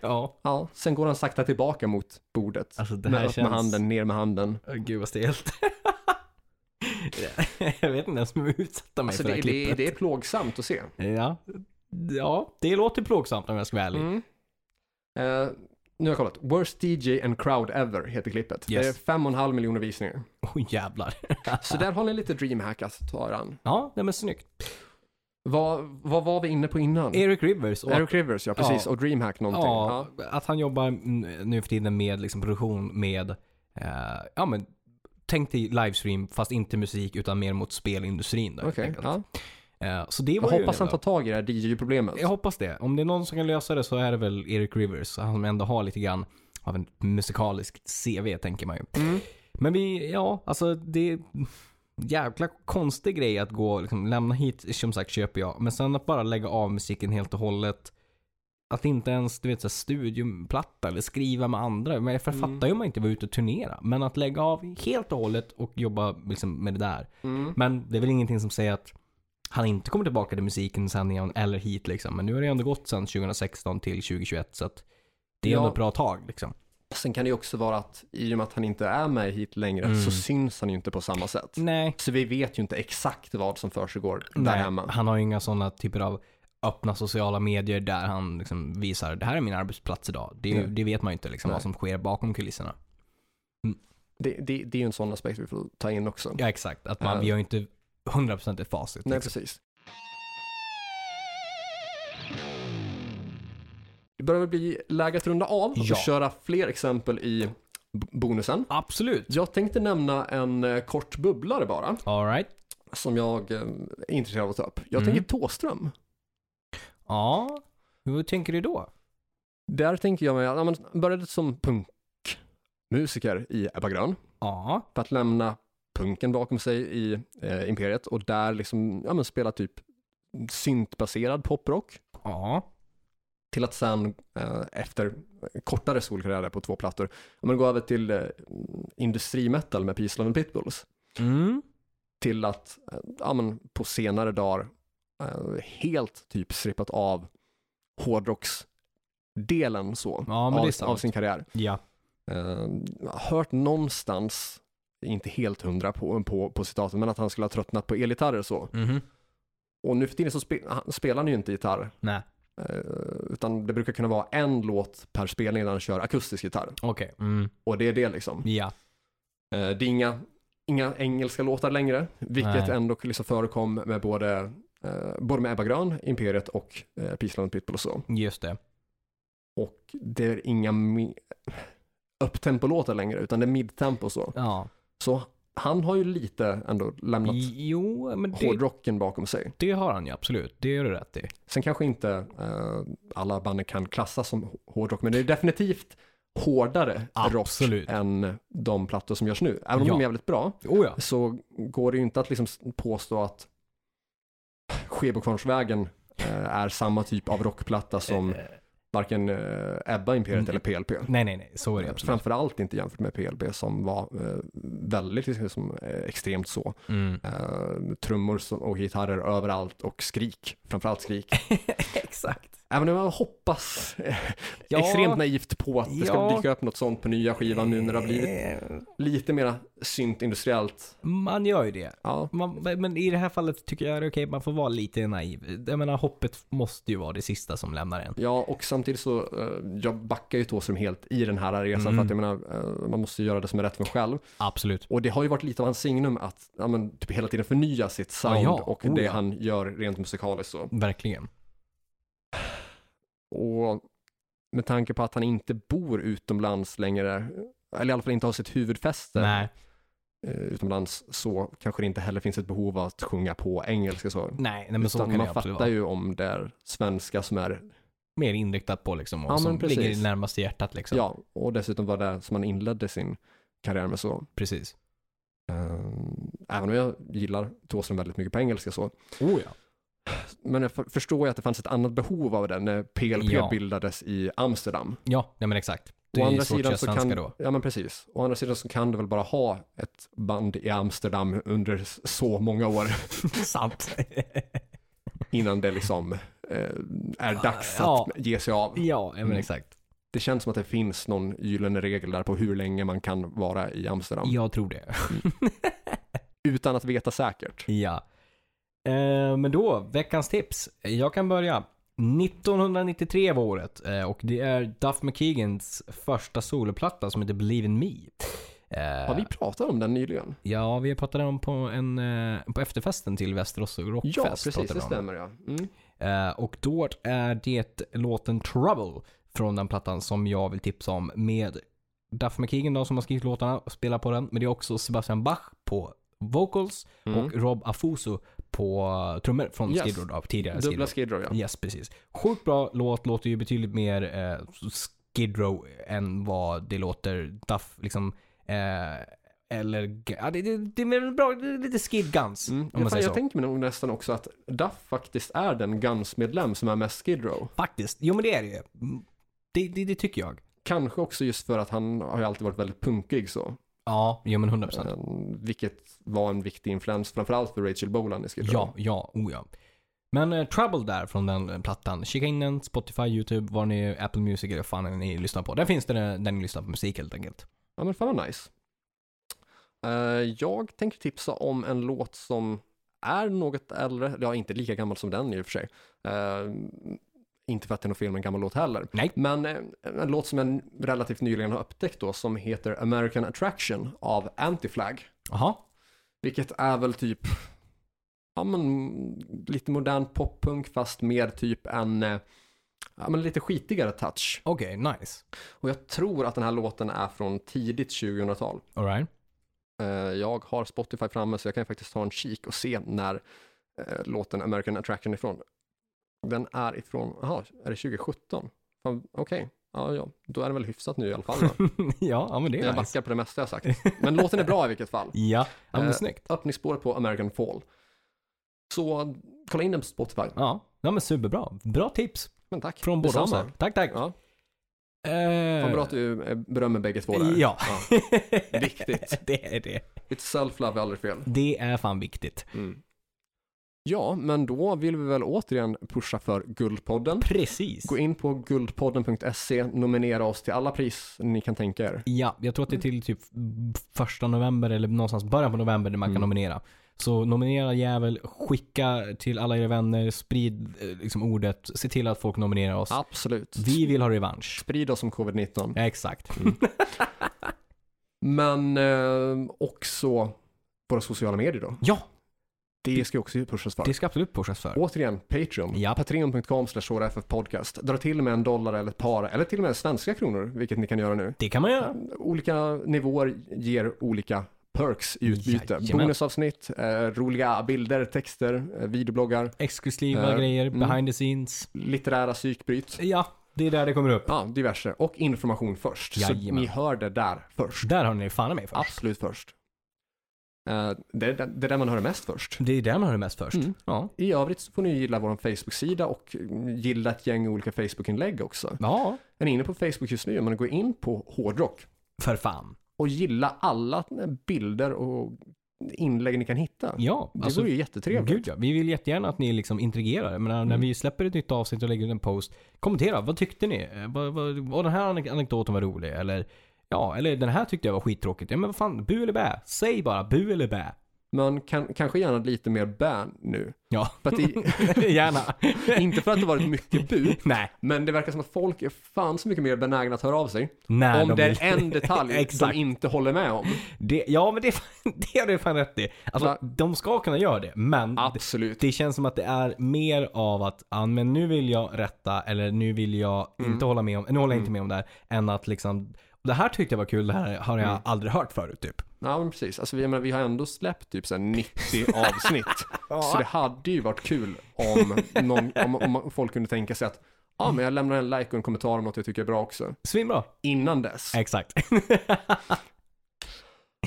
[SPEAKER 2] ja.
[SPEAKER 1] Ja, sen går han sakta tillbaka mot bordet.
[SPEAKER 2] Alltså det
[SPEAKER 1] Med
[SPEAKER 2] här
[SPEAKER 1] upp med
[SPEAKER 2] känns...
[SPEAKER 1] handen, ner med handen.
[SPEAKER 2] Åh, gud vad stelt. jag vet inte ens om jag utsatte mig
[SPEAKER 1] Alltså
[SPEAKER 2] för det
[SPEAKER 1] det,
[SPEAKER 2] här
[SPEAKER 1] det,
[SPEAKER 2] klippet.
[SPEAKER 1] det är plågsamt att se.
[SPEAKER 2] Ja. ja, det låter plågsamt om jag ska vara ärlig.
[SPEAKER 1] Mm. Eh, nu har jag kollat. Worst DJ and crowd ever heter klippet.
[SPEAKER 2] Yes.
[SPEAKER 1] Det är fem och en halv miljoner visningar.
[SPEAKER 2] Åh jävlar.
[SPEAKER 1] Så där har ni lite DreamHack att ta er an.
[SPEAKER 2] Ja, nej, men snyggt.
[SPEAKER 1] Vad, vad var vi inne på innan?
[SPEAKER 2] Eric Rivers och
[SPEAKER 1] Eric Rivers, ja precis.
[SPEAKER 2] Ja.
[SPEAKER 1] Och DreamHack någonting.
[SPEAKER 2] ja,
[SPEAKER 1] Ja.
[SPEAKER 2] att han jobbar mm, nu för tiden med liksom, produktion med, eh, ja men tänk dig livestream fast inte musik utan mer mot spelindustrin. Där, helt
[SPEAKER 1] Okej.
[SPEAKER 2] enkelt.
[SPEAKER 1] Ja.
[SPEAKER 2] Eh, så det
[SPEAKER 1] Jag
[SPEAKER 2] var ju
[SPEAKER 1] hoppas
[SPEAKER 2] en
[SPEAKER 1] han tar tag i det här DJ-problemet.
[SPEAKER 2] Jag hoppas det. Om det är någon som kan lösa det så är det väl Eric Rivers. Han som ändå har lite grann av en musikalisk CV tänker man ju.
[SPEAKER 1] Mm.
[SPEAKER 2] Men vi, ja, alltså det är en jävla konstig grej att gå, liksom, lämna hit, som sagt köper jag. Men sen att bara lägga av musiken helt och hållet. Att inte ens, du vet, så här, studioplatta eller skriva med andra. Men jag
[SPEAKER 1] Mm.
[SPEAKER 2] fattar ju om man inte var ute och turnera. Men att lägga av helt och hållet och jobba liksom, med det där.
[SPEAKER 1] Mm.
[SPEAKER 2] Men det är väl ingenting som säger att han inte kommer tillbaka till musiken sen igen eller hit liksom. Men nu har det ändå gått sen 2016 till 2021 så att det är
[SPEAKER 1] Ja.
[SPEAKER 2] ändå ett bra tag liksom.
[SPEAKER 1] Sen kan det ju också vara att i och med att han inte är med hit längre
[SPEAKER 2] Mm.
[SPEAKER 1] så syns han ju inte på samma sätt.
[SPEAKER 2] Nej.
[SPEAKER 1] Så vi vet ju inte exakt vad som försiggår där
[SPEAKER 2] Mm. Nej,
[SPEAKER 1] hemma.
[SPEAKER 2] han har ju inga sådana typer av öppna sociala medier där han liksom visar det här är min arbetsplats idag. Det, är ju-
[SPEAKER 1] Nej.
[SPEAKER 2] det vet man ju inte liksom, vad
[SPEAKER 1] Nej.
[SPEAKER 2] som sker bakom kulisserna.
[SPEAKER 1] Det, det, det är ju en sån aspekt vi får ta in också.
[SPEAKER 2] Ja exakt, att man,
[SPEAKER 1] Ja.
[SPEAKER 2] vi har ju inte 100% ett facit.
[SPEAKER 1] Nej,
[SPEAKER 2] liksom.
[SPEAKER 1] precis. Det börjar väl bli läge att runda av och
[SPEAKER 2] Ja.
[SPEAKER 1] köra fler exempel i b- bonusen.
[SPEAKER 2] Absolut.
[SPEAKER 1] Jag tänkte nämna en eh, kort bubblare bara,
[SPEAKER 2] Alright.
[SPEAKER 1] som jag eh, är intresserad av att ta upp. Jag
[SPEAKER 2] Mm.
[SPEAKER 1] tänker Tåström.
[SPEAKER 2] Ja, hur tänker du då?
[SPEAKER 1] Där tänker jag mig, att ja, man började som punkmusiker i Ebba Grön.
[SPEAKER 2] Ja,
[SPEAKER 1] för att lämna punken bakom sig i eh, Imperiet och där liksom, ja men spela typ syntbaserad poprock
[SPEAKER 2] ja,
[SPEAKER 1] till att sen eh, efter kortare solkarriär där på två plattor, ja, men gå över till eh, industrimetal med Peace Love and Pitbulls
[SPEAKER 2] mm,
[SPEAKER 1] till att eh, ja, men på senare dagar eh, helt typ strippat av hårdrocksdelen så
[SPEAKER 2] Ja, men det är
[SPEAKER 1] av,
[SPEAKER 2] sant.
[SPEAKER 1] av sin karriär.
[SPEAKER 2] ja.
[SPEAKER 1] Eh, hört någonstans, inte helt hundra på, på, på citaten, men att han skulle ha tröttnat på elgitarrer så.
[SPEAKER 2] Mhm.
[SPEAKER 1] Och nu för tiden så spe, han, spelar han ju inte gitarr,
[SPEAKER 2] Nej,
[SPEAKER 1] eh, utan det brukar kunna vara en låt per spelning där han kör akustisk gitarr.
[SPEAKER 2] okej. Mm.
[SPEAKER 1] Och det är det liksom.
[SPEAKER 2] Ja,
[SPEAKER 1] Eh, det är inga, inga engelska låtar längre, vilket
[SPEAKER 2] Nej.
[SPEAKER 1] ändå liksom förekom med både, eh, både med Ebba Grön, Imperiet och eh, Peaceland Pitbull och så.
[SPEAKER 2] just det.
[SPEAKER 1] Och det är inga mi- upptempo-låtar längre, utan det är midtempo och så.
[SPEAKER 2] Ja.
[SPEAKER 1] Så han har ju lite ändå lämnat
[SPEAKER 2] Jo, men det,
[SPEAKER 1] hårdrocken bakom sig.
[SPEAKER 2] det har han ju absolut. Det gör du rätt i.
[SPEAKER 1] Sen kanske inte eh, alla band kan klassas som h- hårdrock, men det är definitivt hårdare
[SPEAKER 2] Absolut.
[SPEAKER 1] rock än de plattor som görs nu. Även om
[SPEAKER 2] Ja.
[SPEAKER 1] de är jävligt bra
[SPEAKER 2] Oh ja.
[SPEAKER 1] så går det ju inte att liksom s- påstå att Skebokvarnsvägen eh, är samma typ av rockplatta som
[SPEAKER 2] Eh,
[SPEAKER 1] varken eh, Ebba Imperiet
[SPEAKER 2] Mm.
[SPEAKER 1] eller PLP.
[SPEAKER 2] Nej, nej, nej. Så är det absolut.
[SPEAKER 1] Framförallt inte jämfört med PLP som var eh, väldigt liksom, eh, extremt så.
[SPEAKER 2] Mm.
[SPEAKER 1] eh, trummor som- och gitarrer överallt och skrik, framförallt skrik.
[SPEAKER 2] Exakt.
[SPEAKER 1] Även om jag hoppas eh,
[SPEAKER 2] Ja.
[SPEAKER 1] extremt naivt på att det ska
[SPEAKER 2] Ja.
[SPEAKER 1] dyka upp något sånt på nya skivan nu när det har blivit
[SPEAKER 2] Eh,
[SPEAKER 1] lite mera synt industriellt.
[SPEAKER 2] Man gör ju det.
[SPEAKER 1] Ja,
[SPEAKER 2] Man, men i det här fallet tycker jag det är okej, man får vara lite naiv. Jag menar, hoppet måste ju vara det sista som lämnar en.
[SPEAKER 1] ja och samtidigt så, eh, jag backar ju Thåström helt i den här resan
[SPEAKER 2] Mm.
[SPEAKER 1] för att jag menar, eh, man måste ju göra det som är rätt för en själv.
[SPEAKER 2] Absolut.
[SPEAKER 1] Och det har ju varit lite av hans signum att ja, men, typ hela tiden förnya sitt sound
[SPEAKER 2] Ja, ja.
[SPEAKER 1] och
[SPEAKER 2] Oh,
[SPEAKER 1] det
[SPEAKER 2] ja.
[SPEAKER 1] han gör rent musikaliskt så.
[SPEAKER 2] Verkligen.
[SPEAKER 1] Och med tanke på att han inte bor utomlands längre, eller i alla fall inte har sitt huvudfäste
[SPEAKER 2] Nej,
[SPEAKER 1] eh, utomlands, så kanske det inte heller finns ett behov av att sjunga på engelska så.
[SPEAKER 2] nej, nej men Mm. så
[SPEAKER 1] Utan
[SPEAKER 2] kan det
[SPEAKER 1] man
[SPEAKER 2] absolut
[SPEAKER 1] fattar
[SPEAKER 2] vara.
[SPEAKER 1] ju om det är svenska som är
[SPEAKER 2] mer inriktat på liksom och
[SPEAKER 1] Ja,
[SPEAKER 2] som
[SPEAKER 1] men precis.
[SPEAKER 2] ligger närmast hjärtat liksom.
[SPEAKER 1] Ja, och dessutom var det som han inledde sin karriär med så.
[SPEAKER 2] Precis.
[SPEAKER 1] Ehm, även om jag gillar Thåström väldigt mycket på engelska så.
[SPEAKER 2] Oh ja.
[SPEAKER 1] Men jag för- förstår ju att det fanns ett annat behov av den när PLP
[SPEAKER 2] Ja.
[SPEAKER 1] bildades i Amsterdam.
[SPEAKER 2] Ja, nej men exakt. Det
[SPEAKER 1] Å
[SPEAKER 2] är ju
[SPEAKER 1] andra
[SPEAKER 2] svårt att
[SPEAKER 1] sidan
[SPEAKER 2] göra
[SPEAKER 1] så
[SPEAKER 2] svenska
[SPEAKER 1] kan,
[SPEAKER 2] då.
[SPEAKER 1] Ja men precis. Å andra sidan så kan du väl bara ha ett band i Amsterdam under s- så många år
[SPEAKER 2] Sant.
[SPEAKER 1] innan det liksom eh, är dags att
[SPEAKER 2] Ja.
[SPEAKER 1] ge sig av.
[SPEAKER 2] ja, nej, men
[SPEAKER 1] Mm.
[SPEAKER 2] exakt.
[SPEAKER 1] Det känns som att det finns någon gyllene regel där på hur länge man kan vara i Amsterdam.
[SPEAKER 2] Jag tror det.
[SPEAKER 1] Utan att veta säkert.
[SPEAKER 2] Ja. Eh, men då, veckans tips. Jag kan börja. 1993 var året eh, och det är Duff McKeagans första soloplatta som heter Believe In Me. Eh,
[SPEAKER 1] Har vi pratat om den nyligen?
[SPEAKER 2] Ja, vi pratade om på, en, eh, på efterfesten till Västerås Rockfest.
[SPEAKER 1] Ja, precis.
[SPEAKER 2] pratade
[SPEAKER 1] Det
[SPEAKER 2] vi om.
[SPEAKER 1] stämmer ja. Mm.
[SPEAKER 2] Eh, och då är det låten Trouble från den plattan som jag vill tipsa om med Duff McKagan då som har skrivit låtarna och spelar på den. Men det är också Sebastian Bach på vocals och Rob Afuso på trummor från
[SPEAKER 1] Mm. Yes.
[SPEAKER 2] Skid Row då, tidigare Skid
[SPEAKER 1] Dubbla
[SPEAKER 2] Row.
[SPEAKER 1] Skid Row ja.
[SPEAKER 2] Yes, precis. Sjukt bra låt, låter ju betydligt mer eh, Skid Row än vad det låter Duff liksom. Eh, eller, ja, det, det, det är mer bra, det är lite Skid Guns
[SPEAKER 1] Mm.
[SPEAKER 2] om man
[SPEAKER 1] Jag,
[SPEAKER 2] säger
[SPEAKER 1] jag
[SPEAKER 2] så.
[SPEAKER 1] tänker mig nog nästan också att Duff faktiskt är den Guns-medlem som är mest Skid Row.
[SPEAKER 2] Faktiskt, jo men det är det ju. Mm. Det, det, det tycker jag.
[SPEAKER 1] Kanske också just för att han har ju alltid varit väldigt punkig så.
[SPEAKER 2] Ja, ja men 100 procent.
[SPEAKER 1] Eh, vilket var en viktig influens framförallt för Rachel Bolan i Skid Row.
[SPEAKER 2] Ja, ja, oh ja. Men eh, Trouble där från den eh, plattan. Kika in den, Spotify, YouTube, var ni Apple Music eller vad fan ni lyssnar på. Där finns det eh, där ni lyssnar på musik helt enkelt.
[SPEAKER 1] Ja men fan vad nice. Eh, jag tänker tipsa om en låt som är något äldre, ja inte lika gammal som den i och för sig. Eh, inte för att det är något fel med en gammal låt heller.
[SPEAKER 2] Nej.
[SPEAKER 1] Men eh, en låt som jag relativt nyligen har upptäckt då som heter American Attraction av Antiflag.
[SPEAKER 2] Jaha,
[SPEAKER 1] Vilket är väl typ, ja men lite modern poppunk fast med typ en, eh, ja men lite skitigare touch.
[SPEAKER 2] okej, nice.
[SPEAKER 1] Och jag tror att den här låten är från tidigt 2000-tal.
[SPEAKER 2] Alright.
[SPEAKER 1] Eh, Jag har Spotify framme så jag kan faktiskt ta en kik och se när eh, låten American Attraction är ifrån. Den är ifrån, jaha, är det 2017? Fan, Okej, ja, ja, då är den väl hyfsat ny i alla fall. Då.
[SPEAKER 2] ja, ja, men det är
[SPEAKER 1] Jag
[SPEAKER 2] nice.
[SPEAKER 1] backar på det mesta jag sagt. Men låten är bra i vilket fall.
[SPEAKER 2] Ja, ja men
[SPEAKER 1] Eh,
[SPEAKER 2] snyggt.
[SPEAKER 1] Öppningsspåret på American Fall. Så kolla in den på Spotify.
[SPEAKER 2] Ja, ja, men superbra. Bra tips
[SPEAKER 1] Men tack.
[SPEAKER 2] från båda oss.
[SPEAKER 1] Detsamma.
[SPEAKER 2] här. Tack, tack.
[SPEAKER 1] Ja,
[SPEAKER 2] Eh,
[SPEAKER 1] vad bra att du eh, berömmer bägge två där.
[SPEAKER 2] Ja.
[SPEAKER 1] Viktigt.
[SPEAKER 2] det är det.
[SPEAKER 1] Lite self-love är aldrig fel.
[SPEAKER 2] Det är fan viktigt.
[SPEAKER 1] Mm. Ja, men då vill vi väl återigen pusha för Guldpodden.
[SPEAKER 2] Precis.
[SPEAKER 1] Gå in på guldpodden.se, nominera oss till alla pris ni kan tänka er.
[SPEAKER 2] Ja, jag tror att det är till typ första november eller någonstans början på november där man kan
[SPEAKER 1] Mm.
[SPEAKER 2] nominera. Så nominera jävel, skicka till alla era vänner, sprid eh, liksom, ordet, se till att folk nominerar oss.
[SPEAKER 1] Absolut. Mm.
[SPEAKER 2] Vi vill ha revansch.
[SPEAKER 1] Sprid oss om covid-19.
[SPEAKER 2] Ja, Exakt.
[SPEAKER 1] Men eh, också våra sociala medier då.
[SPEAKER 2] Ja,
[SPEAKER 1] Det ska ju också pushas för.
[SPEAKER 2] det ska absolut pushas för.
[SPEAKER 1] Återigen, Patreon.
[SPEAKER 2] Ja.
[SPEAKER 1] Patreon.com slash podcast. Dra till med en dollar eller ett par, eller till och med svenska kronor, vilket ni kan göra nu.
[SPEAKER 2] Det kan man göra.
[SPEAKER 1] Olika nivåer ger olika perks i utbyte.
[SPEAKER 2] Jajamän.
[SPEAKER 1] Bonusavsnitt, eh, roliga bilder, texter, eh, videobloggar,
[SPEAKER 2] Exklusiva
[SPEAKER 1] Eh,
[SPEAKER 2] grejer,
[SPEAKER 1] mm.
[SPEAKER 2] behind the scenes.
[SPEAKER 1] litterära psykbryt.
[SPEAKER 2] Ja, det är där det kommer upp.
[SPEAKER 1] Ja, diverse. Och information först. Så
[SPEAKER 2] Jajamän.
[SPEAKER 1] ni hör det där först.
[SPEAKER 2] Där har ni fan i mig först.
[SPEAKER 1] Absolut först. Eh, det, är, det är där man hör det mest först.
[SPEAKER 2] Det är där man har det mest först.
[SPEAKER 1] Mm.
[SPEAKER 2] Ja.
[SPEAKER 1] I övrigt så får ni gilla vår Facebook-sida och gilla ett gäng olika Facebook-inlägg också.
[SPEAKER 2] ja,
[SPEAKER 1] Är ni inne på Facebook just nu, men gå in på hårdrock
[SPEAKER 2] för fan.
[SPEAKER 1] och gilla alla bilder och inlägg ni kan hitta.
[SPEAKER 2] Ja,
[SPEAKER 1] det
[SPEAKER 2] alltså
[SPEAKER 1] vore ju jättetrevligt.
[SPEAKER 2] Gud ja, vi vill jättegärna att ni liksom interagerar. Men när
[SPEAKER 1] Mm.
[SPEAKER 2] vi släpper ett nytt avsnitt och lägger ut en post, kommentera. Vad tyckte ni? Eh, Vad, vad, vad den här anek- anekdoten var rolig? Eller ja, eller den här tyckte jag var skittråkigt. Ja men vad fan, bu eller bä? Säg bara bu eller bä.
[SPEAKER 1] Men kan, kanske gärna lite mer ban nu.
[SPEAKER 2] Ja,
[SPEAKER 1] För att det,
[SPEAKER 2] gärna.
[SPEAKER 1] inte för att det varit mycket bu,
[SPEAKER 2] Nej,
[SPEAKER 1] men det verkar som att folk är fan så mycket mer benägna att höra av sig.
[SPEAKER 2] nej.
[SPEAKER 1] om
[SPEAKER 2] de
[SPEAKER 1] det
[SPEAKER 2] vill-
[SPEAKER 1] är en detalj de
[SPEAKER 2] Exakt.
[SPEAKER 1] inte håller med om.
[SPEAKER 2] Det, ja men det, är fan- det har du fan rätt i. Alltså
[SPEAKER 1] Va?
[SPEAKER 2] de ska kunna göra det, men
[SPEAKER 1] Absolut.
[SPEAKER 2] det känns som att det är mer av att ah, men nu vill jag rätta eller nu vill jag
[SPEAKER 1] Mm.
[SPEAKER 2] inte hålla med om, nu håller jag inte med om det här. Än att liksom, det här tyckte jag var kul, det här har jag
[SPEAKER 1] Mm.
[SPEAKER 2] aldrig hört förut typ.
[SPEAKER 1] Ja, men precis. Alltså, vi, jag menar, vi har ändå släppt typ så här 90 avsnitt. Så det hade ju varit kul om, någon, om, om folk kunde tänka sig att ja men jag lämnar en like och en kommentar om något jag tycker är bra också.
[SPEAKER 2] Svinbra.
[SPEAKER 1] Innan dess.
[SPEAKER 2] Exakt.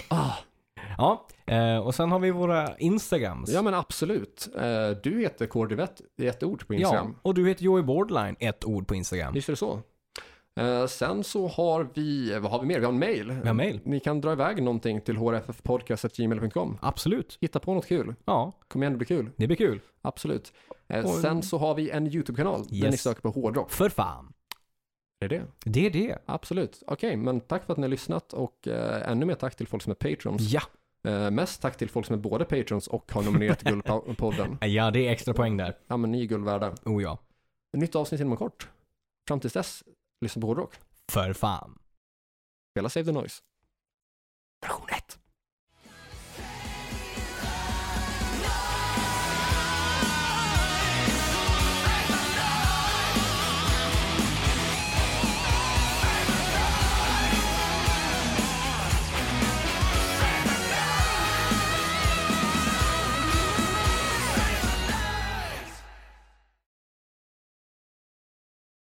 [SPEAKER 1] Ah,
[SPEAKER 2] Ja, eh, och sen har vi våra Instagrams.
[SPEAKER 1] ja men absolut. Eh, Du heter Kordivett i ett ord på Instagram.
[SPEAKER 2] Ja, och du heter Joey Borderline, ett ord på Instagram.
[SPEAKER 1] Visst är det så. Eh, Sen så har vi, vad har vi mer? Vi har en mail.
[SPEAKER 2] Vi har mail.
[SPEAKER 1] Ni kan dra iväg någonting till hrffpodcast.gmail.com.
[SPEAKER 2] Absolut.
[SPEAKER 1] Hitta på något kul.
[SPEAKER 2] Ja,
[SPEAKER 1] Kom igen, det blir kul.
[SPEAKER 2] det blir kul.
[SPEAKER 1] Absolut. Eh,
[SPEAKER 2] Och-
[SPEAKER 1] Sen så har vi en YouTube-kanal där
[SPEAKER 2] Yes.
[SPEAKER 1] ni söker på hårdrock.
[SPEAKER 2] För fan.
[SPEAKER 1] Det är det.
[SPEAKER 2] Det är
[SPEAKER 1] Mm.
[SPEAKER 2] det.
[SPEAKER 1] Absolut. Okej, men tack för att ni har lyssnat och eh, ännu mer tack till folk som är patrons.
[SPEAKER 2] Ja.
[SPEAKER 1] Eh, mest tack till folk som är både patrons och har nominerat till Guldpodden.
[SPEAKER 2] Ja, det är extra poäng där.
[SPEAKER 1] Ja, men ni är guld värda.
[SPEAKER 2] Oh ja.
[SPEAKER 1] Nytt avsnitt inom kort. Fram tills dess, lyssna på hårdrock.
[SPEAKER 2] För fan.
[SPEAKER 1] Spela Save the Noise. Version 1.